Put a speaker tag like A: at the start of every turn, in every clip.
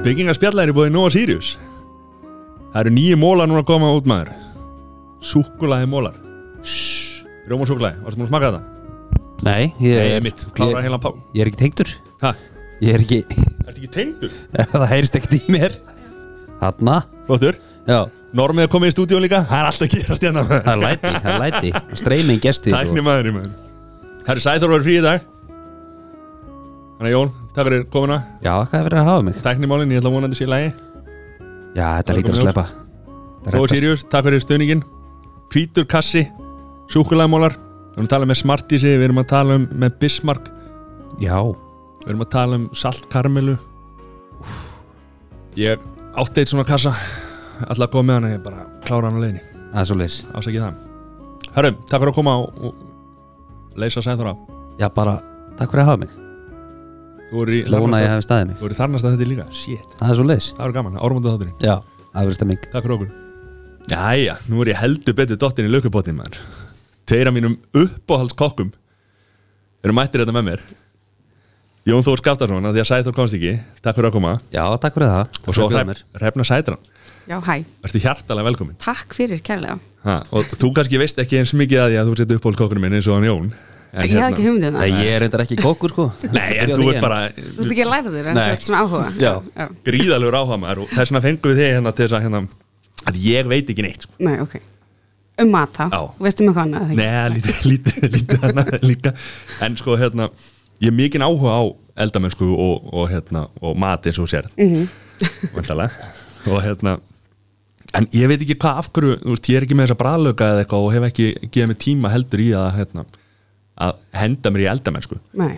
A: Speaking að spjalla er í búið Nova Sirius Það eru nýju mólar núna að koma út maður Súkulaði mólar Rjóma og súkulaði, varstu múin að smaka þetta?
B: Nei, ég,
A: Nei, mitt, klárar
B: ég,
A: heilan pá
B: ég er ekki tengdur
A: Ha,
B: Ég er ekki,
A: ertu ekki tengdur?
B: það heyrist ekkert í mér Hanna,
A: Flottur,
B: já,
A: normið að koma í stúdíón líka Það er alltaf að gera stjana maður
B: það er læti, það er læti Streyming gestið
A: Tækni maður í maður Það eru sæþór var frí í dag Þannig að Jón, takk fyrir komuna
B: Já, hvað er verið að hafa mig?
A: Tæknimálin, ég ætla að vona að þetta sé í lagi
B: Já, þetta lítur að
A: komið
B: sleppa
A: Róa
B: Það reddast.
A: Sirius, takk fyrir stöðningin Hvítur kassi, súkulæðmólar Við erum að tala með Smartísi, við erum að tala um með Bismarck,
B: Já,
A: við erum að tala um saltkarmelu Ég átti eitt svona kassa Alla að koma með hana, ég bara klára hana á leiðinni
B: það er svo leys
A: Ásækið það Hörru, takk fyrir að koma og, og leysa sæður á
B: Já, bara, takk fyrir að hafa mig
A: Þú eru í
B: Lóna ég
A: þarnasta-
B: hafi staðið mig
A: þú eru í þarnast að þetta líka Shit,
B: Það er svo leys
A: það eru gaman, ármönda þátturinn
B: Já, það verður stemming
A: Takk fyrir okkur Jæja, nú er ég heldur betur dottin í lökupottin maður Tveir af mínum uppáhaldskokkum eru mættir þetta með mér Jón Þór Skaftarsson að því að Sæþór komst ekki, takk fyrir að koma
B: Já, takk fyrir það Takk
A: og svo
B: fyrir að bjóða
A: href,
B: mér.
A: hrefna Sætran
C: Já, hæ.
A: Ertu hjartalega velkomin
C: Takk fyrir kærlega.
A: ha, og þú kannski veist ekki eins mikið að ég að þú setja uppáhaldskokkurinn minn eins og hann Jón en, hérna-
C: Ég hef ekki hugmyndið
B: Nei,
C: það.
B: ég er reyndar ekki kókur sko
A: Nei, en þú ert bara
C: Þú ert ekki að læra þér en
B: Nei.
C: þú ert svona áhuga.
B: Já.
A: gríðalegur áhuga maður og þess vegna fengum við þig hérna til þess að hérna að ég veit ekki neitt sko.
C: Nei, ok. Um mat þá.
A: Já.
C: Þú veist um eitthvað annað. eða ekki?
A: Nei, lítið, lítið, lítið annað líka En sko, hérna Ég er mikinn áhuga á eldamennsku og, og, hérna, og mat eins og þú sérð Vandalega Og hérna En ég veit ekki hvað af hverju, þú veist, ég er ekki með þessa bræðlöka eða eitthvað og hef ekki gefið mig tíma heldur í að, hérna, að henda mér í eldamennsku.
C: Nei.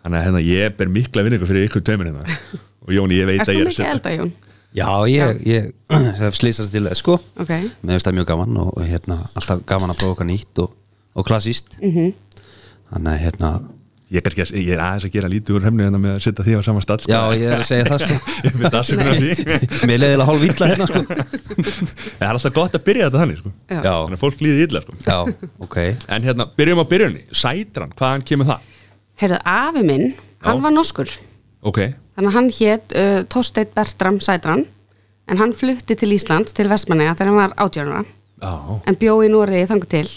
A: Þannig að hérna, ég ber mikla vinningu fyrir ykkur tveimur hérna. Og Jóni, ég veit
C: Erst
A: að ég er að
C: þú mikið að
A: setja-
C: elda, Jón?
B: Já, ég, ég hef slýsast til það sko
C: Ok.
B: Mér finnst það mjög gaman og og, hérna, alltaf gaman að prófa okkar nýtt og, og klassíst
C: Mhm.
B: -hmm. Þannig að hérna
A: Ég, er kannski að- ég er aðeins að gera lítið úr hefnu hérna með að setja því á sama stall. sko.
B: Já, ég er að segja það sko
A: Ég finnst aðsökunar því.
B: Mér leiði hálf illa hérna sko
A: En það er alltaf gott að byrja þetta þannig, sko.
C: Já.
B: Já,
A: Þannig að fólk líði illa, sko.
B: já, ok
A: En hérna, byrjum á byrjunni, sætran, hvaðan kemur það?
C: Herðu, afi minn, hann
A: Já.
C: var norskur.
A: Ok,
C: Þannig að hann hétt uh, Torsteinn Bertram Sætran. En hann flutti til Íslands, til Vestmanneja, þegar hann var átjánara.
A: já,
C: En bjó í Noregi þangu til.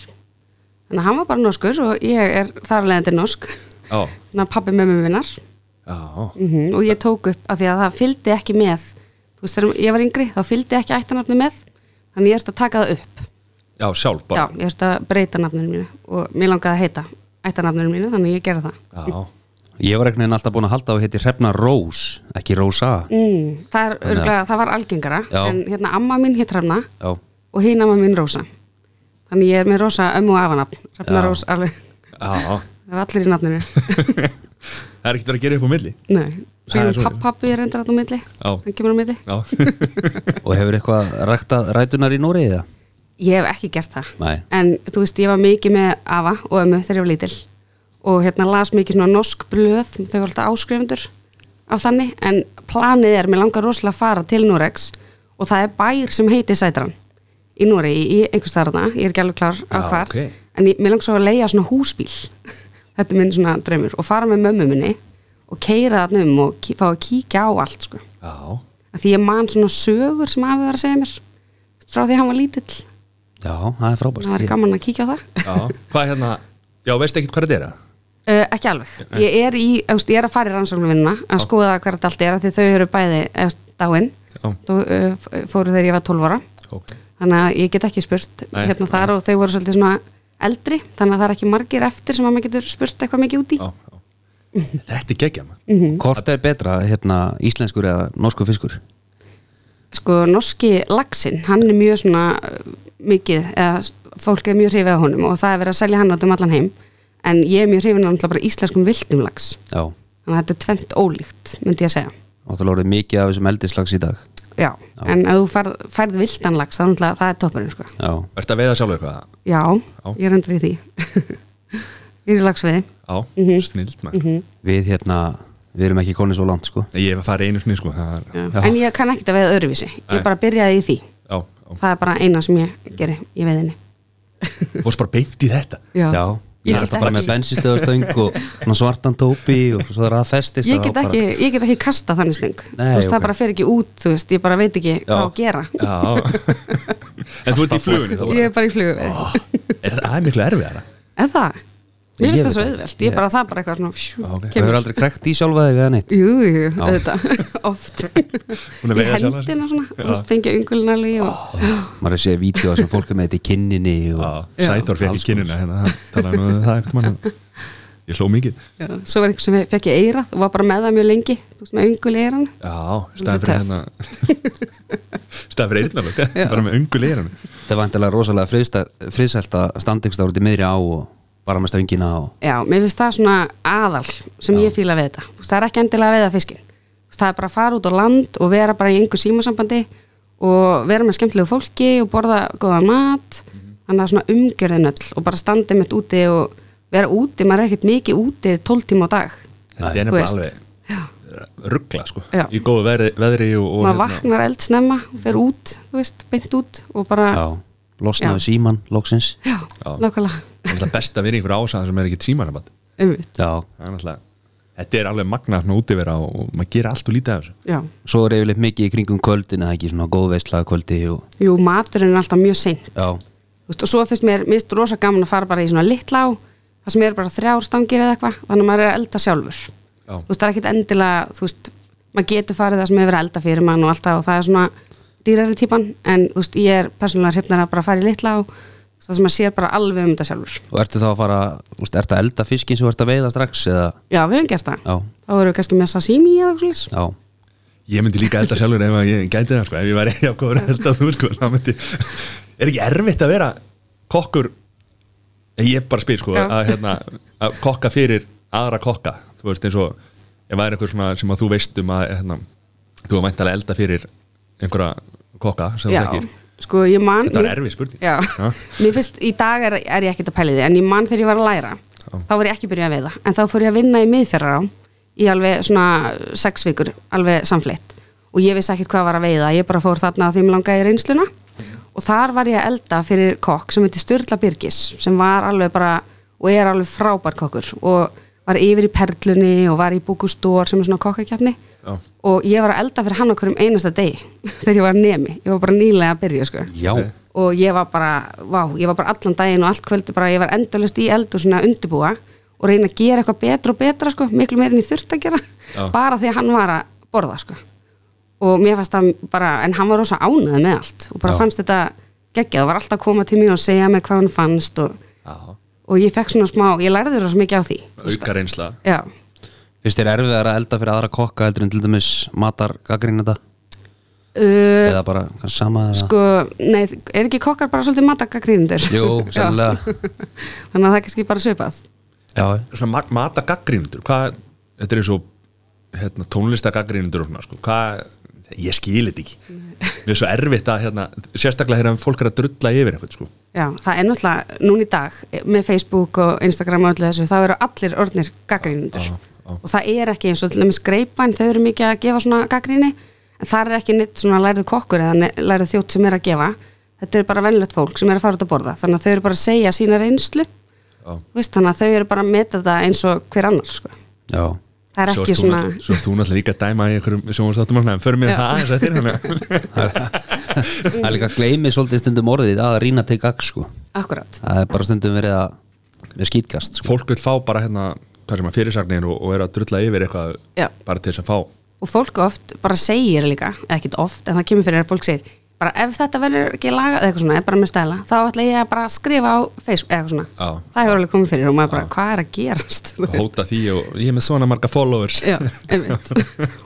C: Þannig að hann var bara norskur og ég er þar alveg endur norsk.
A: já,
C: Þannig að pabbi mömmu minnar.
A: já, Mhm.
C: -hmm, og ég tók upp af því að það fylgdi ekki með þú veist þegar ég var yngri þá fylgdi ekki ættanafni með þannig ég erst að taka það upp
A: já, sjálf bara.
C: já, ég erst að breyta nafninu mínu og mér langaði að heita ættanafninu mínu þannig ég gera það
A: Já,
B: Ég var einhvern veginn alltaf búin að halda á að heiti Hrefna Rós, ekki Rósa
C: mm, það, er, örglega, það var algengara
B: Já.
C: en hérna amma mín hétt Hrefna
B: Já,
C: og hinn amma mín Rósa þannig ég er með Rósa ömmu og afanafn Hrefna
B: Já.
C: Rós alveg
A: já,
C: það er allir í nafninu
A: það er ekkert verið að gera upp á milli.
C: Nei,
A: Það er
C: svo
A: svoleiðis.
C: ég pappi er reyndar alltaf á milli
A: Já.
C: hann kemur á milli
A: Já,
B: og hefur eitthvað ræktað rætunar í Nóri eða?
C: Ég hef ekki gert það
B: Nei.
C: En þú veist, ég var mikið með afa og ömmu þegar ég var lítil Og hérna las mikið svona norsk blöð Þau var alltaf áskrifundur af þannig En planið er, mér langar rosalega að fara til Norex Og það er bær sem heiti Sætran Í Noregi, í einhvers þarna Ég er ekki alveg klár á
A: Já,
C: hvar
A: ok.
C: En ég, mér langar svo að leiða svona húsbíl Þetta er minn svona draumur Og fara með mömmu minni Og keira þarna um og kí- fá að kíkja á allt sko
A: já,
C: að því ég man svona sögur sem afi var að segja mér frá því að hann var lítill
B: Já, það er frábært
C: það var
B: Ég-
C: gaman að kíkja á það
A: já, hvað er hérna, já, veist ekkert hvað þetta er það?
C: uh, ekki alveg, ég er, í, eufst, ég er að fara í rannsóknarvinnuna að skoða hvert allt er af því þau eru bæði eufst, dáin
A: Já.
C: þú uh, f- fóru þegar ég var 12 ára
A: Ok,
C: þannig að ég get ekki spurt
A: Nei,
C: hérna þar og þau voru svolítið svona eldri þannig að það er ekki margir eftir sem að maður getur spurt eitthvað mikið út í
A: já, já. Þetta er geggjað maður.
C: Mhm.
B: Hvort er betra, hérna, íslenskur eða norskur fiskur?
C: sko norski laxinn, hann er mjög svona uh, mikið, eða s- fólk er mjög hrifið á honum og það er verið að selja hann út um allan heim en ég er mjög hrifin á náttúrulega bara íslenskum viltum lax
B: Já,
C: þannig að þetta er tvent ólíkt, myndi ég að segja
B: og það lórið mikið af þessum eldislags í dag
C: já, en ef þú færð, færð viltan lax þá náttúrulega það er toppurinn sko
B: Já,
A: Ertu að veiða sjálf eitthvað?
C: já,
A: Já.
C: ég er endur í því ég er í lagsviði
A: Já, snilt maður.
B: við hérna, við erum ekki konið svo langt sko
A: Nei, Ég hef að fara einu sinni, sko. það er-
B: Já.
C: en ég kann ekkert að veða öðruvísi
A: Nei.
C: ég bara byrjaði í því,
A: Já, já.
C: það er bara eina sem ég geri í veiðinni
A: Fórst bara beint í þetta.
C: já,
B: Já,
C: Ég
B: ég er
C: get
B: alltaf bara
C: ekki.
B: með bensinstöðastöng og svona svartan tópi og svo er það festist
C: ég
B: þá
C: get,
B: bara-
C: ekki, ég get ekki kasta þannig stöng þú
B: Nei,
C: veist, það
B: ok.
C: bara fer ekki út, þú veist, ég bara veit ekki hvað að gera
A: Já En þú ert í flugunni þá
C: ég er bara í flugu við
A: Ó, er, Það er miklu erfiðara
C: en það,
B: Ég
C: mér finnst
B: veit
C: það svo
B: það.
C: auðvelt ég
B: Ég-
C: er bara það bara eitthvað svona sjú,
A: Já, ok.
B: Þú hefur
C: kemur,
B: aldrei krekt í sjálfa þig eða neitt
C: jú, jú, auðvitað oft,
A: Hún er
C: í
A: vegið sjálfa sig.
C: hendina svona
A: Já.
C: þú veist, fengja ungulina alveg og
B: maður er að segja vídeo sem fólk er með þetta í kinninni og
A: Já, Sæþór fekk í kinnina hérna, það talaði nú um það ekkert mann Ég hló mikið
C: Já, svo var einhver sem fekk ég eirað og var bara með það mjög lengi, þú veist, með ungul eiran
A: Já, hérna- staðið fyrir hérna staðið fyrir eirnalög bara með ungu leirann
B: það var endilega rosalega friðsta- friðsælt að standingsta út í miðri á og bara með stöngina og
C: já, mér finnst það svona aðal sem ég fíla við þetta, þú veist, það er ekki endilega að veiða fiskin, þú veist, það er bara að fara út á land og vera bara í einhver símasambandi og vera með skemmtilegu fólki og borða góðan mat
A: Mhm.
C: þannig að svona umgjörðin öll og bara standa mitt úti og vera úti, maður er ekkert mikið úti 12 tíma á dag,
A: Þetta
B: Nei.
A: er
C: þú
A: nefnilega
C: veist
A: alveg
C: já,
A: ruggla sko,
C: Já.
A: í góðu veðri, veðri og, og hérna-
C: maður vaknar eldsnemma og fer út, þú veist, beint út og bara,
B: já, losnaðu síman loksins
C: já,
A: Já.
C: nákvæmlega
A: Það er náttúrulega best að vera í einhver ásaðan sem er ekki tímanaband
C: einmitt,
B: já,
A: Það er náttúrulega Þetta er alveg magnað svona útivera og, og maður gerir allt og lítið af þessu
C: já
B: svo er yfirleitt mikið í kringum kvöldin eða ekki svona góð veistlaga kvöldi og,
C: Jú, maturinn er alltaf mjög seint
B: já,
C: Þú veist, og svo finnst mér, mér finnst rosa gaman að fara bara í svona litla á það sem eru bara þrjár stangir eða eitthvað þannig að maður er að elda sjálfur
A: Já.
C: þú veist, það er ekkit endilega, þú veist maður getur farið það sem hefur verið að elda fyrir mann og alltaf og það er svona dýrari típan en þú veist, ég er persónulega hrifnar að bara fara í litla á það sem maður sér bara alveg um þetta sjálfur
B: og ertu þá að fara úst, ertu að elda fiskin sem þú ert að veiða strax eða,
C: Já, við höfum gert það
B: Já.
C: Þá erum við kannski með sashimi eða eitthvað svoleiðis.
B: já,
A: Ég myndi líka elda sjálfur ef að ég gæti það sko, ef ég væri ekki ákvöður að elda þú sko, þá myndi Er ekki erfitt að vera kokkur ég bara spyr sko
C: Já.
A: að, hérna, að kokka fyrir aðra kokka þú veist eins og ef það er einhver svona sem að þú veist um að hérna, þú er mæntalega elda fyrir einhverja kokka sem þú
C: Já,
A: þekkir
C: sko ég man
A: Þetta var
C: mér-
A: erfið spurning.
C: Já,
A: Já.
C: mér finnst í dag er, er ég ekkert að pæli því En ég man þegar ég var að læra Þá var ég ekki byrjað að veiða En þá fór ég að vinna í miðferðar á Í alveg svona sex vikur, alveg samflétt Og ég vissi ekkert hvað var að veiða Ég bara fór þarna á þeim langaði reynsluna Og þar var ég að elda fyrir kokk sem heitir Sturla Birgis Sem var alveg bara, og er alveg frábær kokkur Og var yfir í Perlunni og var í Búkustór sem er svona kokkakjafni
A: Já.
C: og ég var að elda fyrir hann okkur um einasta degi þegar ég var nemi, ég var bara nýlega að byrja sko.
B: já
C: og ég var bara, vá, ég var bara allan daginn og allt kvöldi bara, ég var endalust í eld og svona að undirbúa og reyna að gera eitthvað betra og betra sko, miklu meir en ég þurfti að gera
A: Já.
C: bara því að hann var að borða sko. og mér fannst það bara en hann var rosa ánæði með allt og bara
B: Já.
C: fannst þetta geggjað og var alltaf að koma til mín og segja mig hvað hann fannst og,
A: Já,
C: og ég fekk svona smá, ég lærði rosa mikið á því
A: auka reynsla
C: Já,
B: finnst þér erfið að elda fyrir aðra kokka heldur en til dæmis matar gaggrinda
C: uh,
B: eða bara kannski sama eða
C: sko, nei, er ekki kokkar bara svolítið matagagrínundur?
B: jú, sannlega,
C: Þannig að það er kannski bara svipað.
B: já,
A: svona ma- mata gaggrínundur hvað, þetta er eins og hérna, tónlista gaggrínundur og svona sko, hvað, ég skil þetta ekki mér er svo erfitt að hérna, sérstaklega hérna fólk er að drulla yfir einhvern sko.
C: Já, það er náttúrulega núna í dag með Facebook og Instagram og öllu þessu, þá eru allir orðnir gaggrínundur.
A: Já, já.
C: Og það er ekki eins og til dæmis greipan, þau eru mikið að gefa svona gaggríni, en það er ekki neitt svona lærið kokkur eða ne- lærið þjótt sem er að gefa. Þetta eru bara venlögt fólk sem er að fara út að borða, þannig að þau eru bara að segja sína reynslu,
A: Já.
C: Þú veist, þannig að þau eru bara að meta þetta eins og hver annar, sko.
B: já
C: Það er
A: svo
C: ekki
A: ert þú
C: svona,
A: náttúrulega- svo erst þú náttúrulega líka að dæma í einhverjum sjónastáttum og svona, en förum við það aðeins eftir hérna.
B: það er líka að gleymi svolítið stundum orðið í dag að rýna til gagg sko
C: akkurat,
B: það er bara stundum verið að við skýtkast sko.
A: fólk vil fá bara hérna hvað sem að fyrirsagnir og, og er að drulla yfir eitthvað
C: já.
A: bara til þess að fá
C: og fólk oft bara segir líka eða ekkert oft, en það kemur fyrir að fólk segir bara ef þetta verður ekki laga eða eitthvað svona, eða bara með stæla, þá ætla ég að bara skrifa á Facebook eða eitthvað svona,
A: Já.
C: það hefur alveg komið fyrir og maður bara, hvað er að gerast Þú
A: og
C: veist?
A: hóta því og ég er með svona marga followers
C: Já, einmitt.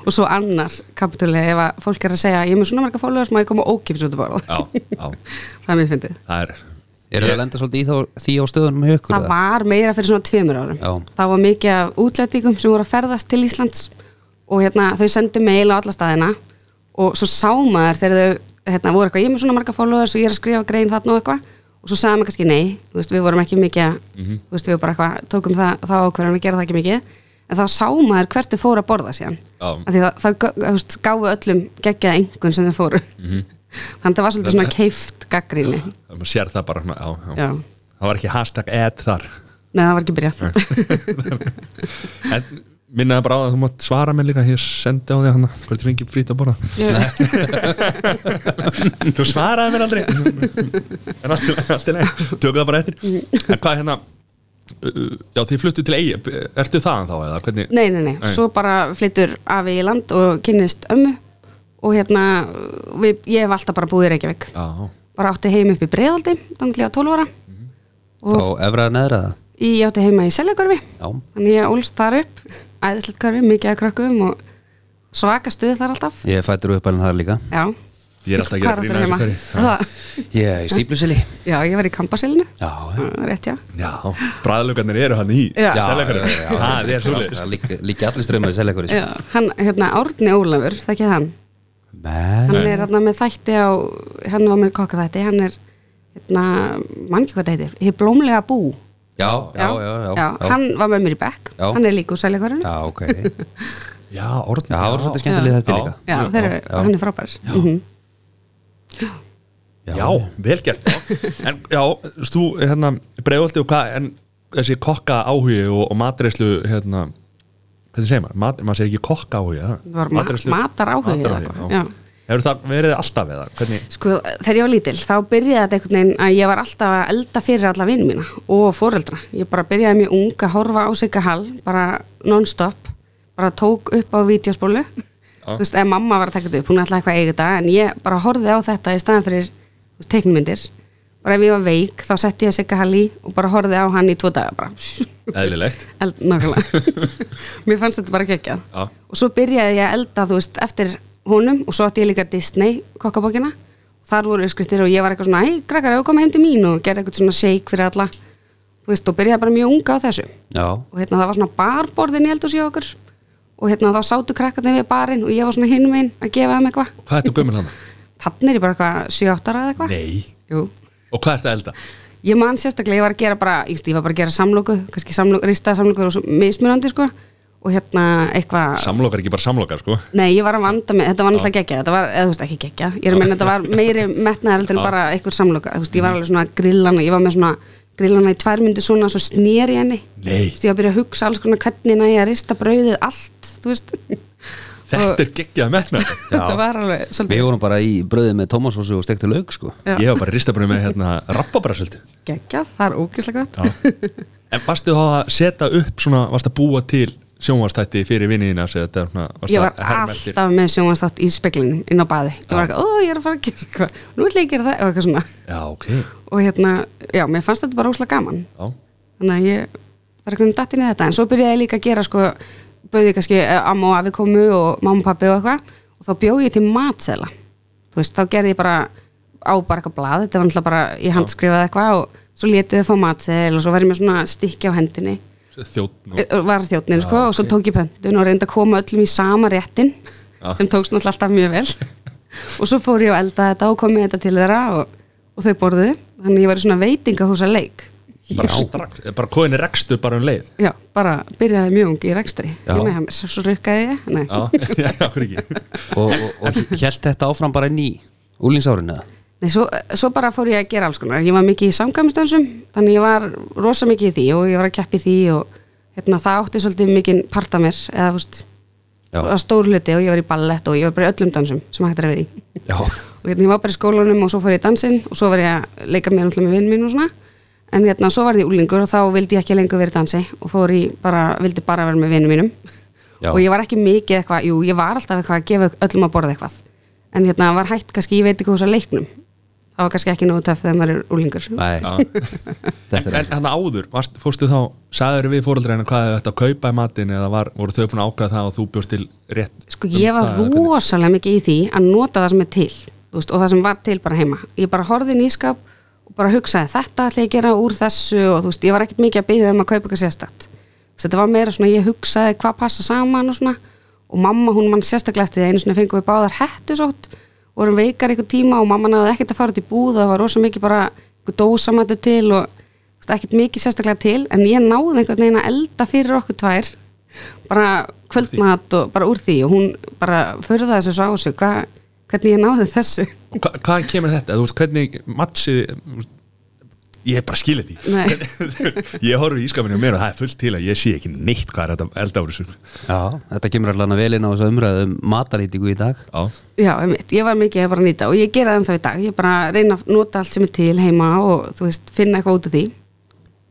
C: og svo annar kapitúli ef að fólk er að segja, ég er með svona marga followers má ég koma ókipis út að borða
A: já, já,
C: það er mér fyndið
A: það er
B: eru það að lenda svolítið í þá, því á stöðunum hjá ykkur
C: það
B: eða?
C: var meira fyrir svona tveimur árum
B: Já.
C: það var mikið af útlendingum sem voru að ferðast til Íslands og hérna þau sendu mail á alla staðina og svo sá maður þegar þau hérna, voru eitthvað, ég er með svona marga followers og ég er að skrifa grein þarna og eitthvað og svo sagði maður kannski nei, þú veist, við vorum ekki mikið mm
A: Mhm.
C: þú veist, við bara eitthvað, tókum það, það ákverðan að gera það ekki mikið en þá sá maður hvert þau fóru að borða síðan
A: Já.
C: Af því það, það, það þú veist, gáfu öllum geggjað engun sem þau fóru
A: Mhm.
C: þannig að það var svolítið svona keift gaggrinni
A: maður sér það bara svona, já, já.
C: Já.
A: það var ekki hashtag ad þar
C: Nei, það var ekki byrjað
A: en minnaði bara á það að þú mátt svara mér líka ég sendi á því hana, hvort ég fengi frýtt að borða
C: Ég-
A: þú svaraði mér aldrei en allt í- allt í lagi, tökum það bara eftir
C: Mm.
A: en hvað hérna uh, já þið fluttu til eigi, ertu þaðan þá eða hvernig,
C: Nei, nei, nei,
A: Nei.
C: svo bara flyttur afi í land og kynnist ömmu og hérna, við, ég hef alltaf bara búið í Reykjavík
A: já,
C: bara átti heim upp í Breiðaldi, dangli á 12 ára
B: Þá efra að neðra það
C: ég átti heima í Seljakörfi
B: Já,
C: þannig ég ólst þar upp æðislegt körfi, mikið að krökkum og svaka stuð þar alltaf
B: ég er fættur uppalinn þar líka
C: já,
A: ég er alltaf að gera
C: Hvar
A: grína
C: áttu
A: þessu
C: heima? Það-
B: Ég er í stíplusili
C: já, ég var í kampasilinu
B: Já, já
C: rétt já
A: já, bræðlugarnir eru hann í
C: Já.
A: seljakörðu,
B: já, já.
A: það er svo
B: Það lík- Líkja allir strömmar í seljakori sko.
C: Já, hann, hérna, Árni Ólafur, þekkið hann
B: Nei,
C: hann er hérna með þætti á hann var með kokkaþætti, hann er hérna, mann ekki hvað það heitir, hér blómlega bú
B: já, já, já, já, já.
C: hann var með mér í Beck,
B: Já.
C: hann er líka úr sælíkvarinu já,
B: Já, ok Já,
A: já, orðin
B: það var svolítið skemmtilega þetta
A: Já.
B: líka
C: já, þeir eru,
B: já.
C: hann er frábær mm -hmm.
A: Já, vel gert já. En já, stú, hérna, bregðaldi og hvað En þessi kokka áhugi og, og matreislu, hérna Hvernig segir maður? Mat, maður segir ekki kokka áhugi,
C: Það var ma- mataráhugi eða eitthvað, já.
A: Hefur það verið alltaf eða? Hvernig,
C: Sko, þegar ég var lítil, þá byrjaði þetta einhvern veginn að ég var alltaf að elda fyrir alla vinn mína og foreldra. Ég bara byrjaði mjög ung að horfa á Sigga Hall, bara non-stop, bara tók upp á vídeospólu. Þú veist, ef mamma var að taka þetta upp, hún ætlaði eitthvað að eiga þetta, en ég bara horfði á þetta í staðan fyrir þú veist, teiknumyndir. Bara ef ég var veik, þá setti ég Sigga Hall í og bara horfði á hann í tvo daga bara.
A: eðlilegt
C: Eld, nákvæmlega Mér fannst þetta bara geggjað
A: Já.
C: Og svo byrjaði ég að elda, þú veist, eftir honum Og svo átti ég líka Disney kokkabókina Þar voru uppskriftir og ég var eitthvað svona Æ, krakkar, hefur komið heim til mín og gerði eitthvað svona shake fyrir alla Þú veist, og byrjaði bara mjög unga á þessu
B: Já,
C: Og hérna, það var svona barborðin í eldhúsi hjá okkur Og hérna, þá sátu krakkarnir við barinn Og ég var svona hinum einn að gefa þeim eitthvað
A: Hvað ertu gömul hana?
C: Þannig er ég bara eitthvað 7-8 ára eða eitthvað
A: Nei
C: Jú,
A: Og hvað ertu að elda?
C: Ég man sérstaklega, ég var að gera bara, ég veist, ég var bara að gera samlóku, kannski samlóku, ristaða samlókur og svo mismunandi, sko, og hérna eitthvað,
A: Samlokar ekki bara samlokar, sko
C: nei, ég var að vanda mig, þetta var náttúrulega geggjað, þetta var, eða þú veist, ekki geggjað, ég er að meina, þetta var meiri metnaðar heldur en bara eitthvað samlóka, þú veist,
A: Mhm.
C: ég var alveg svona grillana, ég var með svona grillana í tvær myndi svona, svo sneri henni, þú
A: Nei,
C: veist, ég var að byrja að hugsa alls konar hvernig næ ég að rista brauðið allt, þú veist,
A: þetta er geggjað metna
C: þetta var alveg
B: við
C: svolítið
B: vorum bara í bröðið með Tómasósu og stektu lauk sko
C: Já.
A: Ég hef bara ristabrið með hérna rappabrasöldu
C: geggjað, það er ógeðslega gott.
A: En varstu þá að setja upp svona, varstu að búa til sjónvarstætti fyrir viniðina þetta, er svona, varstu
C: ég var
A: að herma eftir?
C: alltaf með sjónvanstátt í speklinum inn á baði, ég var ekki, ó ég er að fara að gera eitthvað nú ætla ég að gera það, og eitthvað svona
A: Já, ok
C: og hérna, já, mér fannst þetta bara óslega gaman
A: Já,
C: þannig að ég var eitthvað datt inn í þetta, en svo byrjaði ég líka að gera sko, bauði kannski eh, amma og afi komu og mamma og pappi og eitthvað og þá bjóði ég til matsela þú veist, þá gerði ég bara á bara eitthvað blað, þetta var náttúrulega bara, ég handskrifaði eitthvað og svo létið þau fá matsel og svo var ég með svona stykki á hendinni
A: þjóttn og
C: Eh, var þjóttnin sko, og svo tók ég pöntun og reyndi að koma öllum í sama réttin sem tókst náttúrulega alltaf mjög vel og svo fór ég að elda þetta og kom með þetta til þeirra og, og þau borðuðu þannig ég var í svona veitingahúsa leik
A: bara strax, Eh, bara kóðinni rekstu bara um leið
C: já, bara byrjaði mjög ungi í rekstri
B: Já.
C: ég með mér, svo rukkaði ég nei,
A: Já, já, okkur ekki
B: Og, og, og hjælt þetta áfram bara inn í úlinsárinu eða?
C: nei svo, svo bara fór ég að gera alls konar ég var mikið í samkvæmstönsum þannig ég var rosa mikið í því og ég var að keppi því og hérna, það átti svolítið mikið parta mér eða, þú veist,
B: Já,
C: að stórluti og ég var í ballett og ég var bara í öllum dansum sem hægt er að vera í
B: já,
C: og hérna ég var bara í skólanum og svo fór ég í dansinn og svo var ég að leika mér náttúrulega með vinn mín og svona en hérna svo var ég úlingur og þá vildi ég ekki lengur verið dansi og fór ég bara, vildi bara vera með vinnum mínum
B: Já.
C: og ég var ekki mikið eitthvað, jú ég var alltaf eitthvað að gefa öllum að borða eitthvað en hérna var hægt kannski, ég veit ekki hús að leiknum það var kannski ekki nógu töff þegar maður er úlingur
B: nei
A: En
B: Þetta er
A: þannig áður, varst, fórstu þá sagður við fóreldreina hvað þau ættu að kaupa í matinn eða var, voru þau búin að ákvæða það og þú bjóst til rétt
C: Sko ég
A: um
C: var
A: það eða hvernig?
C: rosalega mikið í því að nota það sem er til þú veist, og það sem var til bara heima. Ég bara horfði nýskap og bara hugsaði þetta ætla ég að gera úr þessu og þú veist, ég var ekkert mikið að byggja um að kaupa eitthvað sérstætt. Þú veist, Þetta var meira svona, ég hugsaði hvað passa saman og svona og mamma hún mann sérstaklega eftir því að einu svona fengum við báðar hettusótt vorum veikar einhver tíma og mamma náði ekkert að fara út í búð það var rosalega mikið bara einhver dósamættu til og þú veist, ekkert mikið sérstaklega til en ég náði einhvern veginn að elda fyrir okkur tvær bara kvöldmat og bara úr því og hún bara förðaði þessu svo á sig hva, hvernig ég náði þessu
A: Og hva, Hvaðan kemur þetta? Þú veist, hvernig matsi ég bara skil þetta í
C: Nei.
A: ég horfði í ískapinu og mér og það er fullt til að ég sé ekki neitt hvað er þetta eldáru já,
B: Já, þetta kemur allan vel inn á þessu umræðu um matarýtingu í dag
C: Já, einmitt. ég var mikið að bara nýta og ég gera það um það í dag, ég bara reyna að nota allt sem er til heima og þú veist, finna eitthvað út af því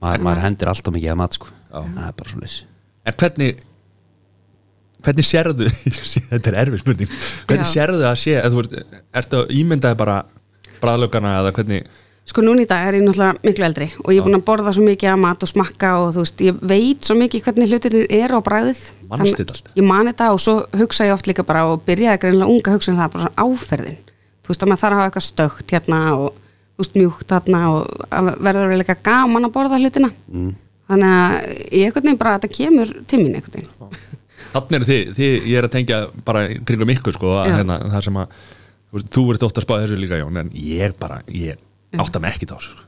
B: maður, maður hendir alltaf mikið að mat sko það er bara svona þess
A: en hvernig hvernig sérðu þetta er erfið spurning hvernig
C: Já.
A: sérðu að sé eða þú ert, ertu að ímyndaði bara bræðlögana eða hvernig
C: Sko núna í dag er ég náttúrulega miklu eldri og ég er búin að borða svo mikið að mat og smakka og þú veist, ég veit svo mikið hvernig hlutinir eru á bræðið.
A: Manstu
C: Þannig-
A: þetta allt?
C: Ég man þetta og svo hugsa ég oft líka bara og byrjaði greinilega unga að hugsa um það, bara svona áferðin. Þú veist, að maður þarf að hafa eitthvað stökt hérna og þú veist, mjúkt hérna og að verður vel eitthvað gaman að borða hlutina. Mm. Þannig að ég einhvern veginn bara, þetta kemur tímin einhvern veginn.
A: þannig eru þið, þið, ég er að tengja bara kringum ykkur sko að,
C: Já.
A: hérna, það sem að þú veist, þú ert ótt að spáði þessu líka Jón en ég bara, ég átta mig ekki þá sko.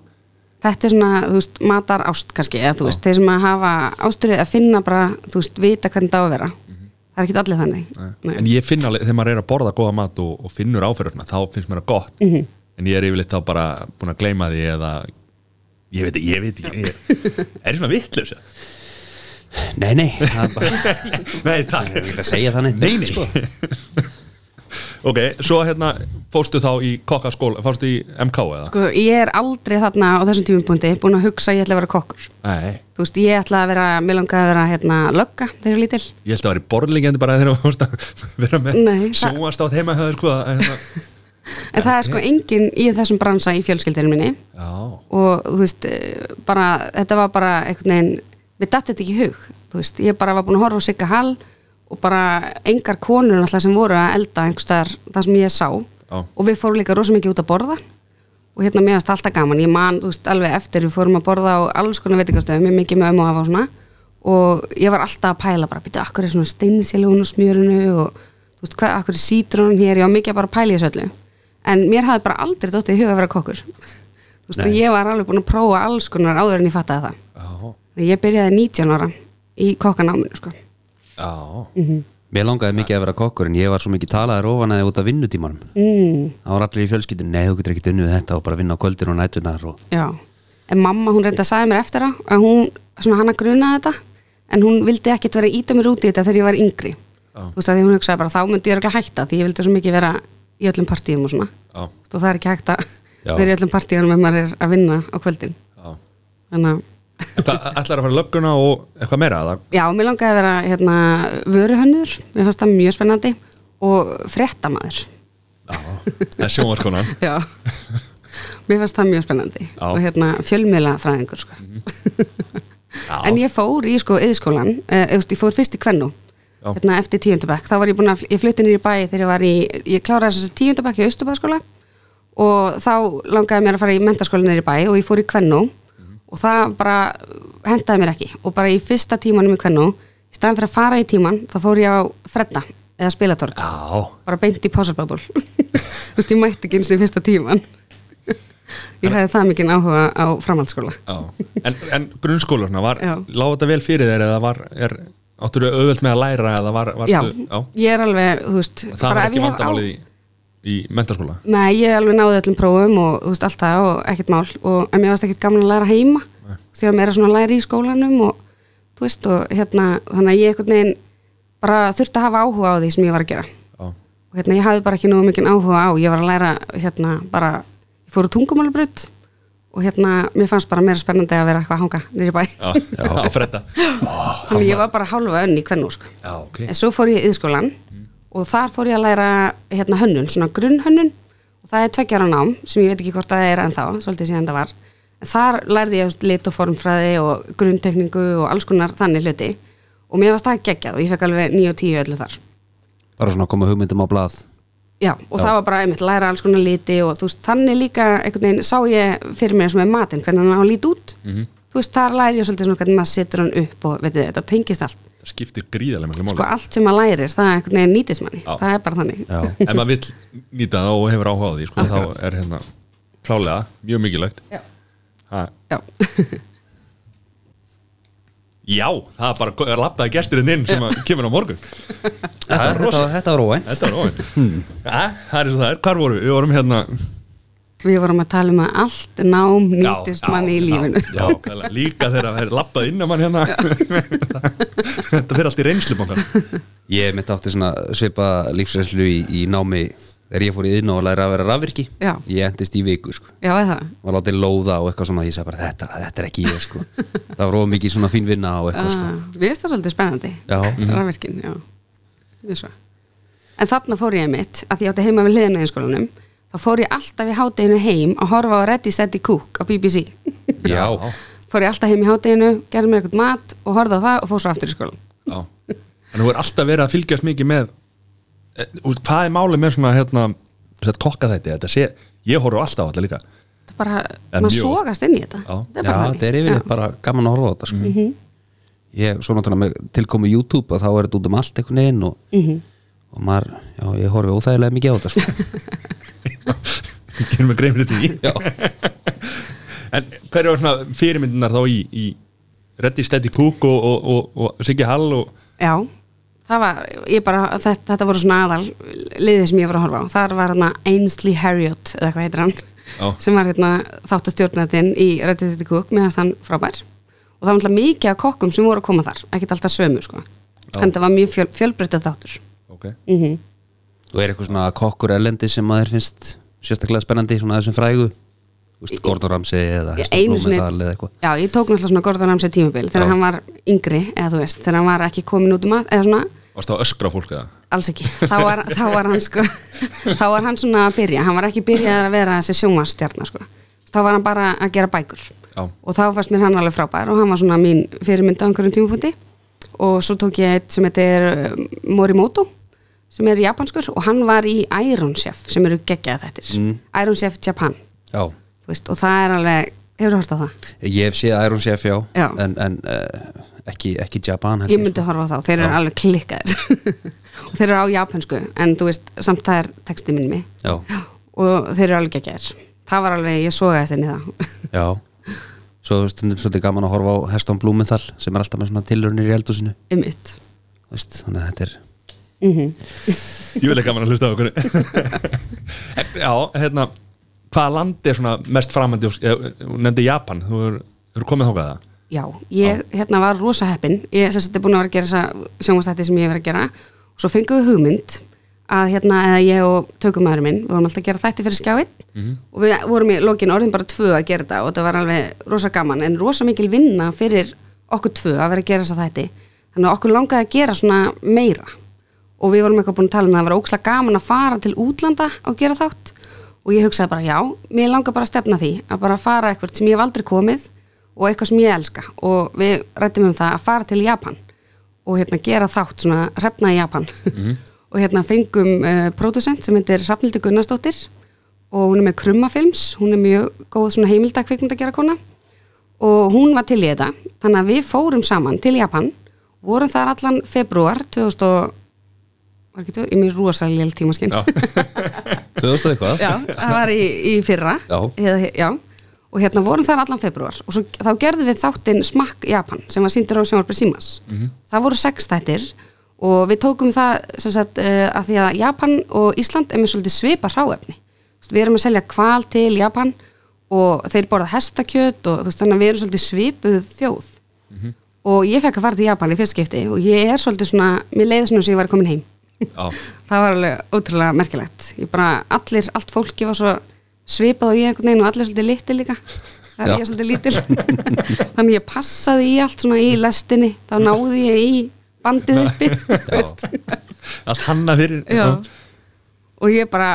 C: þetta er svona, þú veist, matar ást kannski, eða þú veist, þeir sem að hafa ástrið að finna bara, þú veist, vita hvernig það á að vera það er ekki allir þannig Nei.
A: Mhm. en ég finn alveg, þegar maður er að borða góða mat og, og finnur áferðuna, þá finnst mér það gott
C: Mhm.
A: -hmm. en ég er yfirleitt þá bara búin að gleyma því eða ég veit, ég veit ekki ég er, er ég svona vittlöf
B: Nei, nei, það er bara
A: nei, takk
B: ég er ekki að segja það neitt sko.
A: nei, nei ok, svo hérna fórstu þá í kokkaskóla, fórstu í MK eða?
C: sko, ég er aldrei þarna á þessum tímupunkti búin að hugsa að ég ætla að vera kokkur
A: nei,
C: þú veist, ég ætla að vera, mér langaði að vera hérna, lögga, þegar ég var lítil
A: ég held að það var í borðlingjandi bara þegar þú fórst að vera með
C: Nei, það-
A: sjóast átt heima hefur sko að, hérna,
C: en það er sko enginn í þessum bransa í fjölskyldinu minni
A: já,
C: og þú veist, eh, bara þetta var bara einhvern veginn mér datt þetta ekki í hug, þú veist, ég bara var búin að horfa á Sigga Hall og bara engar konur náttúrulega sem voru að elda einhverstaðar það sem ég sá
A: Já.
C: og við fórum líka rosa mikið út að borða og hérna mér varst alltaf gaman, ég man þú veist, alveg eftir við fórum að borða á alls konar veitingastöðum, ég mikið með ömmu og afa og svona og ég var alltaf að pæla bara, býta, akkur er svona steinsélun og smjörinu og þú veist, hvað, akkur er sítrunum hér, ég var mikið að bara pæla í þessu öllu en mér hafði bara aldrei dottið í huga að vera kokkur þú veist, og ég var alveg búin að prófa alls konar áður en ég fattaði það
A: já,
C: Þannig að ég byrjaði 19 ára í kokkanáminu sko.
A: já
C: Mhm.
B: Mér langaði mikið að vera kokkur en ég var svo mikið talaður ofan að ég út af vinnutímanum mm. Það var allir í fjölskyldinu, nei þú getur ekkert unnið við þetta og bara vinna á kvöldin og nætunar og
C: Já, en mamma hún reynda að sagði mér eftir á að hún, svona hann að grunaði þetta en hún vildi ekkit vera að íta mér út í þetta þegar ég var yngri þú veist að því hún hugsaði bara þá myndi ég örugglega hætta því ég vildi svo mikið vera í öllum partíum og svona
A: Já.
C: og það er ekki hægt að
B: Já.
C: vera í öllum partíum ef maður er að vinna á kvöldin
A: já.
C: þannig að
A: En Hvað, ætlar að fara í lögguna og eitthvað meira að það?
C: Já, mér langaði að vera hérna, vöruhönnur, mér fannst það mjög spennandi og fréttamaður
A: Það er sjónvarskonan
C: Já, mér fannst það mjög spennandi
A: Já.
C: og hérna fjölmiðla fræðingur sko. en ég fór í sko yðskólan, eh, eða, þú veist, ég fór fyrst í Kvennu
A: Já.
C: hérna eftir tíundabæk, þá var ég búin að ég flutti nýri bæi þegar ég var í ég kláraði þess að tíundabæk í Austurbæskóla og þá langaði mér að fara í mentaskóla nýri bæi og ég fór í Kvennu og það bara hendaði mér ekki og bara í fyrsta tímanum í Kvennu í staðan fyrir að fara í tíman, þá fór ég á fredda eða spilatorg
A: Já,
C: bara beint í pásalbabul þú veist, ég mætti ekki eins og í fyrsta tíman ég hefði það mikið áhuga á framhaldsskóla
A: já. En, en grunnskólarna, var,
C: Já.
A: lág þetta vel fyrir þeir eða var, er, áttur þau auðvöld með að læra eða var,
C: já,
A: varstu, já.
C: ég er alveg, þú veist
A: Það var
C: bara ef
A: ekki
C: ég hef á-
A: vandamálið í, í mentaskóla
C: nei, ég alveg náði öllum prófum og þú veist, allt það og ekkert mál og en mér varst ekkert gaman að læra heima því að mér er svona að læra í skólanum og þú veist, og hérna, þannig að ég einhvern veginn bara þurfti að hafa áhuga á því sem ég var að gera
A: Já,
C: og hérna, ég hafði bara ekki nú mikið áhuga á ég var að læra, hérna, bara ég fór á tungumálabrut og hérna, mér fannst bara meira spennandi að vera eitthvað að hanga nýri bæ,
A: já, já. á fredda
C: þannig ég var bara hálfa önni í kvennu, sko.
A: Já, ok
C: En svo fór ég í yðskólan og þar fór ég að læra hérna hönnun, svona grunnhönnun og það er tveggjara nám sem ég veit ekki hvort það er ennþá, svolítið síðan það var. En þar lærði ég lit og formfræði og grunntekningu og alls konar þannig hluti og mér var stað geggjað og ég fekk alveg 9 og 10 öllu þar.
B: bara svona að koma hugmyndum á blað
C: Já, og það var bara einmitt læra alls konar liti og þú veist, þannig líka einhvern veginn sá ég fyrir mér sem er matinn, hvernig hann á lít út
A: Mhm.
C: þú veist, þar læri ég svolítið svona hvernig maður setur hann upp og veitir þetta tengist allt
A: Það skiptir gríðarlega miklu
C: sko
A: máli
C: allt sem maður lærir, það er einhvern veginn nýtist manni
A: Já.
C: það er bara þannig
B: Já,
A: Ef maður vill nýta það og hefur áhuga á því sko, þá er hérna klálega mjög mikilvægt
C: Já.
A: Ha,
C: Já,
A: já, það er bara labdaði gesturinn inn sem að kemur á morgun
B: þetta, var- þetta, var- þetta var óvænt
C: Hmm.
A: Þetta var óvænt Það er svo það er, hvar vorum við? Við vorum hérna
C: við vorum að tala um að allt nám nýtist
A: Já,
C: manni í
A: já,
C: lífinu
A: já, nákvæmlega. líka þegar það er labbað inn að mann hérna þetta fyrir allt í reynslubankan
B: Ég mitt átti svona svipa lífsreynslu í, í námi þegar ég fór í yðn og læra að vera rafvirki
C: Já.
B: Ég endist í viku sko
C: já, eða það
B: var látið lóða og eitthvað svona ég sagði bara þetta, þetta er ekki ég sko það var of mikið svona fín vinna og eitthvað sko
C: Ah, Mér finnst það svolítið spennandi
B: Já. Mhm.
C: Rafvirkin, já Mjög svo. En þarna fór ég mitt að ég átti heima við hliðina í skólanum þá fór ég alltaf í hádeginu heim að horfa á Ready Steady Cook á BBC
B: já,
C: fór ég alltaf heim í hádeginu gerði mér eitthvað mat og horfði á það og fór svo aftur í skólan
A: Já. en þú er alltaf verið að fylgjast mikið með e, og hvað er málið með svona hérna, þetta kokka þetta sé, ég horf alltaf á þetta líka
C: það er bara,
A: En
C: maður
A: mjög.
C: sógast inn í þetta
A: Já.
C: það er
B: já
C: bara Mhm.
B: þetta er yfirleitt bara gaman að horfa á þetta sko ég, svo náttúrulega með tilkomi YouTube að þá er þetta út um allt einhvern veginn og,
C: Mhm.
B: og maður, já, ég horfi óþægilega mikið á þetta sko
A: gerum við grein fyrir því en hverju var svona fyrirmyndunar þá í, í Reddy Steady Cook og, og, og, og Siggi Hall og
C: Já, það var, ég bara, þetta, þetta voru svona aðal liðið sem ég var að horfa á. Þar var hérna Ainsley Harriott, eða hvað heitir hann,
A: Já.
C: sem var hérna þáttastjórnættin í Reddit Þetta Cook með að hann frábær. Og það var alltaf mikið af kokkum sem voru að koma þar, ekkert alltaf sömu, sko. Þannig það var mjög fjöl, fjölbreytið þáttur.
A: okay.
B: og er eitthvað svona kokkur erlendi sem maður finnst sérstaklega spennandi svona þessum frægu Þú veist, Gordon Ramsay eða
C: Ég-
B: Hestur Blómensal eða eitthvað
C: já, ég tók náttúrulega svona Gordon Ramsay tímabil þegar
B: Já.
C: hann var yngri, eða þú veist, þegar hann var ekki komin út um að, eða svona,
A: varst það að öskra á fólk eða
C: alls ekki, þá var, þá var hann sko, þá var hann svona að byrja hann var ekki byrjað að vera þessi sjónvarstjarnar sko. þá var hann bara að gera bækur
A: Já.
C: og þá fannst mér hann alveg frábær og hann var svona mín fyrirmynd á einhverjum tímapunkti og svo tók ég eitt sem heitir um, Morimoto sem er japanskur og hann var í Iron Chef sem eru geggjað þettir
B: Mm.
C: Iron Chef Japan
B: já,
C: þú veist, og það er alveg, hefur hort á það
B: ég hef séð Iron Chef já,
C: Já.
B: en, en uh, ekki, ekki Japan held
C: ég
B: sko.
C: myndi horfa á þá, þeir eru alveg klikkaðir og þeir eru á japansku en þú veist, samt það er texti minni
B: Já.
C: og þeir eru alveg geggjær það var alveg, ég sogaðist inn í það
B: Já Svo stundum svolítið gaman að horfa á Heston Blumenthal sem er alltaf með svona tilhörnir í eldhúsinu
C: um mitt
B: Þú veist, Þannig að þetta er
A: ég vil ekki gaman að hlusta á okkur já, hérna hvaða land er svona mest framandi og- eh, hún nefndi Japan, þú eru er komið þókað það
C: já, ég hérna var rosa heppin ég sem þetta er búin að vera að gera þessa sjónvastætti sem ég hef verið að gera og svo fengum við hugmynd að hérna, eða ég og tökumæður minn við vorum alltaf að gera þætti fyrir skjáin og við vorum í lokin orðin bara tvö að gera þetta og þetta var alveg rosa gaman en rosa mikil vinna fyrir okkur tvö að vera að gera þessa þætti þannig að okkur langaði að gera svona meira og við vorum eitthvað búin að tala um það að það var ókslega gaman að fara til útlanda og gera þátt og ég hugsaði bara já, mér langar bara að stefna því að bara fara eitthvað sem ég hef aldrei komið og eitthvað sem ég elska og við rættum um það að fara til Japan og hérna gera þátt svona hrefna í Japan og hérna fengum uh, producent sem heitir Hrafnildur Gunnarsdóttir og hún er með krummafilms, hún er mjög góð svona heimildakvikmynd að gera kona og hún var til í þetta þannig að við fórum saman til Japan vorum þar allan februar 2000 var ekki tvö, ég mér rosalega lél tímaskinn já.
B: 2000 eitthvað
C: það var í, í fyrra
B: Já.
C: Eða, já. og hérna vorum þar allan februar og svo, þá gerðum við þáttinn Smakk Japan sem var sýndur á sjónvarpið Simas
B: Mhm.
C: það voru sex þættir og við tókum það sem sagt uh, að því að Japan og Ísland er með svolítið svipa hráefni Þú veist, við erum að selja kval til Japan og þeir borða hestakjöt og þú veist þannig að við erum svolítið svipuð þjóð
B: Mhm.
C: og ég fekk að fara til Japan í fyrst skipti og ég er svolítið svona, mér leiði svona sem ég var komin heim
A: já,
C: það var alveg ótrúlega merkilegt ég bara, allir, allt fólki var svo svipað og ég einhvern veginn og allir svolítið litil líka það er
B: Já.
C: ég svolítið lítil þannig ég passaði í allt svona í lestinni þá náði ég í bandið uppi þú veist.
A: allt hanna fyrir
C: Já. og ég bara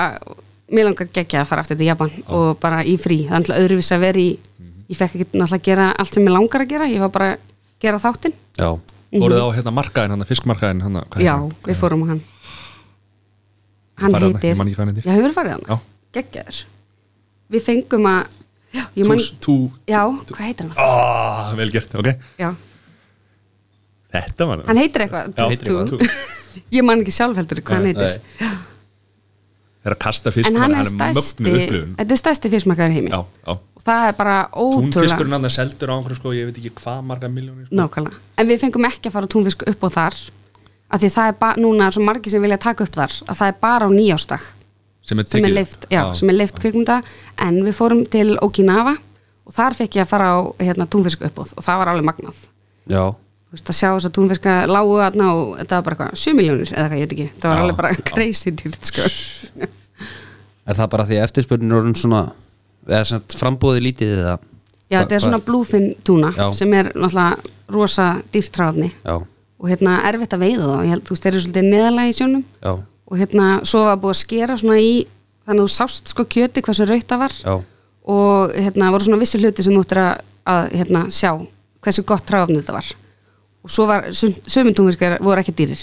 C: mér langar geggja að fara aftur til Japan og bara í frí, það er alltaf öðruvís að vera í ég fekk ekki náttúrulega að gera allt sem ég langar að gera ég var bara að gera þáttinn
B: Já,
A: voruð á hérna markaðin, hann fiskmarkaðin hann,
C: já, við fórum á hann hann
A: Farið þarna,
C: heitir
A: ég man ekki hvað hann heitir.
C: já, hefur farið hann,
A: Já.
C: geggjaður við fengum að já, ég man,
A: Tú- tú-
C: já, hvað heitir hann
A: Ah, vel gert, ok
C: já,
A: Þetta var
C: hann heitir eitthvað
A: Já,
C: tú-
A: heitir
C: tú.
A: eitthvað,
C: ég man ekki sjálf heldur hvað hann
A: Nei,
C: heitir
A: er að kasta fisk
C: en hann er stæsti
A: mögnuð upplifun.
C: þetta er stæsti fiskmarkaður í heimi
A: Já, já
C: og það er bara ótrúlega
A: Túnfiskurinn hann er seldur á einhverju sko, ég veit ekki hvað marga miljónir sko.
C: Nákvæmlega, en við fengum ekki að fara á túnfisk upp á þar af því það er bara, núna er svo margir sem vilja taka upp þar að það er bara á nýjástag
A: Sem er
C: sem er
A: tekið-
C: leift, já,
A: já.
C: sem er leift kvikmynda en við fórum til Okinawa og þar fekk ég að fara á hérna, túnfisk uppóð og það var alveg magnað
B: já,
C: Þú veist, að sjá þess að túnfiska lágu aðna og þetta var bara eitthvað, 7 miljónir eða hvað, ég veit ekki það var
A: Já,
C: alveg bara
A: já.
C: crazy dýrt sko.
B: er það bara því að eftirspurnin er orðin svona eða sem sagt frambúði lítið eða
C: já, þetta er svona bluefin túna
B: Já.
C: sem er náttúrulega rosa dýrt ráðni
B: já,
C: og hérna erfitt að veiða þá ég held, þú veist, þeir eru svolítið neðalega í sjónum
B: já,
C: og hérna, svo var búið að skera svona í þannig að þú sást sko kjöti hversu raut það var
B: já,
C: og hérna voru svona vissi hluti sem þú ættir að, að hérna, sjá hversu gott ráfn þetta var og svo var, sömintúmiskar voru ekki dýrir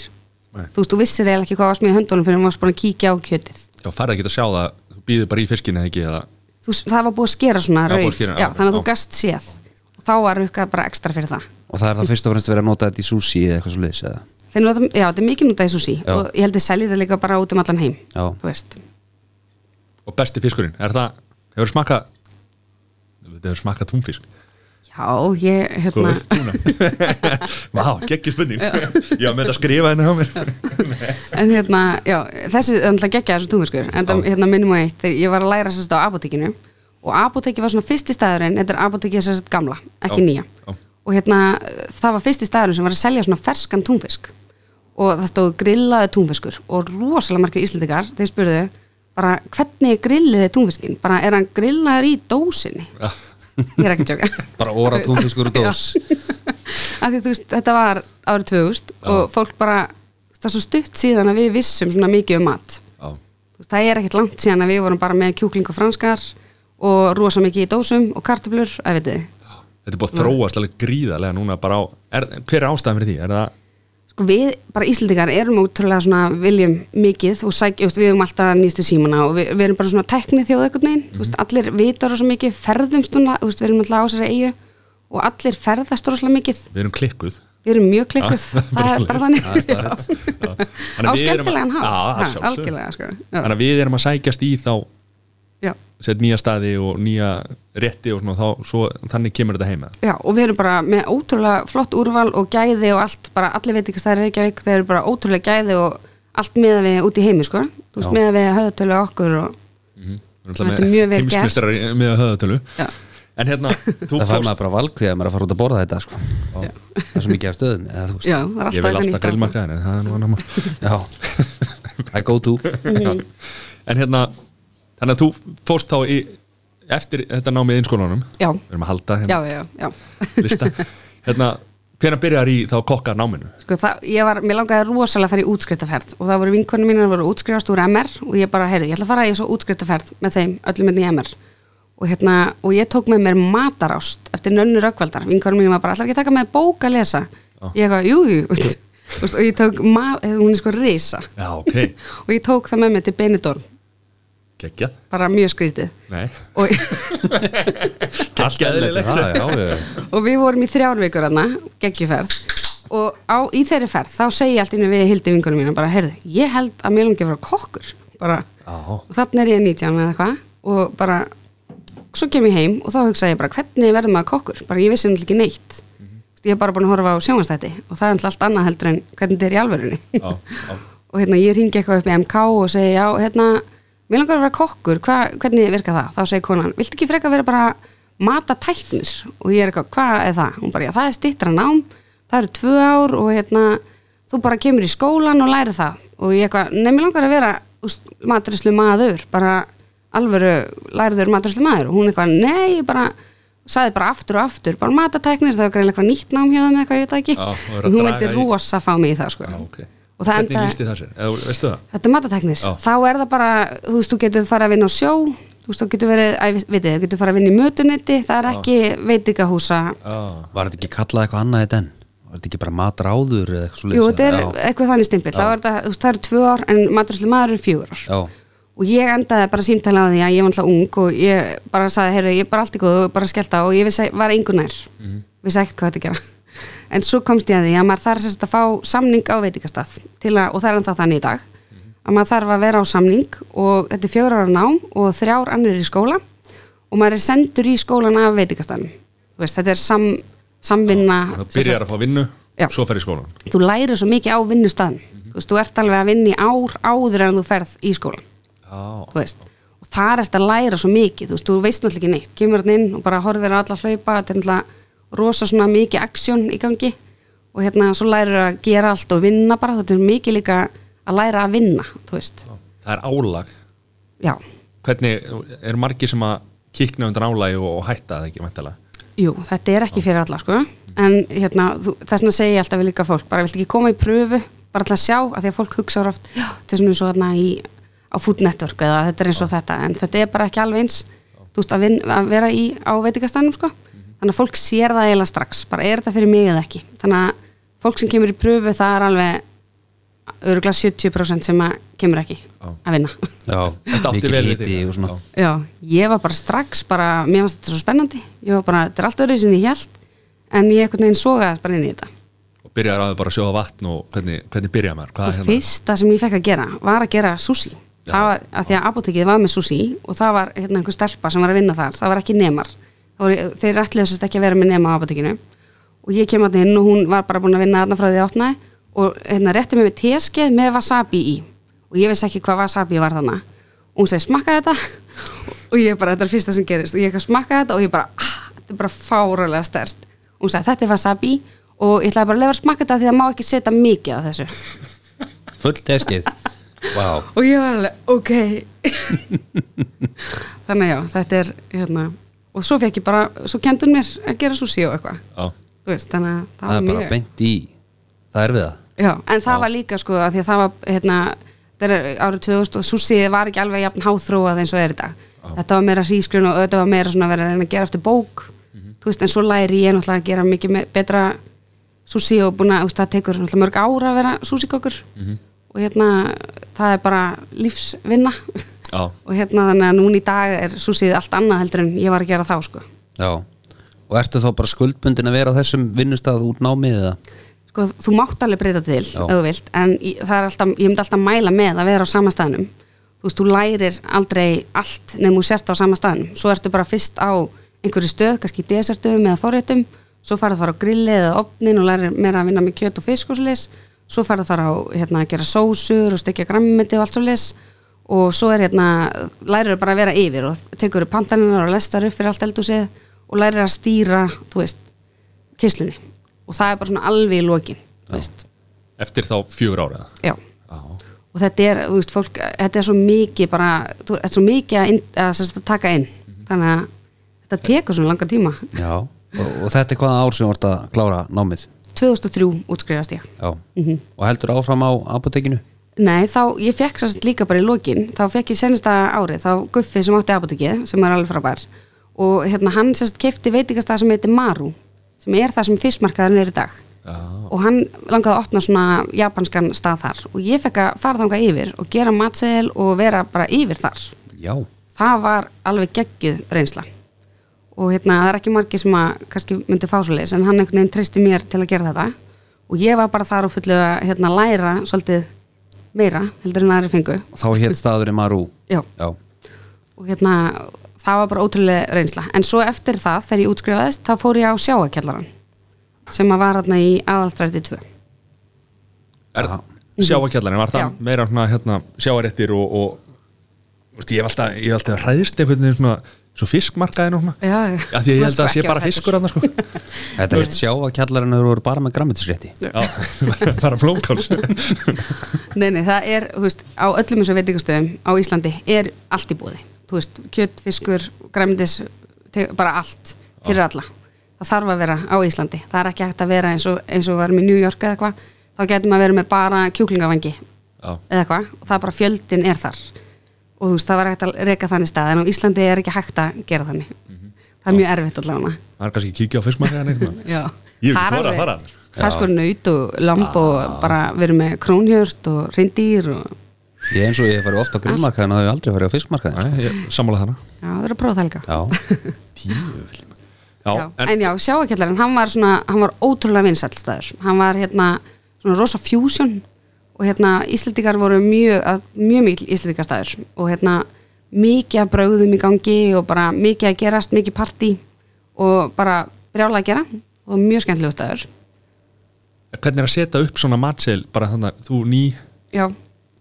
A: Nei.
C: þú veist, þú vissir eiginlega ekki hvað varst með í höndunum fyrir þú varst búin að kíkja á kjötið
A: Já, farið ekki að sjá það, þú býðir bara í fiskinu eða ekki eða
C: þú, s- það var búið að skera svona
A: Já, búið að
C: rauð
A: skera, já,
C: já, þannig að
A: já.
C: þú gast séð og þá var rukkað bara ekstra fyrir það
B: og það er það fyrst og fremst verið að nota þetta í sushi eða eitthvað svo leiðis eða
C: þannig að já, þetta er mikið notað í sushi
B: Já.
C: og ég held ég selji þetta líka bara út um allan heim
B: Já.
C: þú veist,
A: Og besti fiskurinn, er það, hefur smakað Hefur smakað túnfisk
C: já, ég hérna,
A: Túna Vá, geggjur spurning Ég var með þetta að skrifa henni
C: hérna
A: á mér
C: en hérna já, þessi, þannig að geggja þessu túnfiskur en það, hérna minnum og eitt, þegar ég var að læra sérst á apotekinu og apoteki var svona fyrsti staðurinn þetta er apotekið sérst gamla, ekki
A: Já,
C: nýja
A: já.
C: og hérna, það var fyrsti staðurinn sem var að selja svona ferskan túnfisk og það stóð grillaði túnfiskur og rosalega margir íslendingar, þeir spurðu bara, hvernig grilliði túnfiskin bara, er hann grillaður í dósinni
A: Já.
C: ég er ekki að tjóka
B: bara óra túnfiskur og dós
C: að því þú veist, þetta var árið 2000 og fólk bara, það er svo stutt síðan að við vissum svona mikið um mat
A: Já.
C: Þú veist, það er ekkert langt síðan að við vorum bara með kjúkling og franskar og rosa mikið í dósum og kartöflur, að veit þið
A: Þetta er búið að þróast alveg gríðarlega núna bara á, er, hver er ástæðan fyrir því? Er það,
C: sko við, bara Íslendingar erum ótrúlega svona viljum mikið og sæk, just, við erum alltaf nýstu símana og við, við erum bara svona tækni þjóð einhvern veginn, þú veist, allir vitar rosa mikið, ferðumst núna, þú veist, við erum alltaf á sér að eigu og allir ferðast rosalega mikið,
A: við erum klikkuð
C: við erum mjög klikkuð,
A: Já,
C: það er bara þannig
A: Já, það er staðreynd. Já. Þannig að
C: á
A: við erum að-
C: skemmtilegan
A: Já, að
C: hátt,
A: sjálfsögðu.
C: ha, algjörlega sko. já,
A: Þannig að við erum að sækjast í þá
C: já.
A: set nýja staði og nýja rétti og svona, þá, svo, þannig kemur þetta heima
C: já, og við erum bara með ótrúlega flott úrval og gæði og allt, bara allir veit ekki það er Reykjavík, þeir eru bara ótrúlega gæði og allt með að við út í heimi sko. þú veist,
B: Já.
C: með að við höfðatölu okkur og, Þetta er mjög vel gert.
A: Heimsmestrar með höðatölu
C: Já.
A: En hérna, þú
B: það fær
A: fórst
B: maður bara valkvið að maður er að fara út að borða þetta sko. það er svo mikið af stöðum eða, þú veist.
C: já, það er
A: Ég vil
C: alltaf
A: alltaf grillmarka en það er nú annar mál.
B: já, I go to
C: Mhm.
A: En hérna, þannig að þú fórst þá í eftir þetta námið einskólanum
C: Já.
A: Við erum að halda
C: já,
A: hérna
C: já, já
A: lista Hérna, hvenær byrjar í þá kokka náminu?
C: Sko, það, ég var, mér langaði rosalega að fara í útskriftaferð og það voru vinkonum mínar að voru að útskrifast úr MR og ég bara, heyrði, ég ætla að fara í svo útskriftaferð með þeim, öllum enn í MR og hérna, og ég tók með mér matarást eftir nönnu röggvaldar, vinkonum mínar var bara allar ekki að taka með bók að lesa ég eitthvað, jú, jú, Þú veist, og ég tók ma- hún er sko risa
A: Já, ok,
C: og ég tók það með mér til Benidorm
A: geggjað
C: bara mjög skrítið
A: Nei,
C: og,
A: allt
B: Eðlilegt
A: eðlilegt
B: það, já, já, já.
C: og við vorum í þrjár vikur hana, geggjuferð og á, í þeirri ferð, þá segi ég allt inni við hildi vingunum mína, bara, heyrðu, ég held að mér langi að vera kokkur, bara
A: Já,
C: og þannig er ég 19 eða hvað og bara, svo kem ég heim og þá hugsaði ég bara, hvernig verður maður kokkur bara ég vissi náttúrulega ekki neitt
A: Mhm.
C: ég er bara búin að horfa á sjónvastætti og það er náttúrulega allt annað heldur en hvernig þetta er í alvörunni
A: já, já
C: og hérna ég ringi eitthvað upp í MK og segi já, hérna, mér langar að vera kokkur hva, hvernig virka það? Þá segi konan viltu ekki freka vera bara matatæknir og ég er eitthvað, hvað er það? Hún bara, já, það er stittra nám, það eru tvö ár og hérna, þú bara kemur í skólan og læri það og ég eitthvað, nei, mér langar að vera úst, matrislu maður bara alvöru læriður matrislu maður og hún eitthvað, nei, ég bara sagði bara aftur og aftur, bara matatæknir það var greinlega eitthvað nýtt nám hjá þeim eða eitthvað, ég veit það ekki
A: Já, og er að
C: hún
A: draga
C: vildi
A: í-
C: rosa fá mig í það sko.
A: Já, ok.
C: og það
A: Hvernig
C: endaði-
A: lísti það sér? Eða, veistu það?
C: Þetta er matateknir.
A: Já.
C: Þá er það bara, þú veist, þú getur fara að vinna á sjó, þú veist, þú getur verið, æ, veit þið, þú getur fara að vinna í mötunetti, það er ekki veitingahúsa.
A: Já,
B: var þetta ekki kallað eitthvað annað þetta en var þetta ekki bara matráður eða eitthvað svo
C: Jú, þetta er eitthvað þannig stimpill. Þá er það, þú veist, það eru tvö ár en maturislu maður eru fjögur ár.
B: já,
C: Og ég endaði bara símtala á því að ég var alltaf ung og ég bara saði, heyrðu, ég er bara allt í góðu og bara skellta og ég vissi, var engu nær.
A: Mhm.
C: Vissi ekkert hvað þetta gera. En svo komst ég að því að maður þarf sérst að fá samning á veitingastað til að, og það er ennþá þannig í dag,
A: Mhm.
C: að maður þarf að vera á samning og þetta er fjögur ára nám og þrjár annir í skóla og maður er sendur í skólan af veitingastaðnum. Þú veist, þetta er sam, samvinna.
A: það
C: sem sagt-
A: byrjar að fá vinnu,
C: Já.
A: svo fer í skólan Mhm.
C: þú lærir svo mikið á vinnustafn þú veist, þú ert alveg að vinna í ár áður en þú ferð í skólan
A: Já, Já.
C: þú veist og þar ert að læra svo mikið, þú veist, þú veist náttúrulega ekki neitt kemur hann inn og bara horfir á alla hlaupa þetta er náttúrulega rosa svona mikið aksjón í gangi og hérna svo lærir að gera allt og vinna bara, þetta er mikið líka að læra að vinna, þú veist
A: Það er álag
C: já,
A: Hvernig, er margir sem að kikna undan álagi og, og hætta það ekki mæntalega?
C: jú, þetta er ekki fyrir alla sko, en hérna þú, þess vegna segi ég alltaf við líka fólk, bara viltu ekki koma í pröfu bara alltaf að sjá, af því að fólk hugsa oft, já, þetta er svona eins og hérna í á Food Network eða þetta er eins og þetta en þetta er bara ekki alveg eins þú veist, að, vin, að vera í á veitingastannum sko þannig að fólk sér það eiginlega strax bara er þetta fyrir mig eða ekki þannig að fólk sem kemur í pröfu það er alveg örgulega 70% sem að kemur ekki að vinna
B: Já,
A: Þetta átti
B: mikil
A: vel við
B: hiti
A: þig.
B: og svona.
A: Já.
C: Já, ég var bara strax bara, mér fannst þetta svo spennandi ég var bara, þetta er allt öðru sem ég held en ég einhvern veginn sogaðist bara inn í þetta
A: Og byrjar að bara að sjóða vatn og hvernig, hvernig byrja maður? Hvað
C: og
A: er hérna?
C: fyrsta sem ég fekk að gera var að gera sushi það var, að því að apotekið var með sushi og það var hérna einhver stelpa sem var að vinna þar það var ekki nemar, Það voru, þeir ætliðu sérst ekki að vera með nema á apotekinu og ég kem að inn og hún var bara búin að vinna þarna frá því að opnaði og hérna rétti mér með teskeið með wasabi í og ég veist ekki hvað wasabi var þarna og hún segi smakka þetta og ég bara, þetta er fyrsta sem gerist og ég ekki að smakka þetta og ég bara, ah, þetta er bara fárulega stert og hún segi þetta er wasabi og ég ætlaði bara að lefa að smakka þetta af því að það má ekki setja mikið á þessu
B: Full teskið Vá,
C: og ég var alveg, ok þannig að já, þetta er hérna, og svo fekk ég bara svo kenndi hún mér að gera sushi og eitthvað
A: Já.
C: þú veist, þannig að það,
B: það er
C: var
B: bara
C: mjög
B: beint í Það er við það
C: já, en það var líka sko, að því að það var hérna, það er árið 2000 og sushi var ekki alveg jafn háþróað eins og er í dag þetta var meira hrísgrun og þetta var meira svona að vera að reyna að gera eftir bók
B: Mhm.
C: þú veist, en svo læri ég náttúrulega að gera mikið me- betra sushi og búin að, þú veist, það tekur náttúrulega mörg ára að vera sushi kokkur
B: Mhm.
C: og hérna, það er bara lífsvinna
A: Já.
C: og hérna þannig að núna í dag er súsið allt annað heldur en ég var að gera þá sko.
B: Já Og ertu þá bara skuldbundin að vera á þessum vinnustað út námið eða?
C: sko þú mátt alveg breyta til ef þú vilt, en í- það er alltaf, ég myndi alltaf mæla með að vera á sama staðnum þú veist, þú lærir aldrei allt nefnum þú sért á sama staðnum, svo ertu bara fyrst á einhverju stöð, kannski í desertum eða forréttum, svo farið að fara á grilli eða opnin og lærir meira að vinna með kjöt og fisk og slis, svo farið að fara á hérna, að gera sósur og stekja grammiti og allt svo og svo er hérna lærir bara að vera yfir og tekur pantaninar og lestar upp fyrir allt eldúsið og lærir að stýra, þú veist kyslunni og það er bara svona alveg í lokin þú veist,
A: Eftir þá fjögur ára
C: já
A: Já.
C: og þetta er, þú veist, fólk, þetta er svo mikið bara, þú- þetta er svo mikið að, inn, að, sem sagt að taka inn, þannig að þetta tekur svona langa tíma
B: Já Og, og þetta er hvaða ár sem þú ert að klára námið
C: 2003 útskrifast ég
B: Já
C: Mhm.
B: Og heldur áfram á apotekinu?
C: Nei, þá, ég fekk sérst líka bara í lokin þá fekk ég senasta árið, þá Guffi sem átti apotekið, sem er alveg frábær og hérna, hann sérst kefti veitingastað sem heitir Maru, sem er það sem fiskmarkaðurinn er í dag
A: Já.
C: og hann langaði að opna svona japanskan stað þar og ég fekk að fara þangað yfir og gera matsel og vera bara yfir þar
B: Já
C: það var alveg geggjuð reynsla og hérna það er ekki margir sem að kannski myndi fá svo leis en hann einhvern veginn treysti mér til að gera þetta og ég var bara þar og fullu að hérna, læra svolítið meira heldur en aðri fengu
B: Og þá hétt staðurinn Marú
C: Já.
B: Já
C: og hérna það var bara ótrúlega reynsla en svo eftir það þegar ég útskrifaðist þá fór ég á sjáakjallaran sem að var hérna í aðaldræti 2
A: Er, sjáakjallarinn, var það
C: Já.
A: meira svona, hérna, sjáaréttir og, og þú veist, ég hef alltaf, ég hef alltaf hræðist einhvern veginn svona, svo fiskmarkaðin og svona
C: Já, já.
A: Já, því að ég
C: Þú
A: held að það
C: varst
A: sé
C: ekki
A: bara
C: óhræddur.
A: fiskur annars sko
B: Þetta er sjá að kjallarinn eru bara með grammetisrétti
A: Já, bara blómkáls
C: Nei, nei, það er, þú veist, á öllum þessu veitingastöðum á Íslandi er allt í búði. Þú veist, kjött, fiskur, græmdis, bara allt fyrir alla. Það þarf að vera á Íslandi. Það er ekki hægt að vera eins og, eins og varum í New York eða eitthvað. Þá getum að vera með bara kjúklingavangi
A: Já.
C: eða eitthvað. Og það er bara fjöldin er þar. Og þú veist, það var hægt að reka þannig stað. En á Íslandi er ekki hægt að gera þannig. Það er mjög erfitt allavega.
A: Það er kannski að kíkja á fiskmarkaðin eitthvað
C: Já.
A: Ég hef ekki
C: Það er
A: þorað að
C: alveg-
A: fara þar.
C: Það er sko naut og lamb og bara verið með krónhjört og reyndýr og
B: Ég eins og ég hef farið ofta á grillmarkaðin að ég aldrei farið á fiskmarkaðin
A: Nei, ég sammála þarna
C: Já, það er að prófa það líka.
B: Já,
A: Já,
C: Já, en,
A: en,
C: já, sjáakjallarinn, hann var svona, hann var ótrúlega vinsæll staður. Hann var hérna svona rosa fusion og hérna Íslendingar voru mjög, að- mjög mikil Íslendingar staður og hérna mikið að brauðum í gangi og bara mikið að gerast, mikið partí og bara brjála að gera og mjög skemmtilegu staður.
A: hvernig er að setja upp svona matseil bara þannig að þú ný,
C: Já,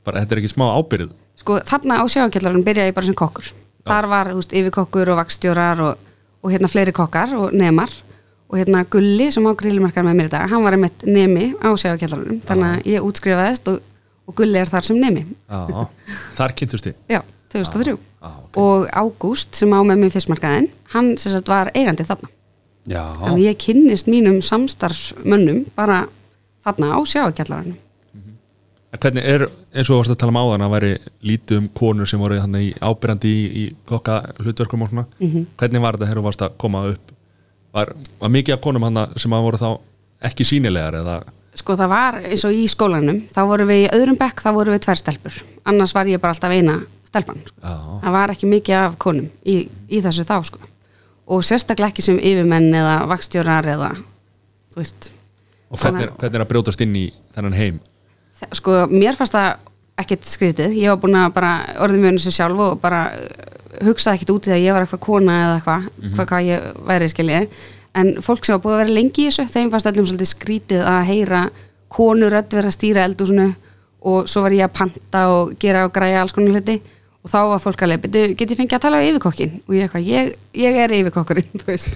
A: bara þetta er ekki smá ábyrð
C: sko þarna á sjáakjallarinn byrjaði ég bara sem kokkur þar var þú veist, yfirkokkur og vakstjórar og, og hérna fleiri kokkar og nemar og hérna Gulli sem á grillumarkar með mér í dag hann var einmitt nemi á sjáakjallarinn þannig að ég útskrifaðist og, og Gulli er þar sem nemi
A: Já, þar kynntust þið
C: já, 2003
A: Já, já,
C: og Ágúst sem á með mér fyrstmarkaðinn hann sem sagt var eigandi þarna
B: Já,
C: þannig að ég kynnist mínum samstarfsmönnum bara þarna á sjáakjallarinn
A: En Hvernig er, eins og þú varst að tala um áðan að væri lítið um konur sem voru þannig ábyrjandi í, í kokka hlutverkum og svona
C: Mhm.
A: hvernig var þetta þegar þú varst að koma upp var, var mikið af konum hana sem að voru þá ekki sínilegar eða
C: Sko það var eins og í skólanum þá vorum við í öðrum bekk, þá vorum við tvær stelpur annars var ég bara alltaf eina stelpan sko.
A: Já.
C: það var ekki mikið af konum í, í þessu þá sko og sérstaklega ekki sem yfirmenn eða vakstjórar eða þú veist
A: og hvernig, er- hvernig er að brjótast inn í þennan heim
C: Þe- sko mér fannst það ekkert skrítið, ég var búin að bara orðið mjög þessu sjálf og bara uh, hugsaði ekkert út í það að ég var eitthvað kona eða eitthvað hvað, hvað ég væri skiljið en fólk sem var búin að vera lengi í þessu þeim fannst öllum svolítið skrítið að heyra konur öll vera að stýra eldúsinu og svo var ég að panta og gera og græja alls konar hluti og þá var fólk alveg, "Bíddu, get ég fengið að tala á yfirkokkin og ég eitthvað, ég, ég er yfirkokkurinn þú veist.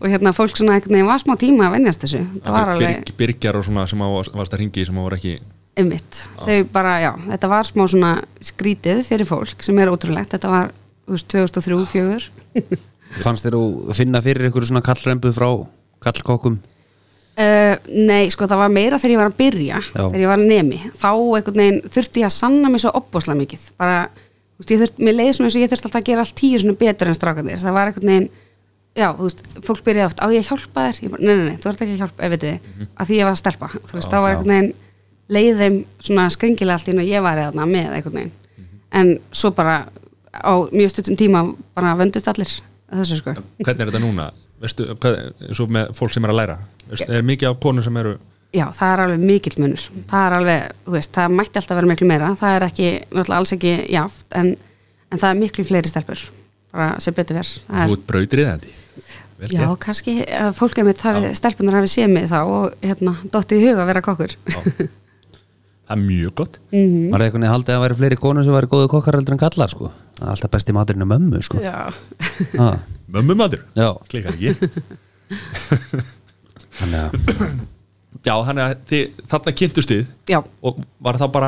C: og hérna fólk svona einhvern veginn var smá tíma að venjast þessu það var alveg
A: Byr, Byrgjar og svona sem að varst- varst að ringi í sem að voru ekki
C: ummitt, þau bara, já, þetta var smá svona skrítið fyrir fólk sem er ótrúlegt, þetta var, þú veist, 2003-2004
B: fannst þér að finna fyrir einhverju svona kallrembu frá kallkokkum
C: Uh, nei, sko það var meira þegar ég var að byrja
B: Já.
C: þegar ég var nemi, þá einhvern veginn þurfti ég að sanna mig svo opbóðslega mikið bara, þú veist, ég þurfti, mér leiði svona eins og ég þurfti alltaf að gera allt tíu svona betur en strákandir það var einhvern veginn, já, þú veist fólk byrjaði oft, á ég að hjálpa þér? Ég bara, nei, nei, nei, þú ert ekki að hjálpa, ef veit þið að því ég var að stelpa, þú veist, þá var einhvern veginn leiði þeim svona skringilega allt inn og ég var eða með einhvern veginn en svo bara á mjög stuttum tíma bara vöndust allir að þessu sko
A: hvernig er þetta núna, veistu, hvað, svo með fólk sem er að læra, veistu, er mikið af konur sem eru
C: Já, það er alveg mikill munur það er alveg, þú veist, það mætti alltaf vera miklu meira það er ekki, náttúrulega alls ekki jáft en, en það er miklu fleiri stelpur bara sem betur verð Það er-
A: út brautriðandi Vel
C: Já,
A: gert.
C: kannski að fólk er mitt hafi, stelpunar hafi séð mig þá og hérna, dottið í huga að vera kokkur
A: það er mjög gott
C: Mhm.
B: Var það einhvern veginn haldið að væri fleiri konur sem væri góðu kokkar heldur en kallar sko Það er alltaf besti maturinn um ömmu sko
C: Já,
B: Ha,
A: Mömmumadur,
B: Já.
A: klikkar ekki
B: Þannig að
A: Já, þannig að þið, þarna kynntust þið
C: Já.
A: og var það bara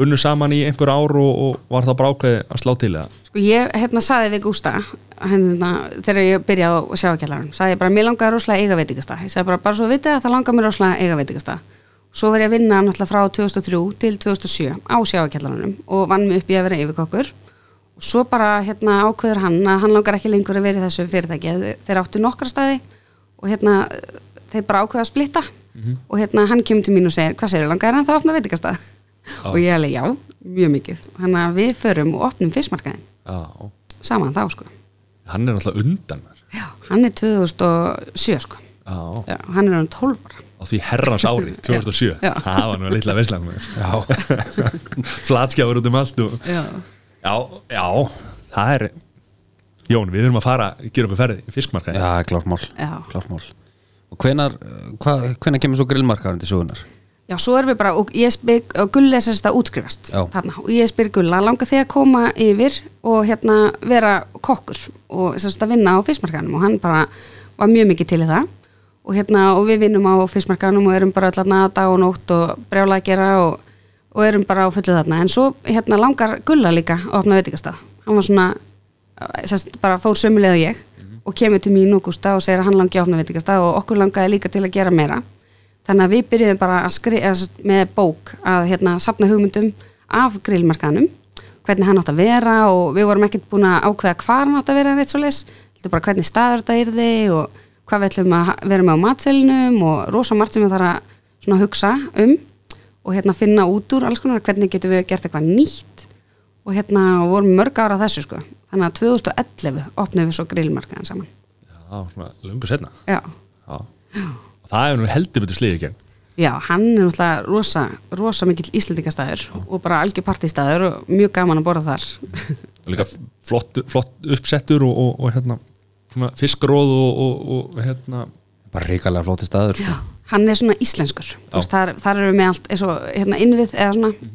A: unnu saman í einhver ár og, og var það bara ákveði að slá til eða?
C: Sko ég hérna saði við Gústa hérna, þegar ég byrjaði á sjáakjallarum saði ég bara, mér langar rosalega að eiga veitingasta ég saði bara, bara svo vitið að það langar mér rosalega að eiga veitingasta svo var ég að vinna náttúrulega frá 2003 til 2007 á sjáakjallarunum og vann mig upp í að vera yfirkokkur og svo bara hérna ákveður hann að hann langar ekki lengur að vera í þessu fyrirtæki Þeir- þeir áttu nokkra staði og hérna þeir bara ákveða að splitta og hérna hann kemur til mín og segir hvað segir, langar hann það að opna veitingastað og ég alveg já, mjög mikið hann að við förum og opnum fyrstmarkaðin
A: Já.
C: saman þá sko
A: Hann er náttúrulega undan mér.
C: já, hann er 2007 sko
A: Já.
C: já, hann er hann 12 ára
A: Á því herrans ári, 2007.
C: Já.
A: Það var nú litla veislan. Já. Flatskjáður út um allt og...
C: já.
A: Já, já, það er... Jón, við erum að fara, gera okkur ferði í fiskmarkaði.
B: Já, klármál,
C: Já.
B: klármál. Og hvenar, hva, hvenar kemur svo grillmarkaðurinn til sögunar?
C: já, svo erum við bara og, ég spyr, og Gulla er sérst að útskrifast
B: Já.
C: þarna, og ég spyr Gulla, langar þig að koma yfir og hérna vera kokkur og sérst að vinna á fyrstmarkaðanum og hann bara var mjög mikið til í það og hérna, og við vinnum á fyrstmarkaðanum og erum bara allan dag og nótt og brjála að gera og, og erum bara á fullu þarna en svo hérna langar Gulla líka að opna veitingastað hann var svona sest, bara fór sömulega ég og kemur til mín og Gústa og segir að hann langi að opna veitingastað og okkur langaði líka til að gera meira þannig að við byrjuðum bara að skrifa með bók að hérna sapna hugmyndum af grillmarkaðanum hvernig hann átt að vera og við vorum ekkert búin að ákveða hvar hann átt að vera reitt svo leis heldur bara hvernig staður þetta yrði og hvað við ætlum að ha- vera með á matselinum og rosa margt sem við þarf að svona hugsa um og hérna finna út úr alls konar hvernig getum við gert eitthvað nýtt og hérna vorum mörg ára þessu sko þannig að 2011 opnum við svo grillmarkaðan saman
A: Já, svona lungu setna.
C: já,
A: Já. Og það er nú heldur betur sliðið gegn.
C: já hann er náttúrulega rosa, rosa mikill íslendingastæður og bara algjör partistæður og mjög gaman að borða þar
A: Og Líka flott, flott uppsettur og, og, og hérna, svona fiskróð og, og, og hérna...
B: Bara ríkalega flóti staður sko.
C: hann er svona íslenskur Þú veist, þar, þar erum við með allt eins og hérna innvið eða svona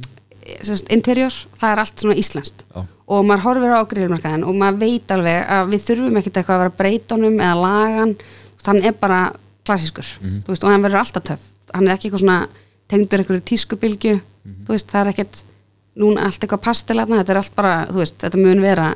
C: sérst, interior, það er allt svona íslenskt
A: Mhm. Já.
C: og maður horfir á grillmarkaðin og maður veit alveg að við þurfum ekkit eitthvað að vera að breyta honum eða lagan hann er bara klassískur
A: Mhm.
C: þú veist, og hann verður alltaf töff hann er ekki eitthvað svona tengdur einhverju tískubilgju
A: Mhm.
C: þú veist, það er ekkit núna allt eitthvað pastilarna, þetta er allt bara þú veist, þetta mun vera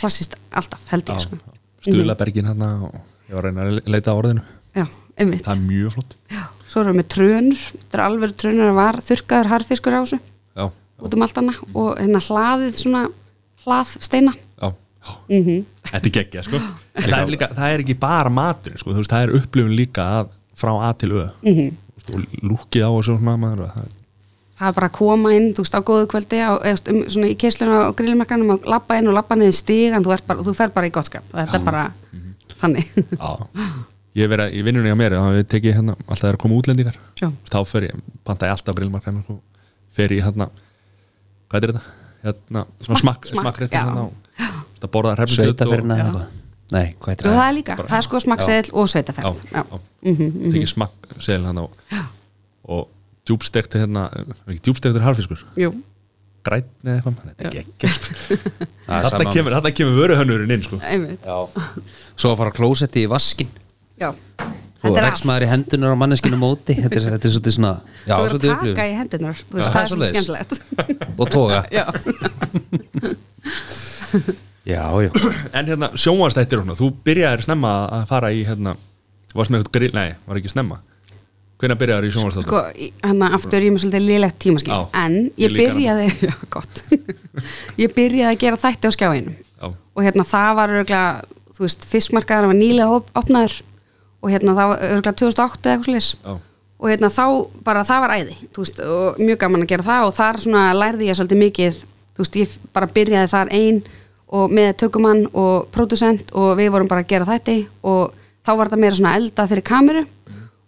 C: klassíst alltaf, held ég sko
A: Mhm. stuðlabergin hann og ég var að reyna að leita á orðinu
C: Já, einmitt.
A: það er mjög flott
C: Já, svo erum við með trönur, þetta er alveg trönur að var þurrkaður harfiskur á þessu
A: já,
C: út um allt annað og hérna hlaðið svona hlaðsteina.
A: já, já. þetta er geggja sko. En það, er líka, það er ekki bara matur sko. þú veist, það er upplifun líka að, frá A til Ö mm -hmm. og lúkið á og svona maður, og það,
C: Það er bara að koma inn, þú veist, á góðu kvöldi á, eða, þú veist, um, svona í keisluna á grillmarkanum og lappa inn og lappa niður stígan, þú, ert bara, þú fer bara í gottskap. Þetta er bara þannig.
A: já. ég vera í vinnunni á mér þá ég tekið hérna, alltaf er að koma útlendingar
C: Já.
A: þá fer ég, panta ég alltaf grillmarkan og fer ég hérna hvað er þetta? Hérna, svona smakk,
C: smakk,
A: smakk,
C: já.
A: hérna og þetta borða hrefnukjöt
B: Sveitafyrna eða eitthvað Nei, hvað
C: Og
B: heitir
C: það
B: það?
C: er líka, það er sko smakkseðil og sveitaferð.
A: já,
C: Já.
A: já. tekið smakk segil hann og, og djúbstekti hérna ekki djúbstektur harfiskur
C: Jú,
A: grætni eða eitthvað, þetta er sko. geggjart
B: Það er
A: þarna
B: sama.
A: kemur, þarna kemur vöruhönnurinn inn sko.
C: einmitt.
B: Svo að fara á klósetti í vaskin
C: Já.
B: Svo
C: Þetta er
B: rekst maður í hendunar á manneskinu móti Þetta er, þetta er svolítið svona Já,
C: Þú verður
B: svolítið
C: að taka
B: upplifun
C: í hendunar, þú
B: Já,
C: veist,
B: það er
C: það er svolítið
B: svoleiðis.
C: skemmtilegt.
B: Og toga Já,
C: Já.
B: já
A: en hérna sjónvastættir svona, þú byrjaðir snemma að fara í hérna, varst með eitthvað grill, nei, var ekki snemma hvenær byrjaðir í sjónvastættir?
C: sko, hann aftur ég með svolítið liðlegt tímaskil
A: Já,
C: en
A: ég
C: ég
A: líka
C: byrjaði já, gott ég byrjaði að gera þætti á skjáinu
A: Já.
C: og hérna það var örgulega, þú veist, fiskmarkaðar var nýlega op opnaður og hérna það var örgulega 2008 eða eitthvað slis
A: Já.
C: og hérna þá bara það var æði þú veist, og mjög gaman að gera það og þar svona lærði ég svolítið mikið þú veist, ég bara byrjaði þar ein og með tökumann og pródusent og við vorum bara að gera þetta og þá var þetta meira svona elda fyrir kameru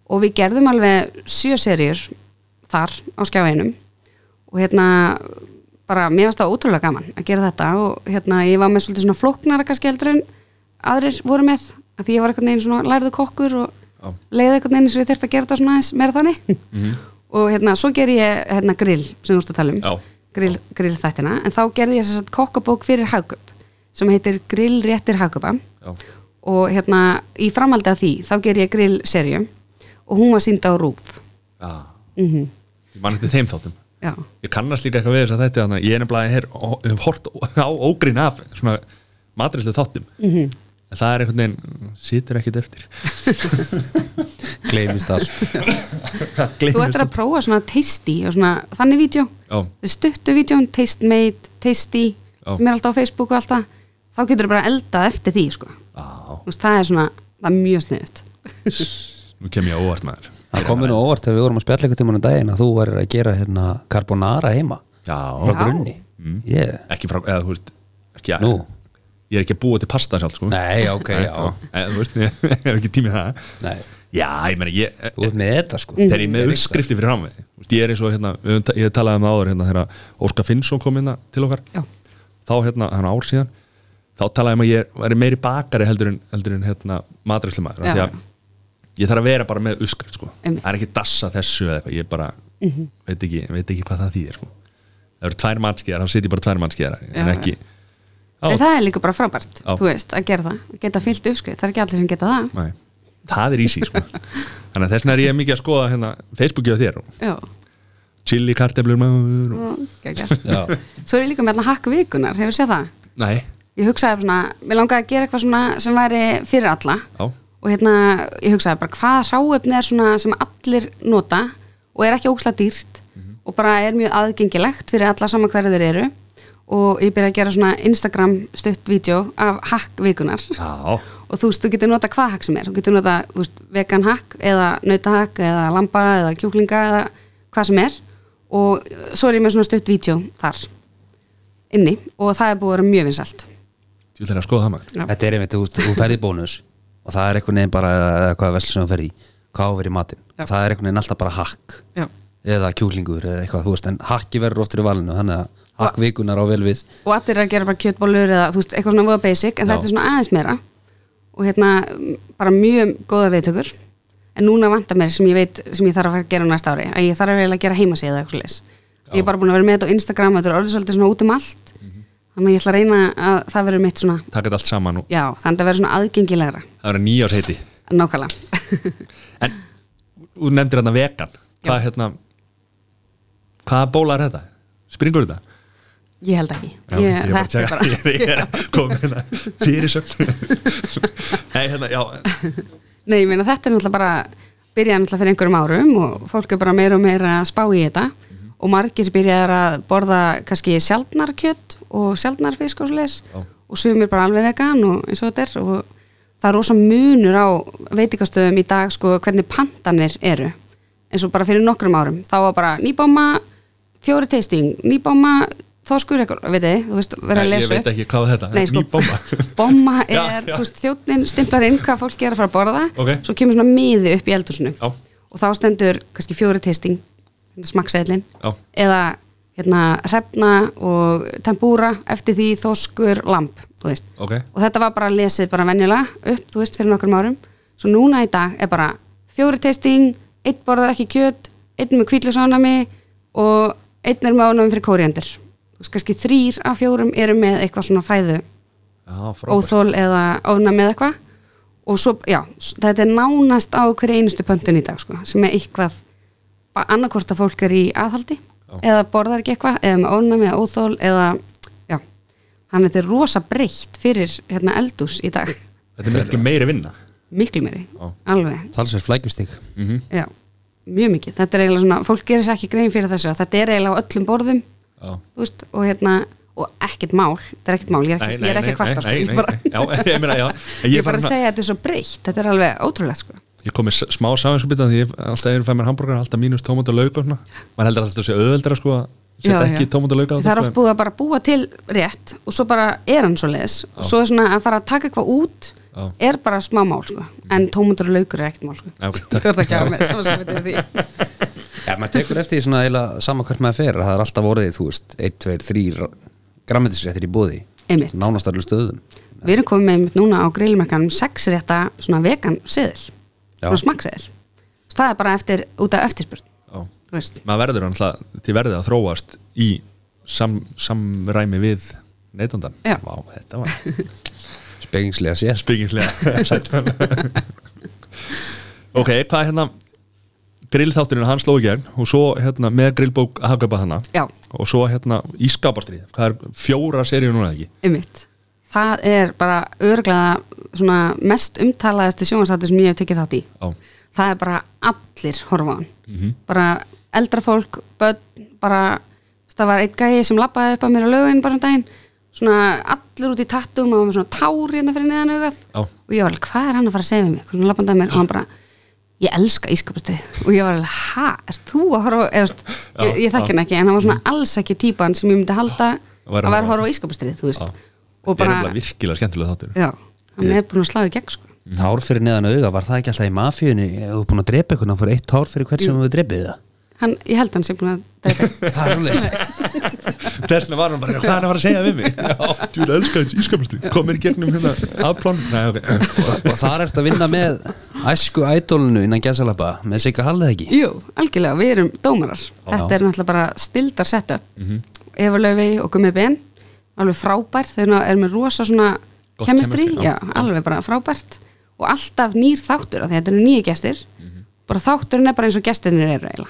C: og við gerðum alveg sjö serjur þar á skjáinum og hérna bara mér varst það ótrúlega gaman að gera þetta og hérna ég var með svolítið svona flóknara kannski heldur en aðrir voru með að því ég var einhvern veginn svona lærðu kokkur og
A: Já.
C: leiði einhvern veginn eins og ég þurfti að gera þetta svona aðeins meira þannig
A: Mhm.
C: og hérna svo ger ég hérna grill sem þú ert að tala um
A: Já.
C: grill, grill þættina en þá gerði ég sérst kokkabók fyrir hagköp sem heitir grill réttir hagköpa
A: Já.
C: og hérna í framaldi af því þá ger ég grill serjum og hún var sýnd á rúf
A: Já. Ah. ég man eftir þeim þáttum
C: já,
A: ég kannast líka eitthvað við þess að þetta þannig að ég er nefnilega hér og hef hort á ógrín af svona matrislu þáttum -hmm. en það er einhvern veginn situr ekkit eftir
B: Gleimist allt
C: þú ættir að prófa svona tasty og svona þannig vídeo
A: Já.
C: stuttu vídeo, taste made, tasty
A: Já.
C: sem er alltaf á Facebook og alltaf þá getur bara eldað eftir því sko.
A: á,
C: Þú veist, það er svona, það er mjög sniðut
A: nú kem ég á óvart maður
B: Það komið nú óvart þegar við vorum að spjalla eitthvað tímanum daginn að þú varir að gera hérna carbonara heima
A: já,
B: frá grunni yeah.
A: ekki frá, eða þú veist ekki,
B: Nú.
A: ég er ekki að búa til pasta sjálf sko.
B: Nei, ok,
A: Nei,
B: já
A: en, þú veist, ég hef ekki tími í það
B: Nei.
A: já, ég meina, ég eh,
B: Þú ert með þetta sko
C: Mm.
A: þegar ég er með uppskrifti fyrir rámi ég er eins og hérna, við höfum ta- ég talaði um það áður hérna, þegar Óskar Finnsson kom hérna til okkar
C: Já.
A: þá hérna, hann ár síðan þá talaði um að ég væri meiri bakari heldur en, heldur en hérna, matræslumæður
C: Já.
A: því að ég þarf að vera bara með uppskrift sko.
C: Einmitt. Mhm.
A: það er ekki dassa þessu eða eitthvað ég bara veit, ekki, veit ekki hvað það þýðir sko. það eru tvær mannskjæðar, þá setjum ég bara tvær mannskjæðar en
C: Já,
A: ekki Á,
C: en það er líka bara frábært,
A: Já.
C: þú veist, að gera það geta fyllt uppskrið, það er ekki allir sem geta það
A: nei, það er easy sko. þannig að þess vegna er ég mikið að skoða hérna, Facebooki á þér og
C: já,
A: chili karteblur maður og...
C: geggjað.
B: Já.
C: svo er ég líka með hérna hakk vikunar, hefur séð það
A: nei,
C: ég hugsaði svona, mér langaði að gera eitthvað svona sem væri fyrir alla
A: Já.
C: og hérna, ég hugsaði bara hvað hráefni er svona sem allir nota og er ekki óksla dýrt og bara er mjög aðgengilegt fyrir alla saman hverju þeir eru og ég byrja að gera svona Instagram stutt vídeo af hakk vikunar
A: já
C: og þú veist, þú getur nota hvað hakk sem er þú getur nota þú veist, vegan hakk eða nautahakk eða lamba eða kjúklinga eða hvað sem er og eh, svo er ég með svona stutt vídeo þar inni og það er búið að vera mjög vinsælt
A: Ég ætla að skoða það maður
C: Já.
B: Þetta er einmitt, þú, veist, þú ferði bónus og það er einhvern veginn bara eða hvað veslu sem þú ferði í, hvað á að vera í matinn
C: Já.
B: það er einhvern veginn alltaf bara hakk
C: Já.
B: eða kjúlingur eða eitthvað, þú veist, en hakki verður oft fyrir valinu, þannig að hakk vikunar á vel við
C: og allir er að gera bara kjötbólur eða þú veist, eitthvað svona voða basic en
B: Já.
C: þetta er svona aðeins meira og hérna m, bara mjög góða viðtökur en núna vantar mér sem ég veit sem ég þarf að fara að gera á næsta ári að ég þarf að reyna að gera heimasíða eða eitthvað leis ég er bara búin að vera með þetta á Instagram þetta er orðið svolítið svona út um allt þannig að ég ætla að reyna að það verður mitt svona
A: taka þetta allt saman og
C: já, þannig að það verður svona aðgengilegra
A: það verður nýjárs heiti
C: nákvæmlega
A: en þú nefndir hérna vegan hvað hérna hvaða bóla er þetta? springur þetta?
C: ég held ekki
A: Já,
C: ég,
A: ég,
C: þetta er
A: bara,
C: bara,
A: ég, ég er komin hérna fyrir sögn Nei, hérna, já,
C: nei, ég meina þetta er náttúrulega bara byrjaði náttúrulega fyrir einhverjum árum og fólk er bara meira og meira að spá í þetta
A: Mhm.
C: og margir byrjaðar að borða kannski sjaldnar kjött og sjaldnar fisk og svoleiðis
A: Já.
C: og sumir bara alveg vegan og eins og þetta er og það er rosa munur á veitingastöðum í dag sko hvernig pantanir eru eins og bara fyrir nokkrum árum þá var bara nýbáma fjóri tasting, nýbáma þoskur eitthvað, veit þið, þú veist, vera að
A: Nei, ég
C: lesa
A: veit
C: upp.
A: ekki hvað þetta er.
C: Nei, sko,
A: Ný bomma.
C: bomma er,
A: Já, já.
C: þú veist, þjóttin stimplar inn hvað fólk er að fara að borða
A: Ok.
C: svo kemur svona miði upp í eldhúsinu
A: Já.
C: og þá stendur kannski fjóri testing smakksæðlin
A: Já.
C: eða hérna hrefna og tempúra eftir því þoskur lamp þú veist.
A: Ok.
C: og þetta var bara lesið bara venjulega upp þú veist, fyrir nokkrum árum svo núna í dag er bara fjóri testing einn borðar ekki kjöt, einn með kvítlusónami og einn er með ánami fyrir kóriandir þú veist, kannski þrýr af fjórum eru með eitthvað svona fæðu
A: já frábært
C: óþól eða ofnæmi eða eitthvað og svo, já, s- þetta er nánast á hverju einustu pöntun í dag sko, sem er eitthvað annarkvort að fólk er í aðhaldi eða borðar ekki eitthvað, eða með ofnæmi eða óþól eða, já þannig að þetta er rosa breytt fyrir hérna eldús í dag,
A: Þetta er miklu meiri vinna
C: miklu meiri
A: Já. Mhm.
C: alveg,
B: talsverð flækjustík
C: já, mjög mikið þetta er eiginlega svona, fólk gerir sér ekki grein fyrir þessu að þetta er eiginlega á öllum borðum
A: Já.
C: þú veist, og hérna, og ekkert mál þetta er ekkert mál, ég er
A: Nei,
C: ekki,
A: nei,
C: ég er
A: nei,
C: ekki að kvarta
A: nei,
C: sko,
A: nei,
C: ég
A: nei,
C: bara-
A: nei. Já, ég meina, já. En
C: ég
A: ég
C: er bara
A: fer
C: að
A: svona-
C: segja að þetta er svo breytt, þetta er alveg ótrúlega sko.
A: Ég kom með s- smá saminskupið Því ég alltaf er fæð mér hambúrgar Alltaf mínus tómat og lauk og svona Maður heldur alltaf að sé auðveldara sko að Setja
C: Já,
A: ekki
C: já.
A: tómat og lauk á sko,
C: það er oft búið að bara búa til rétt og svo bara er hann svo leiðis og svo er svona að fara að taka eitthvað út
A: Já.
C: er bara smá mál sko en tómundur og laukur er ekkert mál sko
A: Já, ok,
C: það er ekki að hafa með samanskipti við því
B: Já, maður tekur eftir því svona eila saman hvert maður fer að það er alltaf orðið, þú veist, 1, 2, 3 grammetisréttir í bóði
C: Einmitt.
B: nánast allir stöðum
C: við erum komið með einmitt núna á grillmerkanum sex rétta svona vegan seðil
B: Já.
C: svona smakkseðil það er bara eftir, út af eftirspurn
A: Já.
C: þú veist
A: Maður verður alltaf Þið verður að þróast í sam, samræmi við neytandan
C: Já.
A: Vá, þetta var
B: spekingslega séð
A: Spekingslega Ok, hvað er hérna grillþátturinn hann sló í gegn og svo hérna með grillbók að haka upp að hana
C: Já.
A: og svo hérna í skapastrið hvað er fjóra seríu núna ekki
C: Einmitt. Það er bara örglega svona mest umtalaðasti sjónvarsáttur sem ég hef tekið þátt í.
A: Já.
C: Það er bara allir horfa á hann. Bara eldra fólk, börn, bara það var einn gæi sem labbaði upp að mér á laugin bara um daginn, svona allir út í tattum og hann var svona tár hérna fyrir neðan augað
A: Já.
C: og ég var alveg, hvað er hann að fara að segja við mig? Hvernig labbaði að mér og hann bara ég elska ískapastrið og ég var alveg, ha, er þú að horfa á- eða, þú veist, ég, ég þekki hann ekki, en hann var svona alls ekki típan sem ég myndi halda
A: Væri
C: að
A: hann
C: var
A: að-
C: að horfa á ískapastrið, þú veist
A: Já.
C: og
A: Þetta er nefnilega
C: bara,
A: virkilega skemmtilega þáttur
C: já, hann er búin að slaga í gegn sko.
B: Tár fyrir neðan auga, var það ekki alltaf í mafíunni ef þú er búin að drepa eitthvað, þá fyrir eitt tár fyrir hvert sem við drepið það
C: hann, ég held hann sem búin að drepa
B: Það er svolítið
A: Þess vegna var hann bara, hvað er hann að fara að segja við mig? Þú vil elska þessi ískapastrið komir í gegnum hérna afplón Nei, ok
B: og þar ert að vinna með æsku ædólinu innan gæsalappa með sig að hallið ekki
C: jú, algjörlega, við erum dómarar þetta er náttúrulega bara stildar setta mm
A: Mhm.
C: -hmm. Eva Laufey og Gummi Ben alveg frábær, þau ná- eru með rosa svona
A: Gott
C: kemistri,
A: chemistry, já.
C: já, alveg bara frábært og alltaf nýr þáttur af því að þetta eru nýja gestir
A: Mhm.
C: bara þátturinn er bara eins og gestirnir eru eiginlega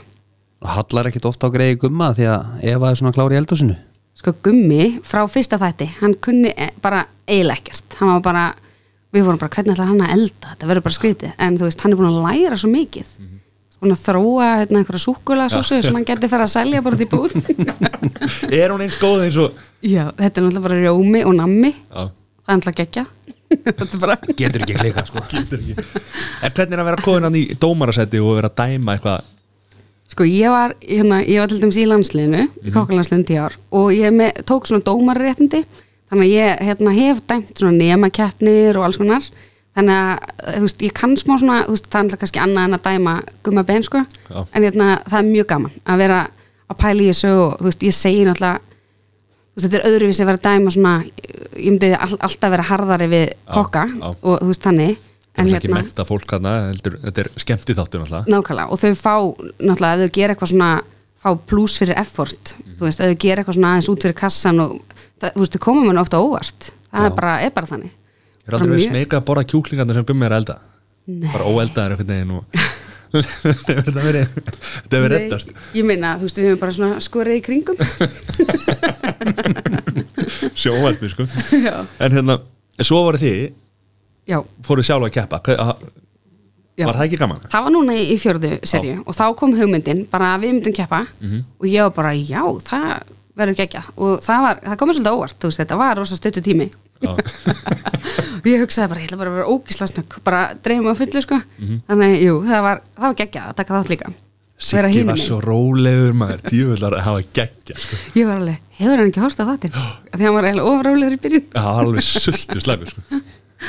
B: og hallar ekkit ofta á greiði gumma því að Eva er svona klári í eldhúsinu
C: sko Gummi frá fyrsta þætti hann kunni e- bara eiginlega ekkert hann var bara, við vorum bara hvernig ætlar hann að elda þetta verður bara skrítið, en þú veist hann er búin að læra svo mikið mm -hmm. að þróa hérna, einhverja súkula sem hann geti fyrir að selja bara út í búð
A: Er hún eins góð eins og
C: já, þetta er náttúrulega bara rjómi og nammi
A: Já,
C: það er náttúrulega geggja þetta er bara
B: Getur ekki klika sko
A: getur ekki En hvernig er að vera komin hann í dómarasæti og vera að dæma eitthvað
C: Sko ég var, hérna, ég var til dæmis í landsliðinu,
A: Mhm.
C: í kokkalandsliðinu 10 ár og ég er með, tók svona dómarréttindi þannig að ég hérna, hef dæmt svona nemakeppnir og alls konar þannig að, eh, þú veist, ég kann smá svona þú veist, það er náttúrulega kannski annað en að dæma gumma ben, sko,
A: Já.
C: en hérna, það er mjög gaman að vera að pæla í þessu og, þú veist, ég segi náttúrulega þú veist, þetta er öðruvísi að vera að dæma svona ég myndi all, alltaf vera harðari við
A: Já,
C: kokka
A: já.
C: og, þú veist, þannig hérna,
A: Það er ekki menta fólk hann Þetta er skemmti þáttur náttúrulega
C: nákvæmlega og þau fá náttúrulega ef þau gera eitthvað svona fá fá pluss fyrir effort
A: Mhm.
C: þú veist, að þau gera eitthvað svona aðeins út fyrir kassan og það, þú veist, þau koma mér ofta óvart það er bara, er bara þannig
A: Ég er aldrei
C: Bara
A: verið
C: mjög-
A: smeyka að borða kjúklingarna sem gummi er að elda
C: Nei.
A: Bara óeldaðar einhvern veginn og Þetta verið Þetta verið
C: Nei,
A: reddast
C: Ég meina, þú veist, við höfum bara svona skorið í kringum
A: Sjóvarpi sko
C: Já,
A: En hérna, en svo voru þið
C: já,
A: Fóruð sjálf að keppa Hva- að-
C: já.
A: Var það ekki gaman?
C: Það var núna í í fjórðu serju og þá kom hugmyndin bara að við myndum keppa
A: Mhm.
C: og ég var bara, já, það verður gekkja og það, var, það komið svolítið á óvart, þú veist, þetta var rosa stöttu tími
A: Já.
C: og ég hugsaði bara, ég ætla bara að vera ógisla snögg bara dreifum á fullu, sko þannig, jú, það var, það var gekkja að taka þátt líka vera
A: Mhm. Siggi
C: hinum
A: var
C: megin.
A: svo rólegur maður Djúvillar að hafa geggja sko
C: ég var alveg, hefur hann ekki hort á þáttinn því hann var eiginlega ofrálegur í byrjun
A: Það var alveg sultu slæmi sko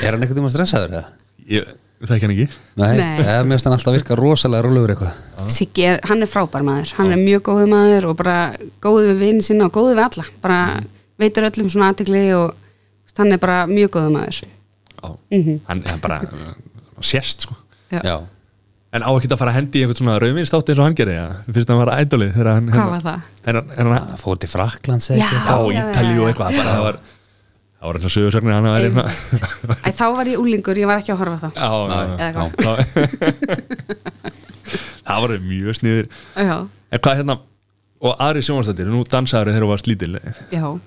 B: Er hann ekkert um að stressaður það?
A: Ég þekki hann ekki
B: Nei,
C: Nei.
B: Nei. mér finnst hann alltaf virka rosalega rólegur eitthvað
A: Ah.
C: Siggi, er, hann er frábær maður, hann er mjög góð maður og bara góð við vinn sinna og góð við alla, bara veitur öllum svona aðtegli og þú veist, hann er bara mjög góð maður.
A: Já.
C: Mhm.
A: Hann hann bara hann Sérst sko
C: Já.
A: En á ekki að fara að hendi í einhvern svona rauðvinstátti eins og hann gerði, ja. finnst það að vera ædolið þegar hann...
C: Hvað var það?
A: En, en hann,
B: Það fór til Fraklands
C: Já.
A: á Ítali og eitthvað, bara það var, það var eins og sögursögnir hann að vera svona...
C: Æ, þá var ég úlingur, ég var ekki að horfa á það.
A: Já, já,
C: Eða hvað?
A: já. Það var mjög sniður.
C: Já.
A: En hvað hérna, og aðri sjónastættir, nú dansaður þegar þú varst lítil,
C: Já.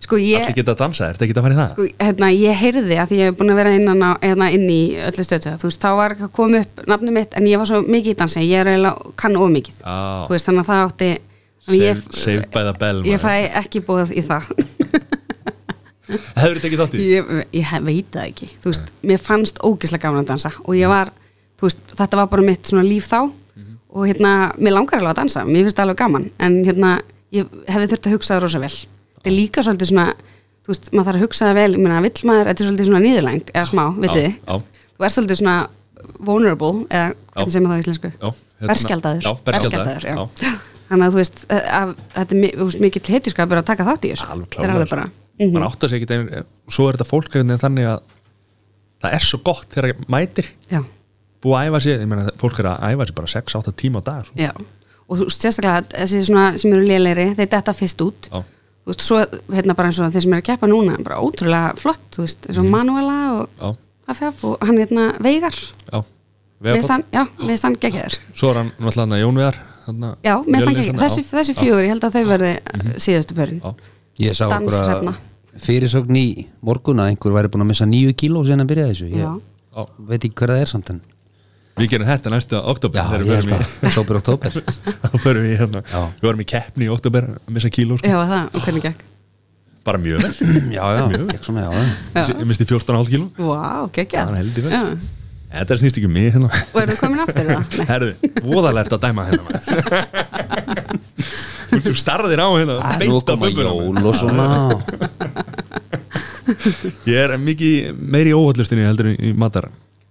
C: Sko
A: allir
C: ég,
A: geta að dansa, ertu ekki að fara í það?
C: sko, hérna, ég heyrði að því ég hef búin að vera innan á, hérna, inn í öllu stötu, þú veist, þá var að koma upp nafnum mitt en ég var svo mikið í dansi, ég er eiginlega kann of mikið.
A: Já.
C: Sko, Þú veist, þannig að það átti, þannig
A: Save,
C: ég,
A: save by the bell,
C: ég
A: maður.
C: fæ ekki búið í það.
A: Hefur þetta ekki þátt í?
C: ég, ég he- veit það ekki þú veist, mér fannst ógislega gaman að dansa og ég var, þú veist, þetta var bara mitt svona líf þá
A: Mhm.
C: og hérna mér langar alveg að dansa, mér finnst það alveg gaman en hérna, ég hefði þurft að hugsa það rosa vel þetta er líka svolítið svona þú veist, maður þarf að hugsa það vel, ég meina, vill maður þetta er svolítið svona nýðurlæng, eða smá, vitið
A: Já,
C: þið
A: já.
C: þú er svolítið svona vulnerable eða hvernig sem er það í íslensku
A: Já, hérna-
C: berskjaldaður,
A: Já, berskjaldaður,
C: já.
A: já.
C: þannig að þú veist, að, þetta er mi- þú veist, mikill hetjuskapur að taka þátt í þessu
A: alveg
C: Þetta er
A: klálega
C: alveg
A: sko.
C: bara, Mhm.
A: maður átt að segja ekki einu, svo er þetta fólk einhvern veginn þannig að það er svo gott þegar mætir
C: já
A: búið að æfa sér, ég meina fólk er að æfa sér bara 6-8 tíma á dag sko.
C: Já, og þú veist, sérstaklega þessi svona sem eru lélegri, þeir detta fyrst út
A: Já.
C: þú veist, svo hérna bara eins og þeir sem eru að keppa núna, bara ótrúlega flott þú veist, eins og Manuela og
A: Mhm. Já.
C: Hafjaf og hann hérna Veigar
A: já, Veigar
C: viðst hann, já, viðst hann geggjæður
A: Páll. svo er hann náttúrulega hann að Jón Viðar þarna,
C: já, viðst hann
A: Jölnir
C: geggjæður,
A: þarna, já,
C: þessi,
A: Mhm.
C: þessi fjögur ég held að þau verði síðustu börin
A: já,
B: Ég sá
C: Dans
B: einhverja
C: hrefna.
B: fyrirsögn í morgun að einhver væri búin að missa nýju kíló síðan að byrja þessu Ég
C: Já.
A: já.
B: veit ekki hver það er samt en
A: við gerum þetta næstu oktober
B: Já, ég held að Sópir oktober
A: þá förum við hérna,
B: Já.
A: við varum í keppni í oktober að missa kíló, sko.
C: já, það, og hvernig gegg
A: bara mjög vel
B: Já, já, ekki svona, já, já
C: Já.
A: ég misti 14,5 kíló
C: Vá, wow,
A: Það er heldur vel.
C: geggjæður
A: þetta snýst ekki um mig hérna
C: og eru þú komin aftur í það? Nei.
A: herðu, voðalert að dæma hérna maður. þú starðir á hérna
B: Nú
A: beint á
B: koma
A: bumbuna maður.
B: jól og svona
A: Ég er mikið meiri í óhaldlustinni heldur en í matar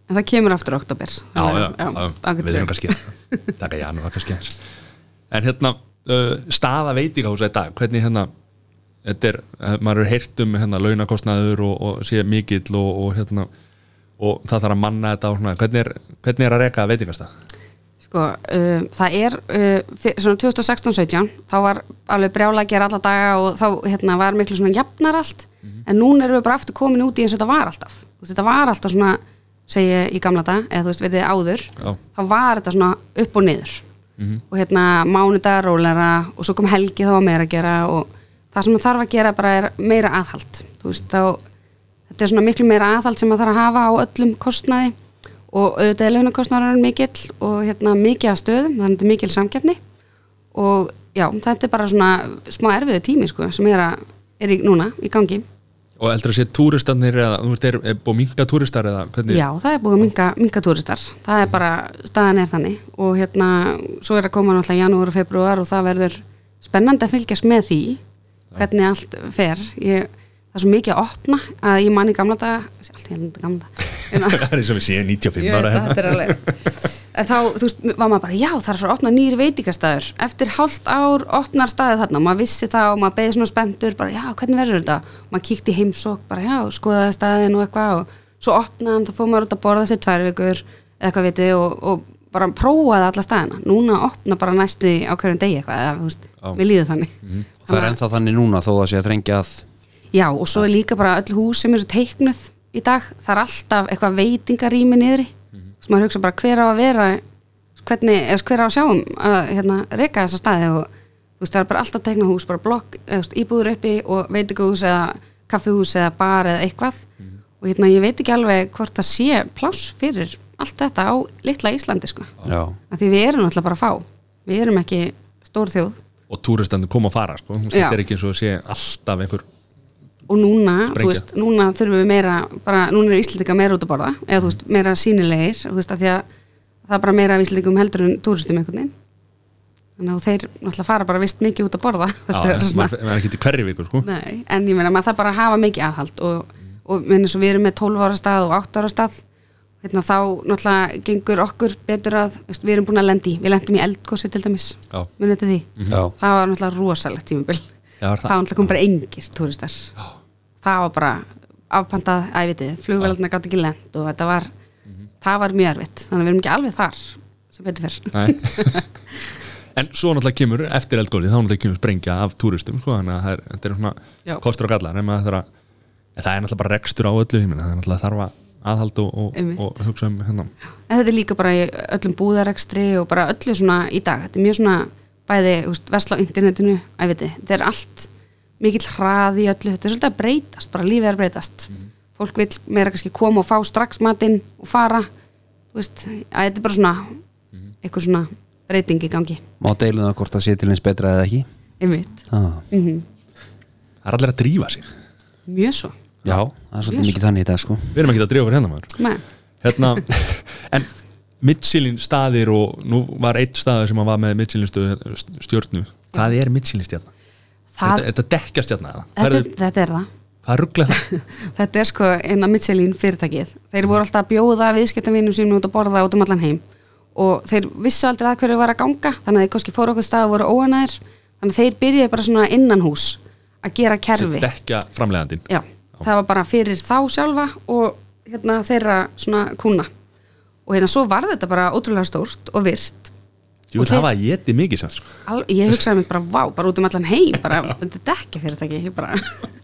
C: en það kemur aftur í oktober
A: Já, já, já,
C: ágætt
A: við erum
C: fyrir.
A: kannski að taka janúar kannski eins En hérna, uh, staða veitingahúsa í dag hvernig hérna þetta er, eh, maður er heyrt um hérna launakostnaður og, og sé mikill og, og hérna og það þarf að manna þetta og svona hvernig er, hvernig er að reka veitingastað?
C: Sko, uh, það er uh, fyr- svona 2016-17 þá var alveg brjála að gera alla daga og þá hérna, var miklu svona jafnar allt en núna erum við bara aftur komin út í eins og þetta var alltaf Þú veist, þetta var alltaf svona segi ég í gamla dag, eða þú veist, veitir áður
A: Já.
C: þá var þetta svona upp og niður og hérna mánudagar rólera og svo kom helgi þá var meira að gera og það sem maður þarf að gera bara er meira aðhald þú veist, þá þetta er svona miklu meira aðhald sem maður þarf að hafa á öllum kostnaði og auðvitað er launakostnaðurinn mikill og hérna mikið að stöðum, þannig að þetta er mikil samkeppni og já, þetta er bara svona smá erfiðu tími sko sem er, að, er í, núna í gangi
A: Og heldur að sé túristanir eða, þú veist, er, er búið minga túristar eða hvernig?
C: Já, það er búið að minga, minga túristar það er bara, staðan er þannig og hérna, svo er að koma náttúrulega janúar og februar og það verður spennandi að fylgjast með því hvernig allt fer ég, það er svo mikið að opna að ég man í gamla daga allt í hérna gamla daga Hérna-
A: Það er eins og við séum 95
C: Ég veit
A: ára
C: að
A: hérna
C: þetta er alveg En þá, þú veist, var maður bara, já, það er frá að opna nýri veitingastæður Eftir hálft ár opnar staðið þarna og maður vissi það og maður beðið svona spenntur bara, já, hvernig verður þetta? Maður kíkti í heimsók, bara, já, skoðaði staðin og eitthvað og svo opnaði hann, þá fór maður út að borða sér tvær vikur eða eitthvað vitið og, og bara prófaði alla staðina núna opna bara næstu á hverjum degi eitthvað eða, þú veist, mér líður þannig
B: Mhm. og það er ennþá þannig núna þó að sé að þrengja að
C: já og svo er líka bara öll hús sem eru teiknuð í dag, það er alltaf eitthvað veitingarými niðri mm -hmm. maður hugsa bara hver á að vera hvernig, eða hver á að sjáum að hérna, reka þessa staði og þú veist, það er bara alltaf teikna hús, bara blokk eða, þú veist, íbúður uppi og veitingahús eða kaffihús eða bar eða eitthvað og hérna ég veit ekki alveg hvort það sé pláss fyrir allt þetta á litla Íslandi sko
B: já,
C: að því við erum alltaf bara að fá við erum ekki stór þjóð
A: og túristandi kom að fara sko. Þú veist,
C: Já.
A: þetta er ekki eins og sé alltaf einhver
C: og núna,
A: Sprengja.
C: þú veist, núna þurfum við meira bara, núna eru Íslandika meira út að borða eða þú veist, meira sínilegir, þú veist, að því að það er bara meira af Íslandikum heldur en túristum einhvern veginn þannig að þeir náttúrulega fara bara vist mikið út að borða Þetta
A: Já,
C: er svona-
A: maður maður er ekki til hverri viku sko.
C: Nei, en ég meina maður það bara að hafa mikið aðhald og, og minn eins og við erum með 12 ára stað og 8 ára stað hérna, þá náttúrulega gengur okkur betur að veist, við erum búin að lendi, við lendum í eldkosi til dæmis,
A: Já.
C: munið þetta því
A: Mhm.
B: já,
C: það var náttúrulega rosalegt tímabil
A: Já, var það?
C: það var náttúrulega kom bara engir túristar það var bara afpantað ævitið, flugvelarnar gátt ekki lent og þetta var,
A: Mhm.
C: það var mjög erfitt þannig að við erum ekki alveg þar sem betur fyrr
A: Nei. en svo náttúrulega kemur eftir eldgólið, þá náttúrulega kemur sprengja af túristum sko, þannig að það er, þetta er
C: Já.
A: svona kostur og gallar en, maður þarf að, en það er náttúrulega bara rekstur á öllu ég meina, það er náttúrulega þarf að aðhald og, og,
C: Einmitt.
A: og hugsa um hérna
C: en þetta er líka bara í öllum búðarekstri og bara öllu svona í dag þetta er mjög svona bæði þú veist, versla á internetinu, ævitið, þetta er allt mikill hraði í öllu, þetta er svolítið að breytast bara lífið er að breytast fólk vil meira kannski koma og fá strax matinn og fara, þú veist að þetta er bara svona, eitthvað svona breyting í gangi
B: má deiluna hvort það sé til eins betra eða ekki
C: Einmitt.
B: ah.
C: Mm,
A: það er allir að drífa sér,
C: Mjög svo.
B: já, það er svolítið mikið þannig í dag sko
A: við erum ekki að drífa fyrir hérna maður
C: Nei.
A: hérna, en Michelin staðir og nú var eitt staður sem að var með Michelin stöð- stjörnu hvað er Michelin stjörna?
C: Það,
A: þetta, þetta dekkja stjörna eða?
C: þetta,
A: Hvað
C: er,
A: er-
C: þetta er það.
A: Hvað ruggla það?
C: Þetta er sko eina Michelin fyrirtækið. Þeir voru alltaf að bjóða viðskiptavinum sínum út að borða út um allan heim og þeir vissu aldrei að hverju var að ganga þannig að þeir kannski fóru okkur stað og voru óanæðir þannig að þeir byrjuði bara svona innan hús að gera kerfi.
A: dekkja framlegandin
C: Já, það var bara fyrir þá sjálfa og hérna þeirra svona kuna. Og hérna svo var þetta bara ótrúlega stórt og virt.
A: Jú,
C: Og
A: það
C: þeir-
A: var getið mikið sko. sann
C: Al ég hugsaði mig bara, vá, bara út um allan heim, bara, þetta er dekka fyrirtæki, ég bara...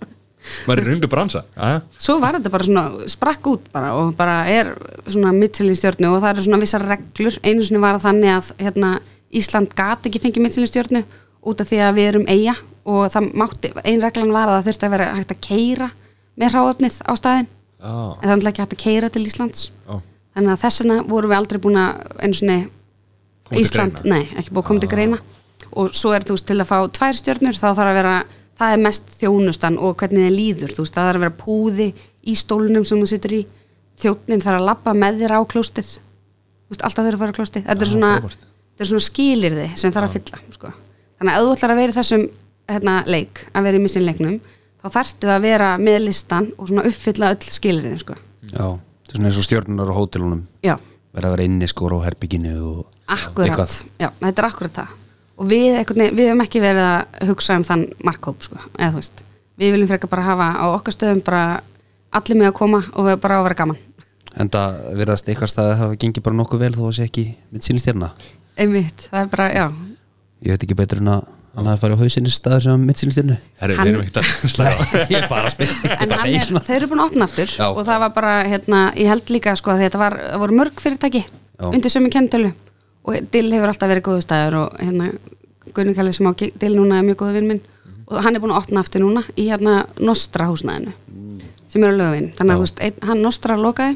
A: maður er rundu bransa Jæja.
C: svo var þetta bara svona sprakk út bara og bara er svona mittilinstjörnu og það eru svona vissar reglur einu sinni var það þannig að hérna, Ísland gat ekki fengið mittilinstjörnu út af því að við erum eiga og það mátti, ein reglan var að það þurfti að vera hægt að keira með hráöfnið á staðin
A: Já.
C: en það er náttúrulega ekki hægt að keira til Íslands
A: Já.
C: þannig að þess vegna vorum við aldrei búin að einu
A: Koma
C: svona
A: til
C: Ísland,
A: greina. Ah.
C: nei, ekki búið að koma til greina og svo er þú veist til að fá tvær stjörnur þá þarf að vera, það er mest þjónustan og hvernig þið líður, þú veist, það þarf að vera púði í stólnum sem þú situr í þjónnin þarf að lappa með þér á klóstið þú veist, alltaf þau eru að fara á klóstið þetta er svona,
A: Ah, frábært. Ah.
C: þetta er svona skilirði sem þarf að fylla sko. þannig að ef þú ætlar að vera í þessum hérna, leik, að vera í missinleiknum þá þarftu að vera með listan og svona uppfylla öll skilirðin sko.
B: já, það er svona eins og stjórnunar á hótelunum
C: já,
B: verða að vera inni skor á herbygginu og
C: Akkurat, já, þetta er akkurat það og við, einhvern veginn, við hefum ekki verið að hugsa um þann markhóp, sko, eða þú veist við viljum frekar bara hafa á okkar stöðum bara allir með að koma og við bara að vera gaman
B: en það verðast eitthvað staði hafa gengið bara nokkuð vel þó að sé ekki mitt síni stjörna
C: Einmitt, það er bara, já
B: ég veit ekki betur en að hann hafi farið á hausinni staður sem var mitt síni stjörnu
A: Herri,
C: Hann-
A: við erum ekkert að slæða
B: ég er bara að spila
C: En hann er, þeir eru búin að opna aftur
B: Já.
C: og það var bara, hérna, ég held líka sko að þetta var, það voru mörg fyrirtæki
B: Já.
C: undir sömu kentölu og Dill hefur alltaf verið góðu staður og hérna Gunni Kalli sem á Gi- Dill núna er mjög góðu vinn minn
B: Mhm.
C: og hann er búin að opna aftur núna í hérna Nostra húsnaðinu
B: Mm.
C: sem eru lögvinn, þannig að þú veist, einn, hann Nostra lokaði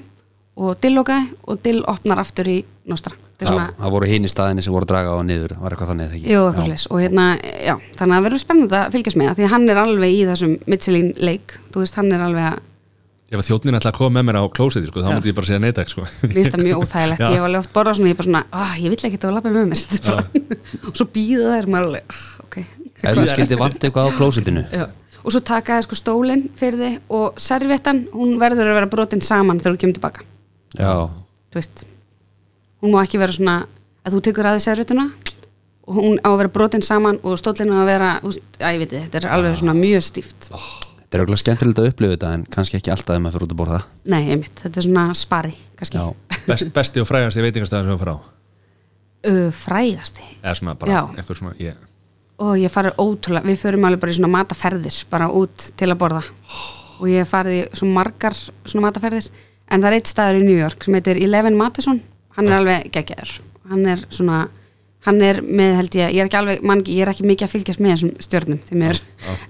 C: og Dill lokaði og Dill opnar aftur í Nostra Þetta er svona,
B: það voru hinn í staðinni sem voru að draga á niður var eitthvað þannig eða ekki
C: Jú, eitthvað slags og hérna, já, þannig að verður spennandi að fylgjast með það því að hann er alveg í þessum Michelin leik, þú veist, hann er alveg að
A: ef að þjóttnin ætla að koma með mér á klósið sko, þá
C: Já.
A: múti ég bara segja neita sko.
C: Mér finnst það mjög óþægilegt,
A: Já.
C: ég hef alveg oft borðað svona, ég er bara svona, ah, ég vill ekki að lappa með mér, Þetta er bara- og svo býða þær, maður alveg, ah, ok.
B: ef þú skildi vant eitthvað á klósitinu
C: Já. Og svo taka þær sko stólinn fyrir þið og servettan, hún verður að vera brotin saman þegar þú kemur tilbaka,
B: já,
C: þú veist. Hún má ekki vera svona, að þú tekur aðeins servettuna og hún á að vera brotin saman og stólinn á að vera, þú veist, að ég veit þið, þetta er alveg svona mjög stíft.
B: þetta er auðvitað skemmtilegt að upplifa þetta en kannski ekki alltaf ef maður fyrir út að borða
C: Nei, einmitt, þetta er svona spari, kannski.
B: já,
A: Best, besti og frægasti veitingastæður sem við fara á
C: uh, frægasti
A: eða svona bara
C: Já.
A: eitthvað svona ég,
C: og ég farið ótrúlega, við förum alveg bara í svona mataferðir, bara út til að borða og ég hef farið í svona margar svona mataferðir, en það er eitt staður í New York sem heitir Eleven Matheson hann er alveg geggjaður hann er svona, hann er með held ég ég er ekki alveg, mann, ég er ekki mikið að fylgjast með þessum stjörnum, því mér,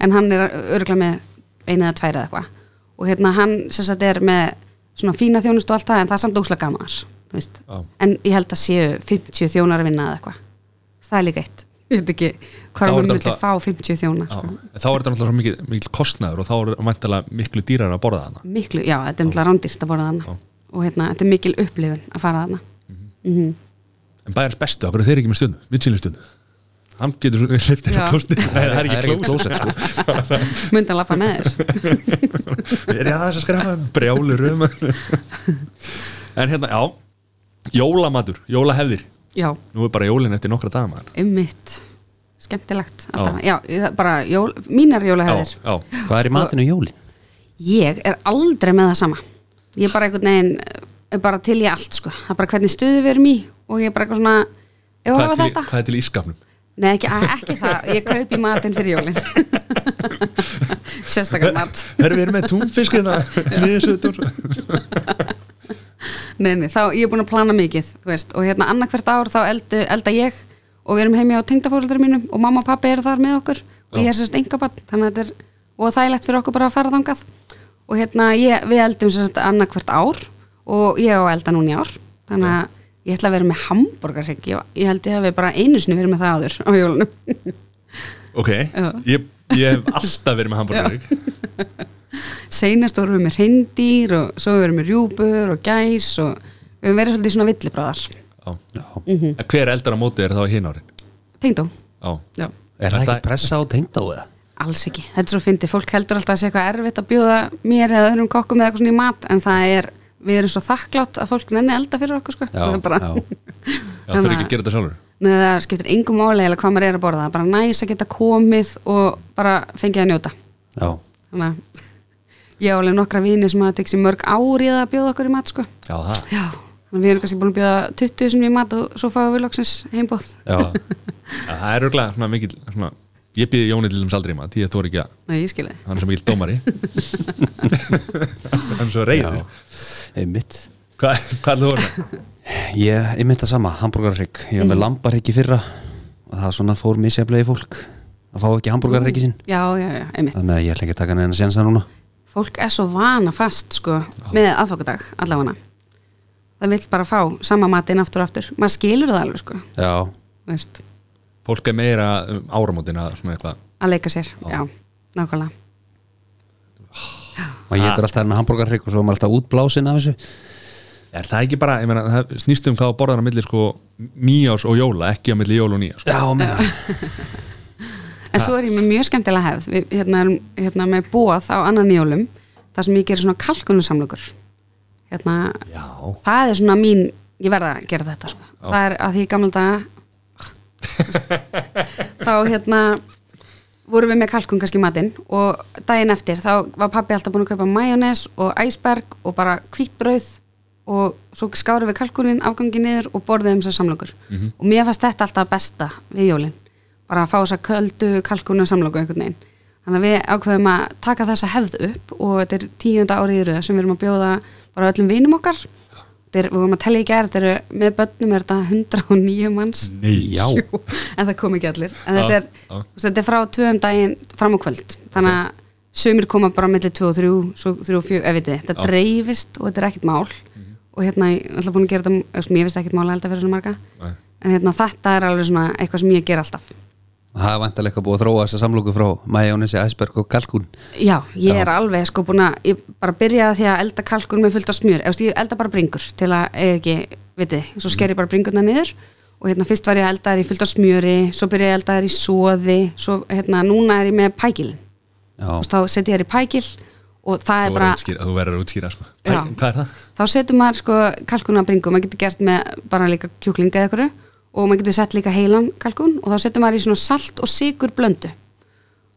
C: en hann er örgulega með eina eða tværi eða eitthvað og hérna hann sem sagt er með svona fína þjónust og allt það, en það er samt óslega gamanar, þú veist,
A: Já.
C: en ég held að séu 50 þjónar að vinna eða eitthvað það er líka eitt, ég veit ekki
A: Þá
C: hvað
A: er
C: maður
A: þetta
C: myndi
A: alltaf-
C: fá 50 þjónar
A: á,
C: sko.
A: þá er þetta náttúrulega mikil, mikil kostnaður og þá er vantilega miklu dýrar að borða hana
C: miklu, já, þetta er umtlað rándýrt að borða
A: Já.
C: þarna og hérna, þetta er mikil upplifun að fara þarna
A: en bæjarins bestu, okkur þeir eru ekki með stjórnu, mittsýnli stjórnu hann getur hliftir
C: Já.
A: á klósni það er
B: Það er
A: ekki sko.
B: ekki
A: klósni
B: klósett,
C: myndi að lappa með þér
A: er ég aðeins að skræfa brjálur um en hérna, já jólamatur, jólahefðir
C: já,
A: nú er bara jólin eftir nokkra dagamaður
C: ummitt, skemmtilegt alltaf, já, það- bara jól, mínar jólahefðir
A: já, já,
B: Hvað er í matinu í jólin?
C: ég er aldrei með það sama ég er bara einhvern veginn eh, er bara til í allt, sko, það er bara hvernig stuði við erum í og ég er bara eitthvað svona ef að
A: hvað, er
C: hafa
A: til, í-
C: þetta,
A: hvað er til í ískapnum
C: nei ekki, ekki það ég kaup í matinn fyrir jólin sérstakar mat
A: Herra, við erum með túnfisk hérna niðursutur.
C: Nei, nei, þá ég er búin að plana mikið þú veist, og hérna annarkvert ár þá eldu, elda ég og við erum heimi á tengdafóruldur mínum og mamma og pappi eru þar með okkur og ég er sérst engabann, þannig að þetta er og þægilegt fyrir okkur bara að fara þangað og hérna ég, við eldum sérst annarkvert ár og ég á að elda núna í ár þannig að ég ætla að vera með hambúrgarhygg ég, ég held ég að við bara einu sinni verið með það áður á jólunum
A: ok, ég, ég hef alltaf verið með hambúrgarík
C: seinast vorum við með hreindýr og svo vorum við með rjúpur og gæs og við höfum verið svolítið svona villibráðar
A: Já.
B: Já.
A: En hver eldar á móti er þá í hinn ári
C: tengdó,
A: já,
C: já
B: Er það
A: Þetta-
B: ekki pressa á tengd á eða?
C: Alls ekki. Þetta er svo fyndið. Fólk heldur alltaf að sé eitthvað erfitt að bjóða mér eða öðrum kokkum eða eitthvað svona í mat en það er, við erum svo þakklátt að fólk nenni elda fyrir okkur sko.
B: Já,
C: það er bara,
B: já.
A: já það er ekki að gera þetta sjálfur
C: Nei, það skiptir engum álega hvað maður er að borða. Það er bara næs að geta komið og bara fengið að njóta.
B: Já,
C: Þannig að ég á alveg nokkra vini sem hafa tekst í mörg ár í það að bjóða okkur í mat sko.
A: já, það,
C: Já, þannig að við erum kannski búin að bjóða 20 sem í mat og svo fáum við loksins heimbóð.
B: já,
A: Já, það er örglega svona mikil svona, ég býði Jóni til þess aldrei í mat ég þóri ekki að,
C: Nei, ég skilja þið.
A: hann er svo mikil dómari hann er svo reyður
B: einmitt
A: Hva, hvað er þú voru með?
B: Ég, einmitt það sama, hambúrgarrygg Ég
C: Mhm.
B: var með lambarrygg í fyrra og það svona fór misjaflega í fólk að fá ekki hambúrgarryggi sinn
C: Já, já, já, einmitt.
B: Þannig að ég ætla ekki að taka neina sensa núna
C: fólk er svo vana fast sko, með aðfokadag allavega það vill bara fá sama matinn aftur og aftur maður skilur það alveg sko
B: Já,
C: þú veist,
A: fólk er meira um áramótin að svona eitthvað
C: að leika sér, já, nákvæmlega
B: og ég getur alltaf hennar hambúrgarrygg og svo er maður alltaf útblásin af þessu
A: er það ekki bara, ég meina, það snýst um hvað að borða á milli sko nýjás og jóla ekki á milli jól og nýjás sko.
B: Já, meina
C: en svo er ég með mjög skemmtilega hefð við hérna, erum, hérna með bóð á annan jólum þar sem ég gerir svona kalkunarsamlokur hérna,
A: já,
C: það er svona mín ég verða að gera þetta sko það er að því í gamla daga þá hérna vorum við með kalkun kannski í matinn og daginn eftir þá var pabbi alltaf búin að kaupa majónes og æsberg og bara hvítbrauð og svo skárum við kalkunin afgangi niður og borðum þessar samlokur og mér fannst þetta alltaf besta við jólin bara að fá þessa köldu kalkunu samloku einhvern veginn þannig að við ákveðum að taka þessa hefð upp og þetta er tíunda árið í röð sem við erum að bjóða bara öllum vinum okkar Þetta er, við vorum að tella í gerð, þetta eru með börnum er þetta 109 manns
A: nei, já
C: Jú, en það kom ekki allir en
A: Já,
C: þetta er,
A: já.
C: þú veist, þetta er frá tvöum daginn fram á kvöld þannig að sömur koma bara millir 2 og 3 svo 3 og 4, ef við
A: Já.
C: þetta
A: Mhm.
C: dreifist og þetta er ekkert mál og hérna, ég ætla búin að gera þetta eða svona, ég veist ekkert mál að elda fyrir svona marga
A: Nei.
C: en hérna, þetta er alveg svona eitthvað sem ég ger alltaf
B: Það er vantilega eitthvað búið að þróa þessa samlóku frá majónesi, æsberg og kalkún
C: já, ég er alveg sko búin að ég bara byrjaði á því að elda kalkun með fullt af smjör Eða, þú veist, ég elda bara bringur til að eða ekki, vitið, þið, svo sker ég bara bringurna niður og hérna fyrst var ég að elda þær í fullt af smjöri svo byrjaði ég að elda þær í soði svo hérna núna er ég með pækilin
B: Já,
C: og þá setja þér í pækil og það
A: þú
C: er
A: verður
C: bara,
A: að útskýra, þú verður að útskýra sko. Pæ,
C: Já.
A: hvað er það?
C: þá setur maður sko kalkun að bringu, maður getur gert með bara líka kjúklinga eða ykkur og maður getur sett líka heilan kalkun og þá setur maður í svona salt og sigur blöndu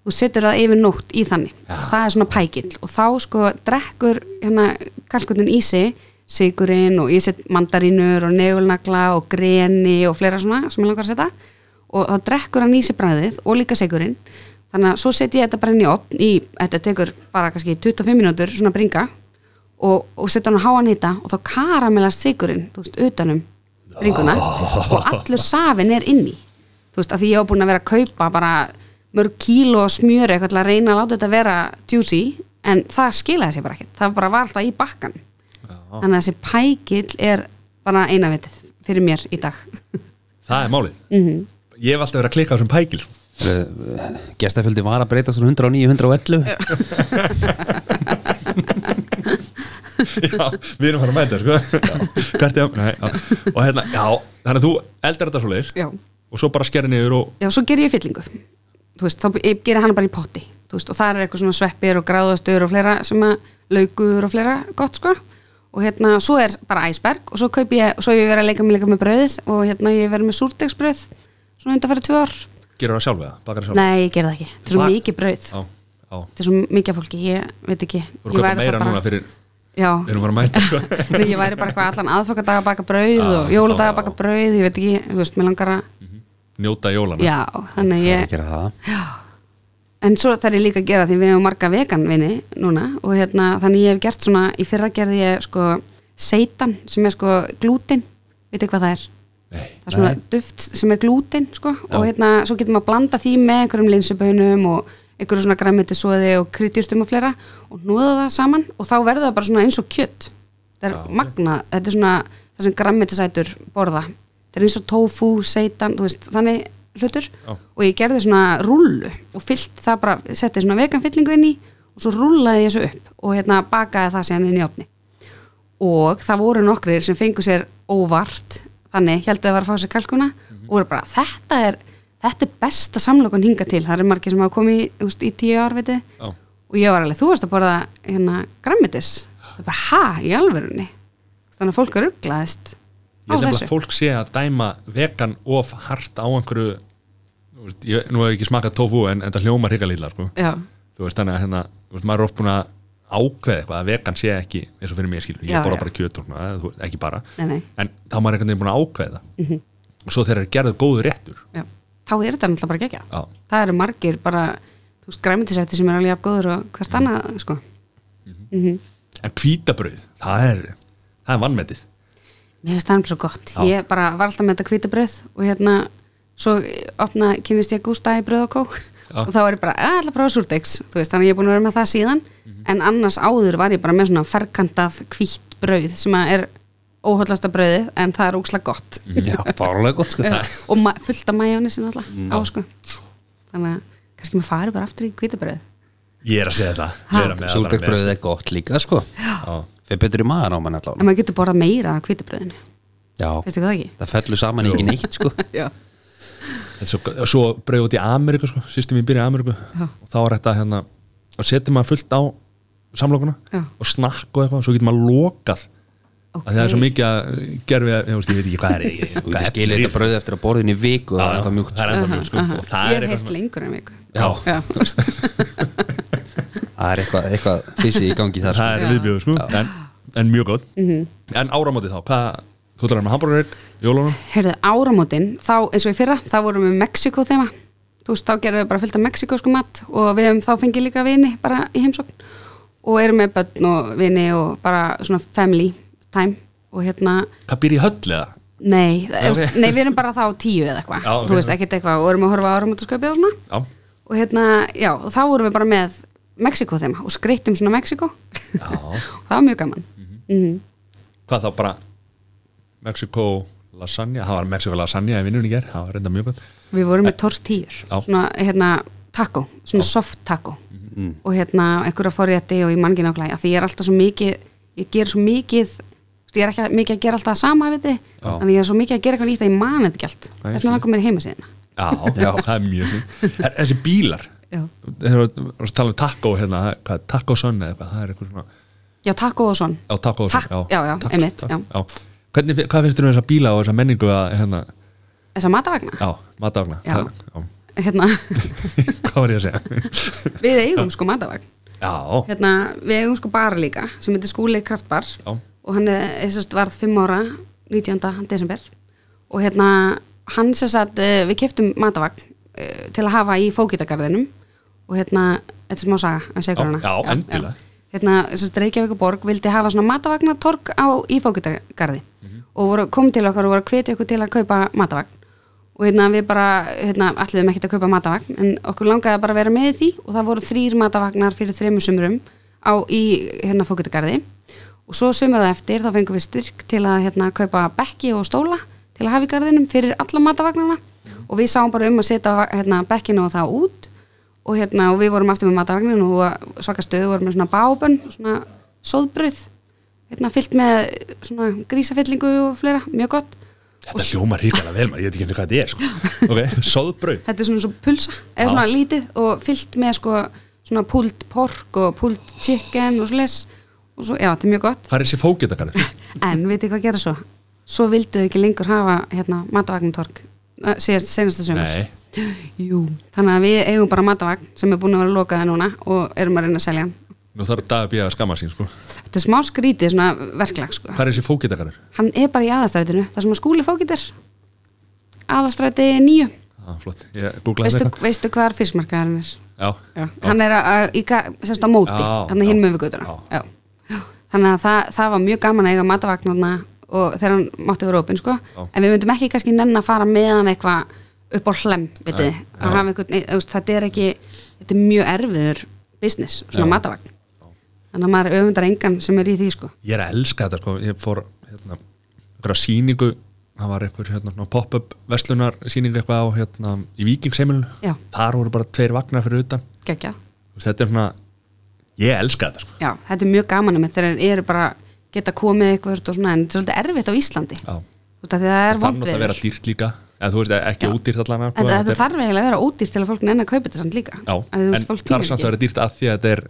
C: og setur það yfir nótt í þannig það er svona pækill og þá sko drekkur hérna kalkunin í sig sigurinn og ég set mandarínur og negulnagla og greni og fleira svona sem ég langar að setja og þá drekkur hann í sig bræðið og líka sigurinn þannig að svo set ég þetta bara inn í opn í, þetta tekur bara kannski 25 mínútur svona bringa og, og setja hann á háan hita og þá karamellast sigurinn, þú veist, utanum bringuna og allur safin er inni þú veist, að því ég var búin að vera að kaupa bara mörg kíló og smjöri eitthvað til að reyna að láta þetta vera juicy en það skilaði sér bara ekkert, það bara var alltaf í bakkan þannig að þessi pækill er bara eina vitið fyrir mér í dag
A: það er málið
C: Mhm.
A: ég hef alltaf verið að klikka á þessum pækil sko.
B: Eh, Gestafjöldi var að breytast úr 109, 111
A: já, við erum farin að mæta sko. hvert ég nei, já. og hérna, já, þannig að þú eldar þetta svo
C: Já.
A: og svo bara skerði niður og
C: já, svo ger ég fyllingu þú veist, þá ég ger hann bara í potti þú veist, og það er eitthvað svona sveppir og gráðastur og fleira sem að laukur og fleira gott sko og hérna, svo er bara æsberg og svo kaup ég, svo hef ég verið að leika með leika með brauðið og hérna ég hef verið með súrdegsbrauð svona undanfæri tvö ár
A: gerur það sjálf eða, bakar það sjálf
C: Nei, ég gerði það ekki, þetta er svo
A: Bak-
C: mikið brauð
A: já, já,
C: þetta er svo mikið af fólki, ég veit ekki
A: þú eru að kaupa
C: væri
A: meira
C: það
A: núna fyrir
C: Já,
A: við erum farin að mæta sko.
C: Nei, ég væri bara eitthvað allan aðfokadag að baka brauð
A: Já,
C: og jóladag
A: já,
C: að baka brauð, ég veit ekki, þú veist, mér langar að
A: njóta jólana
C: Já, þannig að
B: Það
C: ég
B: er að það
C: En svo þarf ég líka að gera því við hefum marga veganvinni núna og hérna, þannig ég hef gert svona, í fyrra gerði ég sko seitan sem er sko glútin, veit ekki hvað það er?
A: Nei.
C: Það er svona duft sem er glútin sko og hérna, svo getur maður að blanda því með einhverjum linsubönum og einhverjum svona græmitisóði og kryddjurtum og fleira og nóða það saman og þá verður það bara svona eins og kjött. Það er magnað, þetta er svona það sem græmitisætur borða. Það er eins og tofu, seitan, þú veist, þannig hlutur
A: Já.
C: og ég gerði svona rullu og fyllt það bara, setti svona vegan fyllingu inn í og svo rullaði ég þessu upp og hérna bakaði það síðan inn í opni og það voru nokkrir sem fengu sér óvart, þannig heldur að vera að fá sér kalkuna
A: Mhm.
C: og voru bara, þetta er þetta er besta samlokun hinga til það eru margir sem hafa komið í, þú veist, í tíu ár veitir,
A: Já.
C: og ég var alveg, þú varst að borða hérna grammetis, það er bara ha, í alvörunni þannig að fólk er rugglaðist
A: ég held nefnilega að fólk sé að dæma vegan of hart á einhverju þú veist, ég, nú hef ég ekki smakað tofu en, en það hljómar hrigalítla sko.
C: Já,
A: þú veist þannig að hérna, þú veist, maður er oft búin að ákveða eitthvað að vegan sé ekki eins og fyrir mér skilur,
C: Já,
A: ég borða
C: já.
A: bara kjöt og svona, eða þú veist, ekki bara
C: Nei, Mhm. nei.
A: en þá er maður einhvern veginn búin að ákveða og svo þegar er gerðið góður réttur
C: já, þá er þetta náttúrulega bara gegja
A: Já.
C: það eru margir bara þú veist, græmitisætti sem er alveg jafn góður og hvert
A: Mhm.
C: annað sko.
A: en hvítabröð, það er það er vannmetið
C: mér finnst það alveg svo gott
A: Já.
C: ég bara var alltaf með þetta hvítabröð og hérna, svo opna kynist ég Gústa í bröð og kók
A: Já.
C: og þá er ég bara, "Eh, ætla að prófa súrdegs þú veist, þannig að ég er búin að vera með það síðan
A: Mhm.
C: en annars áður var ég bara með svona ferkantað hvítt brauð sem að er óhóllasta brauðið, en það er óksla gott
A: Mhm.
B: Já, fárlega gott sko
C: Já, og ma- fullt af majónisinn alltaf
A: Mm.
C: á sko þannig að kannski maður fari bara aftur í hvítabröð
A: ég er að segja það, ég er að með það
B: Súldegbröð er gott líka sko
A: Já.
B: Fyrir betur í maður á mann
C: en
B: allavega
C: maður getur borðað meira af hvítabröðinu
B: Já,
C: veistu hvað það ekki?
B: það fellur saman í ekki neitt sko
C: Já.
A: En svo, og svo brauð út í Ameríku sko, sýstum ég byrja í Ameríku og þá er þetta hérna og setur maður fullt á samlokuna
C: Já.
A: og snakk og eitthvað, svo getur maður lokað okay. það er svo mikið að gerfi að, ég veist, ég veit ekki hvað er ég,
B: Þú getur skilið þetta bröð eftir að borðin í viku og það er ennþá mjúkt
A: það er ennþá mjúkt sko, og það
C: ég
A: er
C: hef
A: eitthvað
C: heilt
A: svona
C: lengur en viku
A: Já.
B: Það er eitthvað, eitthvað fysi í gangi þar sko.
A: það er viðbjöðu sko, en, en mjög góð
C: Mhm.
A: en áramótið þá, hvað þú ætlar að vera með hambúrgarrygg, jólunum
C: Herðu, áramótin, þá eins og í fyrra þá vorum við Mexiko þema þú veist, þá gerum við bara fylgta mexikosku mat og við hefum þá fengið líka vini bara í heimsókn og erum með börn og vini og bara svona family time og hérna
A: hvað býr í höll eða?
C: Nei, okay.
A: Ok.
C: veist, nei, við erum bara þá tíu eða eitthvað,
A: Já, ok.
C: þú veist, ekkert eitthvað og erum að horfa á áramótasköpið og svona
A: Já.
C: og hérna, já, og þá vorum við bara með Mexiko þeim og skreittum svona Mexiko
A: Já.
C: það var mjög gaman
A: hvað þá bara Mexiko lasagna, það var Mexiko lasagna í vinnunni ger, það var reynda mjög góð
C: við vorum með tortíur
A: Já.
C: svona, hérna, taco, svona soft taco
A: Mm.
C: og hérna, einhverja forrétti og ég mann ekki nákvæmlega, af því ég er alltaf svo mikið ég ger svo mikið þú veist, ég er ekki að- mikið að gera alltaf það sama, veit þið þannig ég er svo mikið að gera eitthvað nýtt að ég man þetta ekki allt
A: Nei,
C: þess vegna langar mér í heimasíðina
A: Já, það er mjög fínt Er- Þessi bílar
C: Já.
A: Þeir eru að tala um taco hérna, hvað, er taco sun eða eitthvað, það er eitthvað svona
C: já, taco og svon
A: Já, taco sun,
C: Tak- já, já, einmitt, já.
A: Hvernig, fi- hvað finnst þér um þessa bíla og þessa menningu að, hérna,
C: þess að matavagna
A: já, matafna
C: Já.
A: já.
C: hérna,
A: Hvað var ég að segja?
C: við eigum sko matavagn
A: já,
C: hérna, við eigum sko bara líka sem heitir skúli kraftbar
A: já
C: og hann er, er sérst, varð 5 ára 19. desember og hérna hann sér satt uh, við keftum matavagn uh, til að hafa í fókitagarðinum og hérna, þetta er smá saga að segja hana
A: já, endilega.
C: hérna, sérst, Reykjavíkuborg vildi hafa svona matavagnatorg á í fókitagarði
A: Mhm.
C: og voru, kom til okkar og voru að hvetja okkur til að kaupa matavagn og hérna við bara, hérna, alliðum ekkert að kaupa matavagn en okkur langaði bara að vera með í því og það voru þrýr matavagnar fyrir þremur sumrum á, í hérna fókitagarði og svo sömur það eftir þá fengum við styrk til að hérna, kaupa bekki og stóla til að hafa í garðinum fyrir alla matavagnana
A: Mhm.
C: og við sáum bara um að setja hérna, bekkinu og það út og, hérna, og við vorum aftur með matavagninu og svaka stöðu vorum með svona bábönn svona sóðbröð hérna, fyllt með svona grísafyllingu og fleira, mjög gott
A: Þetta hljómar híkala vel, maður, ég veit ekki henni hvað þetta er sko. Ok, sóðbrauð
C: þetta er svona svo pulsa, eða svona lítið og fyllt með sko svona púlt pork og púlt chicken og svo og svo, já, þetta er mjög gott
A: Hvað er þessi fókitakarður?
C: En vitið hvað gera svo? Svo vildu þau ekki lengur hafa hérna, matavagnatorg síðast senasta sömur.
A: Nei.
C: Jú, þannig að við eigum bara matavagn sem er búin að vera lokaði núna og erum að reyna að selja hann.
A: Nú þarf Dagbjörg að skamma sín sko.
C: Þetta er smá skrítið svona verklag sko.
A: Hvað er þessi fókitakarður?
C: Hann er bara í aðastrætinu, þar sem að skúli fókitir. Aðastræti nýju.
A: Ah, flott, ég googlaði
C: Veistu,
A: þetta
C: veistu hvar fiskmarkaðarinn er?
A: eitthvað.
C: Já.
A: Já,
C: Hann er að, að, í gar- semst á móti,
A: Já,
C: hann er hinn
A: já,
C: með við göttuna. Já. Já. Þannig að það, það var mjög gaman að eiga matavagnarna og þegar hann mátti vera opinn sko.
A: Já.
C: En við myndum ekki kannski nenn að fara með hann eitthvað upp á hlem, veitir þið. Að hafa einhvern- nei, þú veist, Þetta er ekki, þetta er mjög erfiður business, svona matavagn. Þannig að maður öfundar engan sem er í því sko.
A: Ég er að elska þetta sko. Ég fór hérna, einhverja sýningu það var einhver hérna, svona pop-up verslunar sýningu eitthvað á hérna, í
C: Já.
A: Víkingsheimilinu þar voru bara tveir vagnar fyrir utan
C: Gekja.
A: Þú veist, Þetta er svona, ég elska þetta sko.
C: Já, þetta er mjög gaman um þetta þegar þeir eru bara geta komið eitthvað og svona, en þetta er svolítið erfitt á Íslandi.
A: Já.
C: Þú veist að það er vond
A: Þannig að vera dýrt líka eða þú veist, e- ekki ódýrt allan
C: En þetta þarf eiginlega að vera ódýrt til að fólk nenni að kaupa þetta samt líka
A: Já,
C: Af því þú
A: en
C: veist, fólk
A: þarf
C: tímir
A: samt að
C: ekki.
A: vera dýrt að því að þetta er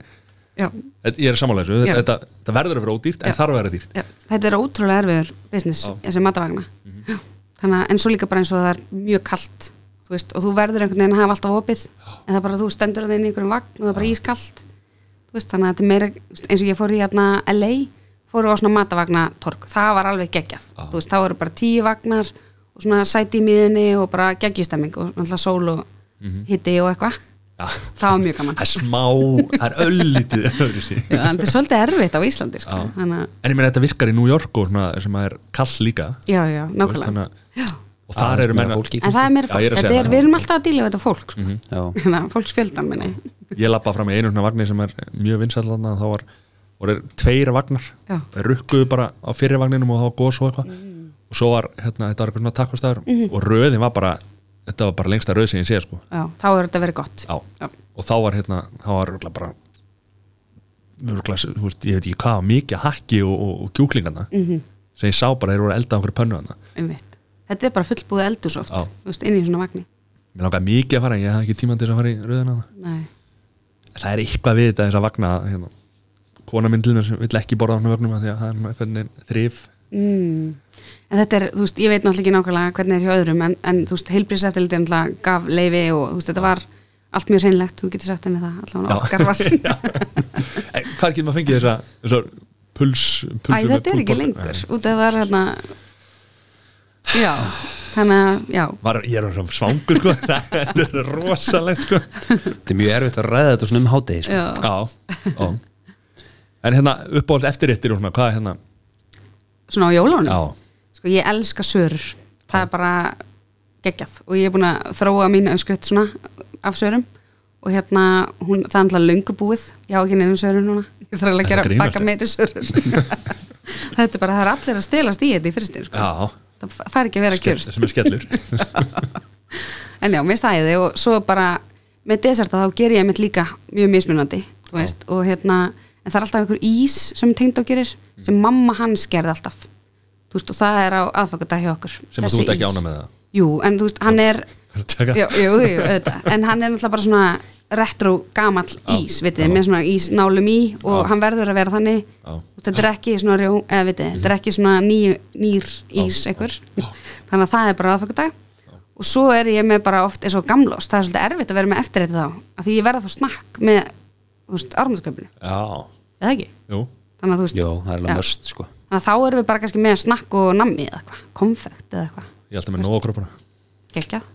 C: Já,
A: þetta- ég er samanlega þessu,
C: Já.
A: þetta, þetta, þetta verður að vera ódýrt en
C: Já.
A: þarf að vera dýrt
C: já, þetta er ótrúlega erfiður business, þessi matavagna
A: Mhm.
C: Já, þannig að, en svo líka bara eins og það er mjög kalt þú veist, og þú verður einhvern veginn að hafa alltaf opið en það er bara að þú stendur það inn í einhverjum vagn og það er bara ískalt þú veist, þannig að þetta er meira þú veist, eins og ég fór í hérna LA fóru á svona matavagnatorg, það var alveg geggjað þú veist, þá eru bara tíu vagnar og svona sæti í miðunni og bara geggjustemming og alltaf sól og
A: Mhm.
C: hitti og eitthvað
A: Já.
C: það var mjög gaman
A: það er smá, það er öllítið öðru sig
C: Já, en þetta er svolítið erfitt á Íslandi sko. þannig að,
A: en ég meina þetta virkar í New York og svona, sem að er kall líka
C: já, já,
A: Þú veist,
C: nákvæmlega
A: þannig að- og þar eru menn að-
B: fólki
C: en það er meira
A: Já, ég
C: fólk,
A: er að segja
C: þetta
A: það.
C: er,
A: Mhm.
C: við erum alltaf að díla við þetta fólk, sko.
B: Já.
C: þannig að fólksfjöldan minni,
A: ég lappa fram í einu svona vagni sem er mjög vinsallana þá var, voru tveir vagnar
C: Já. Mm.
A: Þeir rukkuðu bara á fyrir vagninum og þá var góð svo eitthvað og svo var, hérna, þetta var eitthvað svona takkvastæður
C: Mhm.
A: og röðin var bara, þetta var bara lengsta röð sem ég sé sko,
C: já, þá er þetta verið gott
A: já,
C: Já.
A: og þá var hérna, þá var röglega bara röglega, þú veist, ég veit ekki hvað mikið hakki og, og, og kjúklingana
C: Mhm.
A: -hmm. sem ég sá bara, þeir voru að elda á einhverju pönnu hana
C: einmitt, þetta er bara fullbúið eldur svo oft,
A: Já.
C: þú veist, inn í svona vagni
A: mér langaði mikið að fara, en ég hafði ekki tíma til þess að fara í röðina það
C: nei,
A: það er eitthvað við þetta þess að vakna hérna, kona minn til mér sem vill ekki borða á hann vögnum af því að það er svona einhvern veginn þrif
C: en þetta er, þú veist, ég veit náttúrulega ekki nákvæmlega hvernig er hjá öðrum, en, en þú veist, heilbríseftildi náttúrulega gaf leifi og þú veist, þetta var allt mjög reynlegt, þú getur sagt henni það allavega okkar var,
A: En hvar Eh, getur maður fengið þessa, þessa puls,
C: æ,
A: puls
C: þetta er ekki lengur, út af það var hérna já, þannig að, já
A: Var, ég er svona svangur sko þetta er rosalegt sko
B: Þetta er mjög erfitt að ræða þetta svona um hátegi sko.
C: Já.
A: já, já. en hérna uppáhald eftirréttir og svona hvað er hérna
C: svona á jólunum
A: já,
C: sko ég elska sörur það er bara geggjað og ég er búin að þróa mín öskriðt svona af sörum og hérna hún, það er alltaf löngu búið ég á ekki nefnum sörur núna ég þarf alveg að
A: Er það
C: gera
A: grínast?
C: baka meiri sörur þetta er bara, það er allir að stelast í þetta í fyrstin sko.
A: já
C: það f- fær ekki að vera að
A: skell-
C: gjörst
A: sem er skellur
C: en já, mér stæði og svo bara með deserta þá ger ég mitt líka mjög mismunandi þú veist, og hérna en það er alltaf einhver ís sem tengd á gerir
A: Mm.
C: sem mamma hans gerði alltaf þú veist, og það er á aðfakadag hjá okkur
A: Sem að þú
C: þessi
A: ert ekki
C: ís.
A: ánægð með það?
C: Jú, en þú veist, hann er
A: Tjaka.
C: jú, jú, jú, auðvitað. en hann er náttúrulega bara svona retro gamall ís, vitið, með svona ísnálum í og hann verður að vera þannig
A: Já.
C: og þetta er ekki svona rjó, eða vitið,
B: Mhm.
C: þetta er ekki svona ný, nýr ís einhver, þannig að það er bara aðfakadag og svo er ég með bara oft eins og gamlost, það er svolítið erfitt að vera með eftirreiti þá, af því ég verða að fá snakk með, þú veist, ármöðsköpinu
A: já,
C: eða ekki,
A: jú
C: þannig að þú veist
B: Jó, það er alveg
C: já.
B: möst sko
C: þannig að þá erum við bara kannski með snakk og nammi eða eitthvað, konfekt eða eitthvað
A: Ég held að með nóg á kroppana
C: geggjað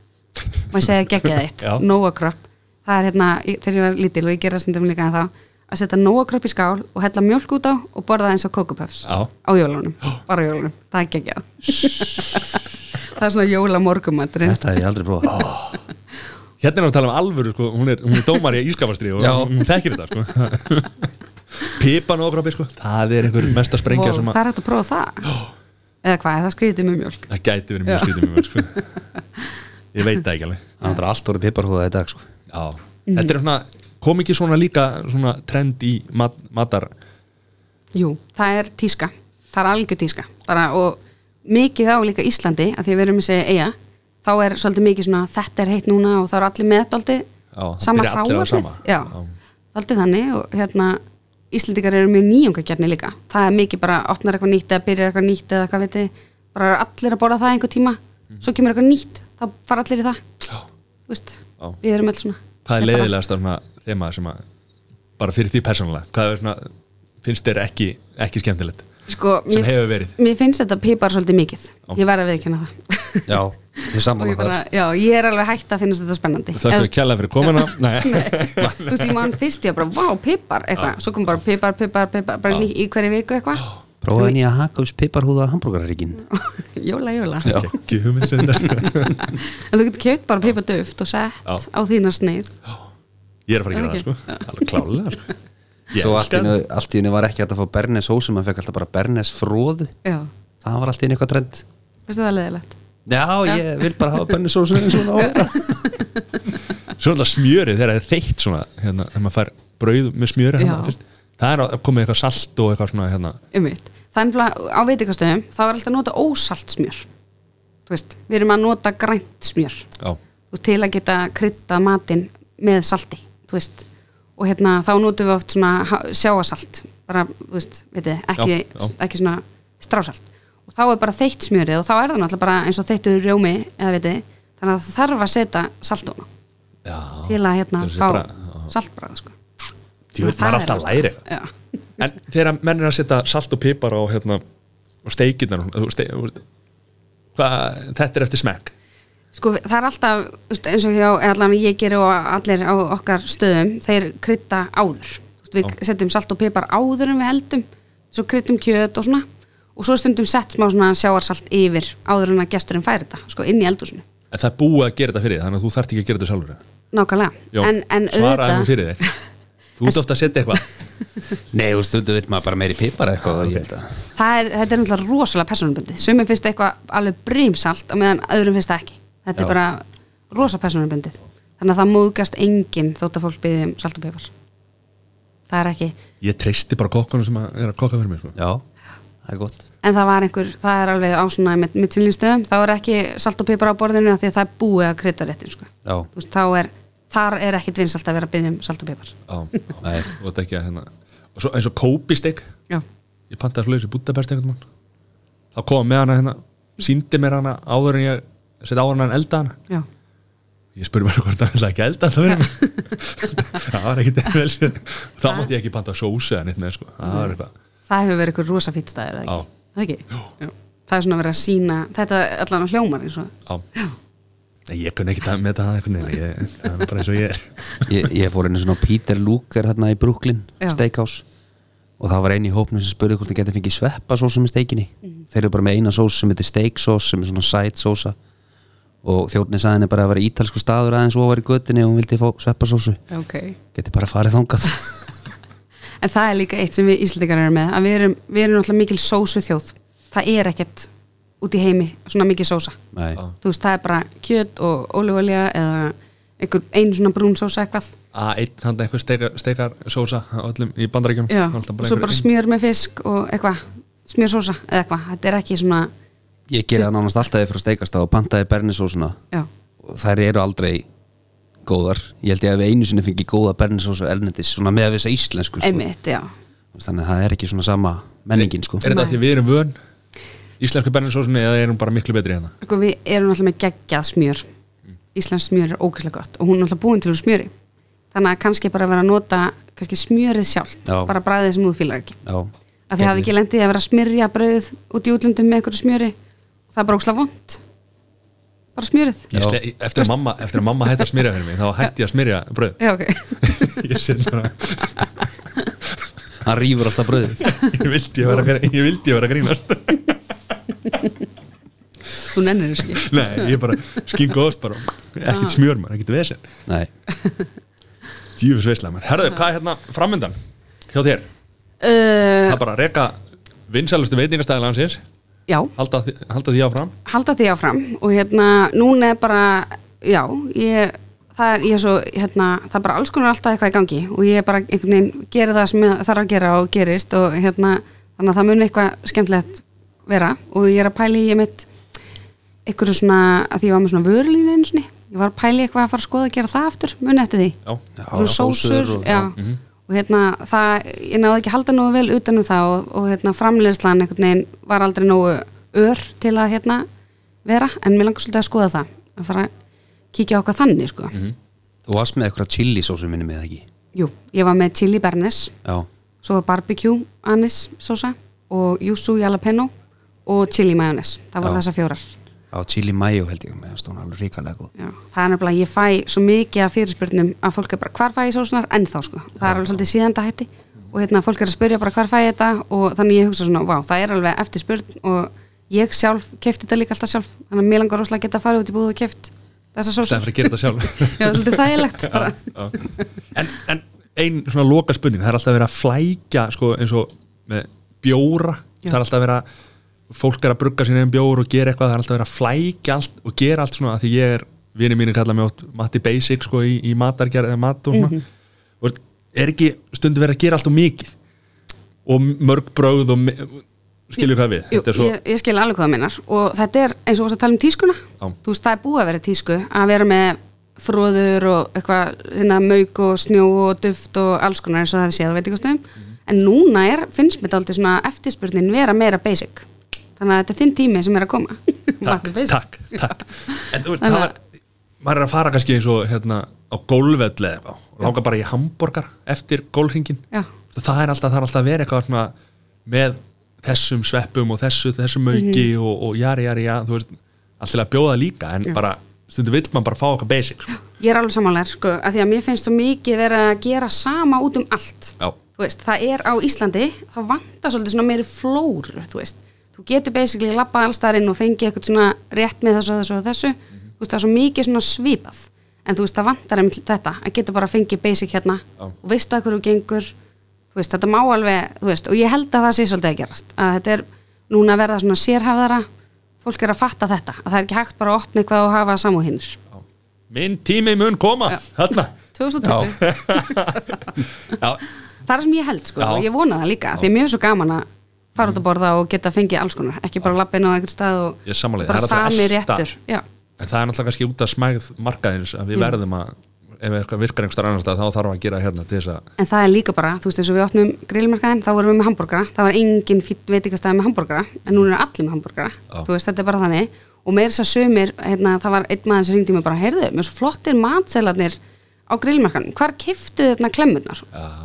C: og ég segja geggjað eitt,
A: Já.
C: nóakropp það er hérna, í- þegar ég var lítil og ég gera sundum líka en þá, að setja nóakropp í skál og hella mjólk út á og borða það eins og kókupöfs
A: Já.
C: á jólunum, bara á jólunum það er geggjað það er svona jóla morgumaturinn
B: Þetta hef ég aldrei prófað
A: Hérna erum við að tala um alvöru, sko, hún er, hún er dómari í ískapastrið og
B: Já.
A: hún þekkir þetta, sko Pipan og okkur sko, það er einhver mest að sprengja sem
C: það
A: að
C: er hægt að prófa það eða hvað, er það skrítið með mjólk
A: það gæti verið mjög skrítið mjög, sko Ég veit það ekki alveg
B: Það er allt orðið piparhúða í dag sko
A: Já, þetta er svona, kom ekki svona líka svona trend í mat, matar
C: Jú, það er tíska, það er algjör tíska bara, og mikið á líka Íslandi að því að við erum að segja eiga þá er svolítið mikið svona þetta er heitt núna og það eru allir með daldið
A: Já, það
C: sama
A: byrja allir á
C: hráefnið.
A: sama.
C: Já,
A: Já.
C: daldið þannig og hérna Íslandingar eru mjög nýjungagjarni líka það er mikið bara opnar eitthvað nýtt eða byrjar eitthvað nýtt eða hvað veit þið, bara eru allir að borða það einhver tíma,
A: Mhm.
C: svo kemur eitthvað nýtt þá fara allir í það
A: Já.
C: Þú veist,
A: Já.
C: við erum allir svona Hérna,
A: Hvað er
C: Ég bara-
A: leiðilegast svona þema sem að bara fyrir því persónulega, hvað er svona finnst þér ekki, ekki skemmtilegt
C: sko,
A: sem hefur verið?
C: mér finnst þetta pipar svolítið mikið ég verð að viðkynna það
B: Já, þið
C: og
B: saman að
C: ég,
B: það
C: bara, já, ég er alveg hægt að finnast þetta spennandi
A: Þakk
C: Eða,
A: fyrir kjærlega fyrir komuna Nei,
C: þú veist, ég man fyrst ég bara, vá, pipar eitthvað, svo kom bara pipar, pipar, pipar bara ný, í hverju viku eitthvað
B: Prófaði nýja Hakaus piparhúða hambúrgararíkin
C: jóla, jóla,
B: Já.
A: ekki hugmynd sem þetta
C: en þú getur kjöpt bara pipadöft og sett
A: Já.
C: á þína sneið
A: Ég er að fara að
C: Er
A: gera það
C: ekki?
A: sko, alveg klálega sko. Ég
B: Svo allt í
A: elska
B: einu- allt í henni var ekki hægt að fá Bernes sósu maður fekk alltaf bara Bernes fróðu
C: já,
B: Það var allt í henni eitthvað trend
C: finnst þetta leðilegt
B: Já, ég vil bara hafa Bernes sósu eins og ná
A: Svo alltaf smjörið þegar það er þeitt svona hérna, þegar maður fær brauð með smjöri hérna,
C: Já.
A: fyrst. það er að- komið eitthvað salt og eitthvað svona hérna.
C: umvitt, þannig að á veitikastöðum þá er alltaf að nota ósalt smjör þú veist, við erum að nota grænt smjör
A: Já,
C: Þú veist, til að geta krytta matinn með salti þú veist. og hérna þá notum við oft svona ha- sjáasalt bara, þú veist, veitir, ekki,
A: Já, já.
C: ekki svona strásalt og þá er bara þeitt smjörið og þá er það náttúrulega bara eins og þeittur rjómi eða veitir, þannig að það þarf að setja salt ofan á
A: já
C: til að hérna
A: Til að sé
C: fá
A: bara-
C: saltbragð sko.
A: Því veit maður er alltaf að læra eitthvað.
C: Já.
A: En þegar menn er að setja salt og pipar á hérna, og steikinnar og, og steik, og, hvað, þetta er eftir smekk
C: Sko það er alltaf þú veist, eins og hjá eða allan ég gerir og allir á okkar stöðum þeir krytta áður Þú veist, við setjum salt og pipar áður en við eldum svo kryttum kjöt og svona og svo er stundum sett smá svona sjáarsalt yfir áður en að gesturinn færi þetta sko inn í eldhúsinu
A: En það er búið að gera þetta fyrir þig, þannig að þú þarft ekki að gera þetta sjálfur
C: nákvæmlega
A: Já,
C: en, en
A: svaraði hún fyrir þig Þú ert ofta að setja eitthvað
B: Nei, þú stundu vil maður bara meiri pipar eitthvað ég held að
C: það er, þetta er náttúrulega rosalega personabundið sumum finnst eitthvað alveg brímsalt og meðan öðrum finnst það ekki þetta
A: Já.
C: er bara rosa personabundið þannig að það móðgast enginn þótt að fólk byggði um salt og pipar það er ekki
A: Ég treysti bara kokkanum sem að er að kokka fyrir mig sko.
B: Já, það er gott
C: en það var einhver, það er alveg á svona mitt, mitt stöðum, þá er ekki salt og pipar á borðinu af því að það er búið að krydda réttin sko.
B: Já.
C: Þú veist, þá er, þar er ekkit vinsalt að vera að biðja um salt og pipar
A: á, á, Og þetta ekki að hérna Og svo eins og kópistek
C: já,
A: Ég pantaði svo lausi búttabest einhvern mann Þá kom með hana hérna Sýndi mér hana áður en ég Sett áður en hann elda hana
C: já,
A: Ég spurði mér hvort hann ætlaði ekki að elda það fyrir mig Það var ekkit vel Þá mátti ég ekki panta sósu eða neitt með sko. Það var eitthvað
C: það hefur verið einhver rosa fýtt
A: Já.
C: staðir eða ekki? Það ekki? Já. það er svona verið að sína þetta er allan á hljómar eins og
A: á. Nei, Ég kunni ekki að meta það einhvern veginn Ég- Það er nú bara eins og ég er
B: Ég, ég fór einu svona á Peter Luger þarna í Brooklyn,
C: Já.
B: steakhouse og það var einu í hópnum sem spurði hvort það geti fengið sveppa sósum í steikinni
C: Mhm.
B: þeir eru bara með eina sós sem heitir steak sós sem er svona side sósa og þjóðni sagði henni bara að vera ítalsku staður aðeins og var í göttinni og hún vildi fá sveppa sósu
C: okay.
B: geti bara farið þangað
C: en það er líka eitt sem við Íslandingar erum með að við erum, við erum alltaf mikil sósu þjóð það er ekkit út í heimi svona mikil sósa
B: Nei,
C: þú veist, það er bara kjöt og ólíuolja eða einhver einn svona brún sósa eitthvað
A: A1 hann eitthvað steikar, steikar sósa á öllum í bandaríkjum
C: Já, og svo bara smjör með fisk og eitthvað smjör sósa eða eitthvað, þetta er ekki svona
B: ég gerði það nánast alltaf eða frá steikasta og pantaði bernisósuna
C: já,
B: og þær eru aldrei góðar ég held ég að við einu sinni fengið góða bernisósu erlendis svona með að við þessa íslensku sko.
C: einmitt, já
B: þannig að það er ekki svona sama menningin sko.
A: Er þetta því við erum vön íslensku berninsósunni eða erum bara miklu betri hérna?
C: sko, við erum alltaf með geggjað smjör Íslands smjör er ógæslega gott og hún er alltaf búin til úr smjöri þannig að kannski bara vera að nota kannski smjörið sjálft,
B: Já.
C: bara bræðið sem þú fílar ekki
B: Já,
C: að þið hafði ekki lendið að vera að smyrja brauðið út í útlöndum með einhverju smjöri það er bara ókslega vond bara smjörið
A: Ég sle- eftir, að mamma, eftir að mamma hætti að smyrja fyrir mig þá hætti ég að smyrja bröð
C: já, ok
A: ég, sé bara-
B: Hérna, hann rýfur alltaf bröðið
A: ég, vildi ég, vera, að grí- ég vildi ég vera að grínast
C: þú nennir þessu ekki
A: Nei, ég bara skingu ost bara ekkert smjör maður, ekkert vesen
B: Nei,
A: djúfis veislega maður Herðu, hvað er hérna framöndan hjá þér?
C: uh,
A: Það er bara að reka vinsælustu veitingastæði landsins
C: já,
A: halda, því- halda því áfram
C: halda því áfram og hérna, núna er bara já, ég það er, ég er svo, hérna, það er bara alls konar alltaf eitthvað í gangi og ég er bara einhvern veginn gera það sem ég þarf að gera og gerist og hérna, þannig að það mun eitthvað skemmtilegt vera og ég er að pæli ég mitt einhverju svona, að því ég var með svona vörulínu einu sinni, ég var að pæli eitthvað að fara að skoða að gera það aftur, mun eftir því
A: Já,
C: svona
B: já,
C: sósur
B: sósur og-
C: og, já. og hérna það, ég náði ekki að halda nógu vel utanum það og, og hérna framleiðslan einhvern veginn var aldrei nógu ör til að hérna vera, en mér langar svolítið að skoða það að fara að kíkja okkar þannig sko.
B: þú varst með eitthvað chili sósum minni með ekki
C: Jú, ég var með chili bernes
B: Já,
C: svo var barbecue anis sósa og yuzu jalapeno og chili mayones, það var
B: Já.
C: þessa fjórar
B: á chili mayo held ég með stóna alveg ríkalega góð
C: Já, það er nefnilega að ég fæ svo mikið af fyrirspurnum að fólk er bara hvar fæ ég sósunar ennþá sko, það er alveg svolítið síðanda hætti og hérna fólk er að spyrja bara hvar fæ ég þetta og þannig ég hugsa svona, vá, það er alveg eftir spurn og ég sjálf kefti þetta líka alltaf sjálf þannig að mér langar rosalega að geta að fara út í búð og keft þessa
A: sem
C: sósunar,
A: fyrir að gera þetta sjálf
C: já, svolítið þægilegt bara,
A: en, en ein svona loka spurning það er alltaf verið að flækja sko, eins og með bjóra
C: Já.
A: það er alltaf verið að fólk er að brugga sín einn bjór og gera eitthvað, það er alltaf verið að flækja allt og gera allt svona, af því ég er vinið mínir kalla mig oft Matti Basic sko, í, í matargerð eða mat og svona
C: Mhm.
A: mm er ekki stundu verið að gera allt og mikið og mörg bröð og mi- skilur hvað við
C: Jú,
A: þetta er svo,
C: ég, ég skil alveg hvað það minnar og þetta er eins og varst að tala um tískuna
A: Já.
C: þú veist það er búið að vera í tísku að vera með fróður og eitthvað hérna, mauk og snjó og duft og alls konar eins og það við séð á veitingastöðum
A: Mhm.
C: en núna er, finnst mér dálítið svona eftirspurnin vera meira basic þannig að þetta er þinn tími sem er að koma
A: takk,
C: Matti Basic.
A: takk, takk en þú veist,
C: Þannig
A: það var maður er að fara kannski eins og hérna á gólvelli eða eitthvað, og langar bara í hambúrgar eftir gólringin
C: Já.
A: það er alltaf, það er alltaf að vera eitthvað svona, með þessum sveppum og þessu þessum auki og, og jari, jari, já þú veist, alltaf að bjóða líka en bara, stundu vill mann bara fá okkar basic sko.
C: ég er alveg samanlegar sko, að því að mér finnst svo mikið vera að gera sama út um allt
A: Já.
C: þú veist, það er á Íslandi það vantar svolítið svona meiri flóru þú veist, þú getur basically lappa allstarinn og fengið eitthvað svona rétt með þessu og þessu og þessu,
A: Mhm.
C: þú veist, það er svo mikið svona svipað, en þú veist, það vantar einmitt þetta, að geta bara fengið basic hérna
A: Já.
C: og veist að hverju gengur þú veist, þetta má alveg, þú veist, og ég held að það sé svolítið að gerast, að þetta er núna að verða svona sérhafðara fólk er að fatta þetta, að það er ekki hægt bara að opna eitthvað og hafa samúhinnir
A: Já. minn tími mun koma
C: Já.
A: hérna
C: 2020
A: já,
C: það er það sem ég held sko
A: Já.
C: og ég vona það líka því að mér er svo gaman að fara út að borða og geta fengið alls konar ekki bara lappa inn á einhvern stað og
A: Ég er sammála því,
C: bara
A: það er alltaf
C: sami
A: elta.
C: réttur já,
A: en það er náttúrulega kannski út af smæð markaðins að við verðum að ef eitthvað virkar einhver starf annars stað, þá þarf að gera hérna til þess að
C: en það er líka bara, þú veist eins og við opnum grillmarkaðin þá vorum við með hambúrgara, það var engin fýtt veitingastæði með hambúrgara, en núna er allir með hambúrgara
A: Já.
C: þú veist, þetta er bara þannig og meir þess að sömur, hérna, það var einn maður sem ringdi mig bara, heyrðu, mér er svo flottir matselarnir á grillmarkanum, hvar kiftu þarna klemmurnar?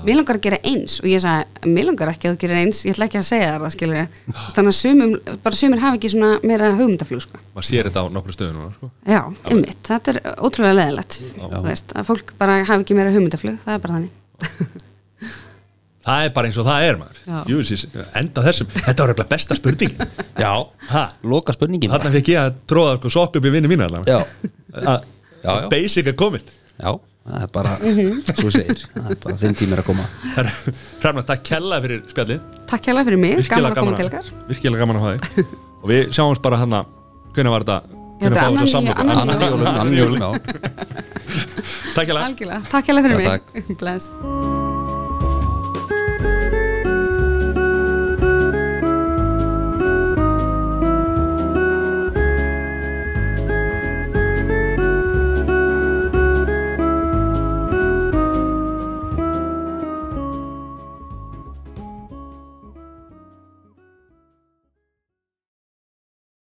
C: Mér langar að gera eins og ég sagði, mér langar ekki að þú gerir eins ég ætla ekki að segja þér það, skilur ég þannig að sumum, bara sumir hafa ekki svona meira hugmyndaflug, sko
A: maður sér þetta á nokkru stöðu núna sko.
C: Já, einmitt, þetta er ótrúlega leðilegt þú veist, að fólk bara hafi ekki meira hugmyndaflug það er bara þannig
A: það er bara eins og það er
C: Já.
A: maður Jú, sís, enda á þessum, þetta var eitthvað besta spurning já, ha,
B: Loka spurningin
A: þarna fekk ég að tróða sko, sokk upp í vinnu mína allavega
B: Já,
A: Að-
B: Já, já.
A: að basic er komið
B: já, það er bara
C: Mhm.
B: Svo þú segir, það er bara þinn tími er að koma
A: hrefna, takk kella fyrir spjallið
C: Takk hérlega fyrir mig, gaman
A: virkilega
C: að koma
A: gaman,
C: til
A: að-
C: ykkar
A: virkilega gaman að hafa þig og við sjáumst bara hann að hvenær var þetta
C: Þetta
A: hvenær fáum við
C: er annan í-
A: þetta samloku?
C: annan í
A: Annan í
C: jólum.
A: jólum, annan í jólum.
B: Já.
A: takk kella
C: Algjörlega, takk hérlega fyrir
B: Já,
C: mig Bless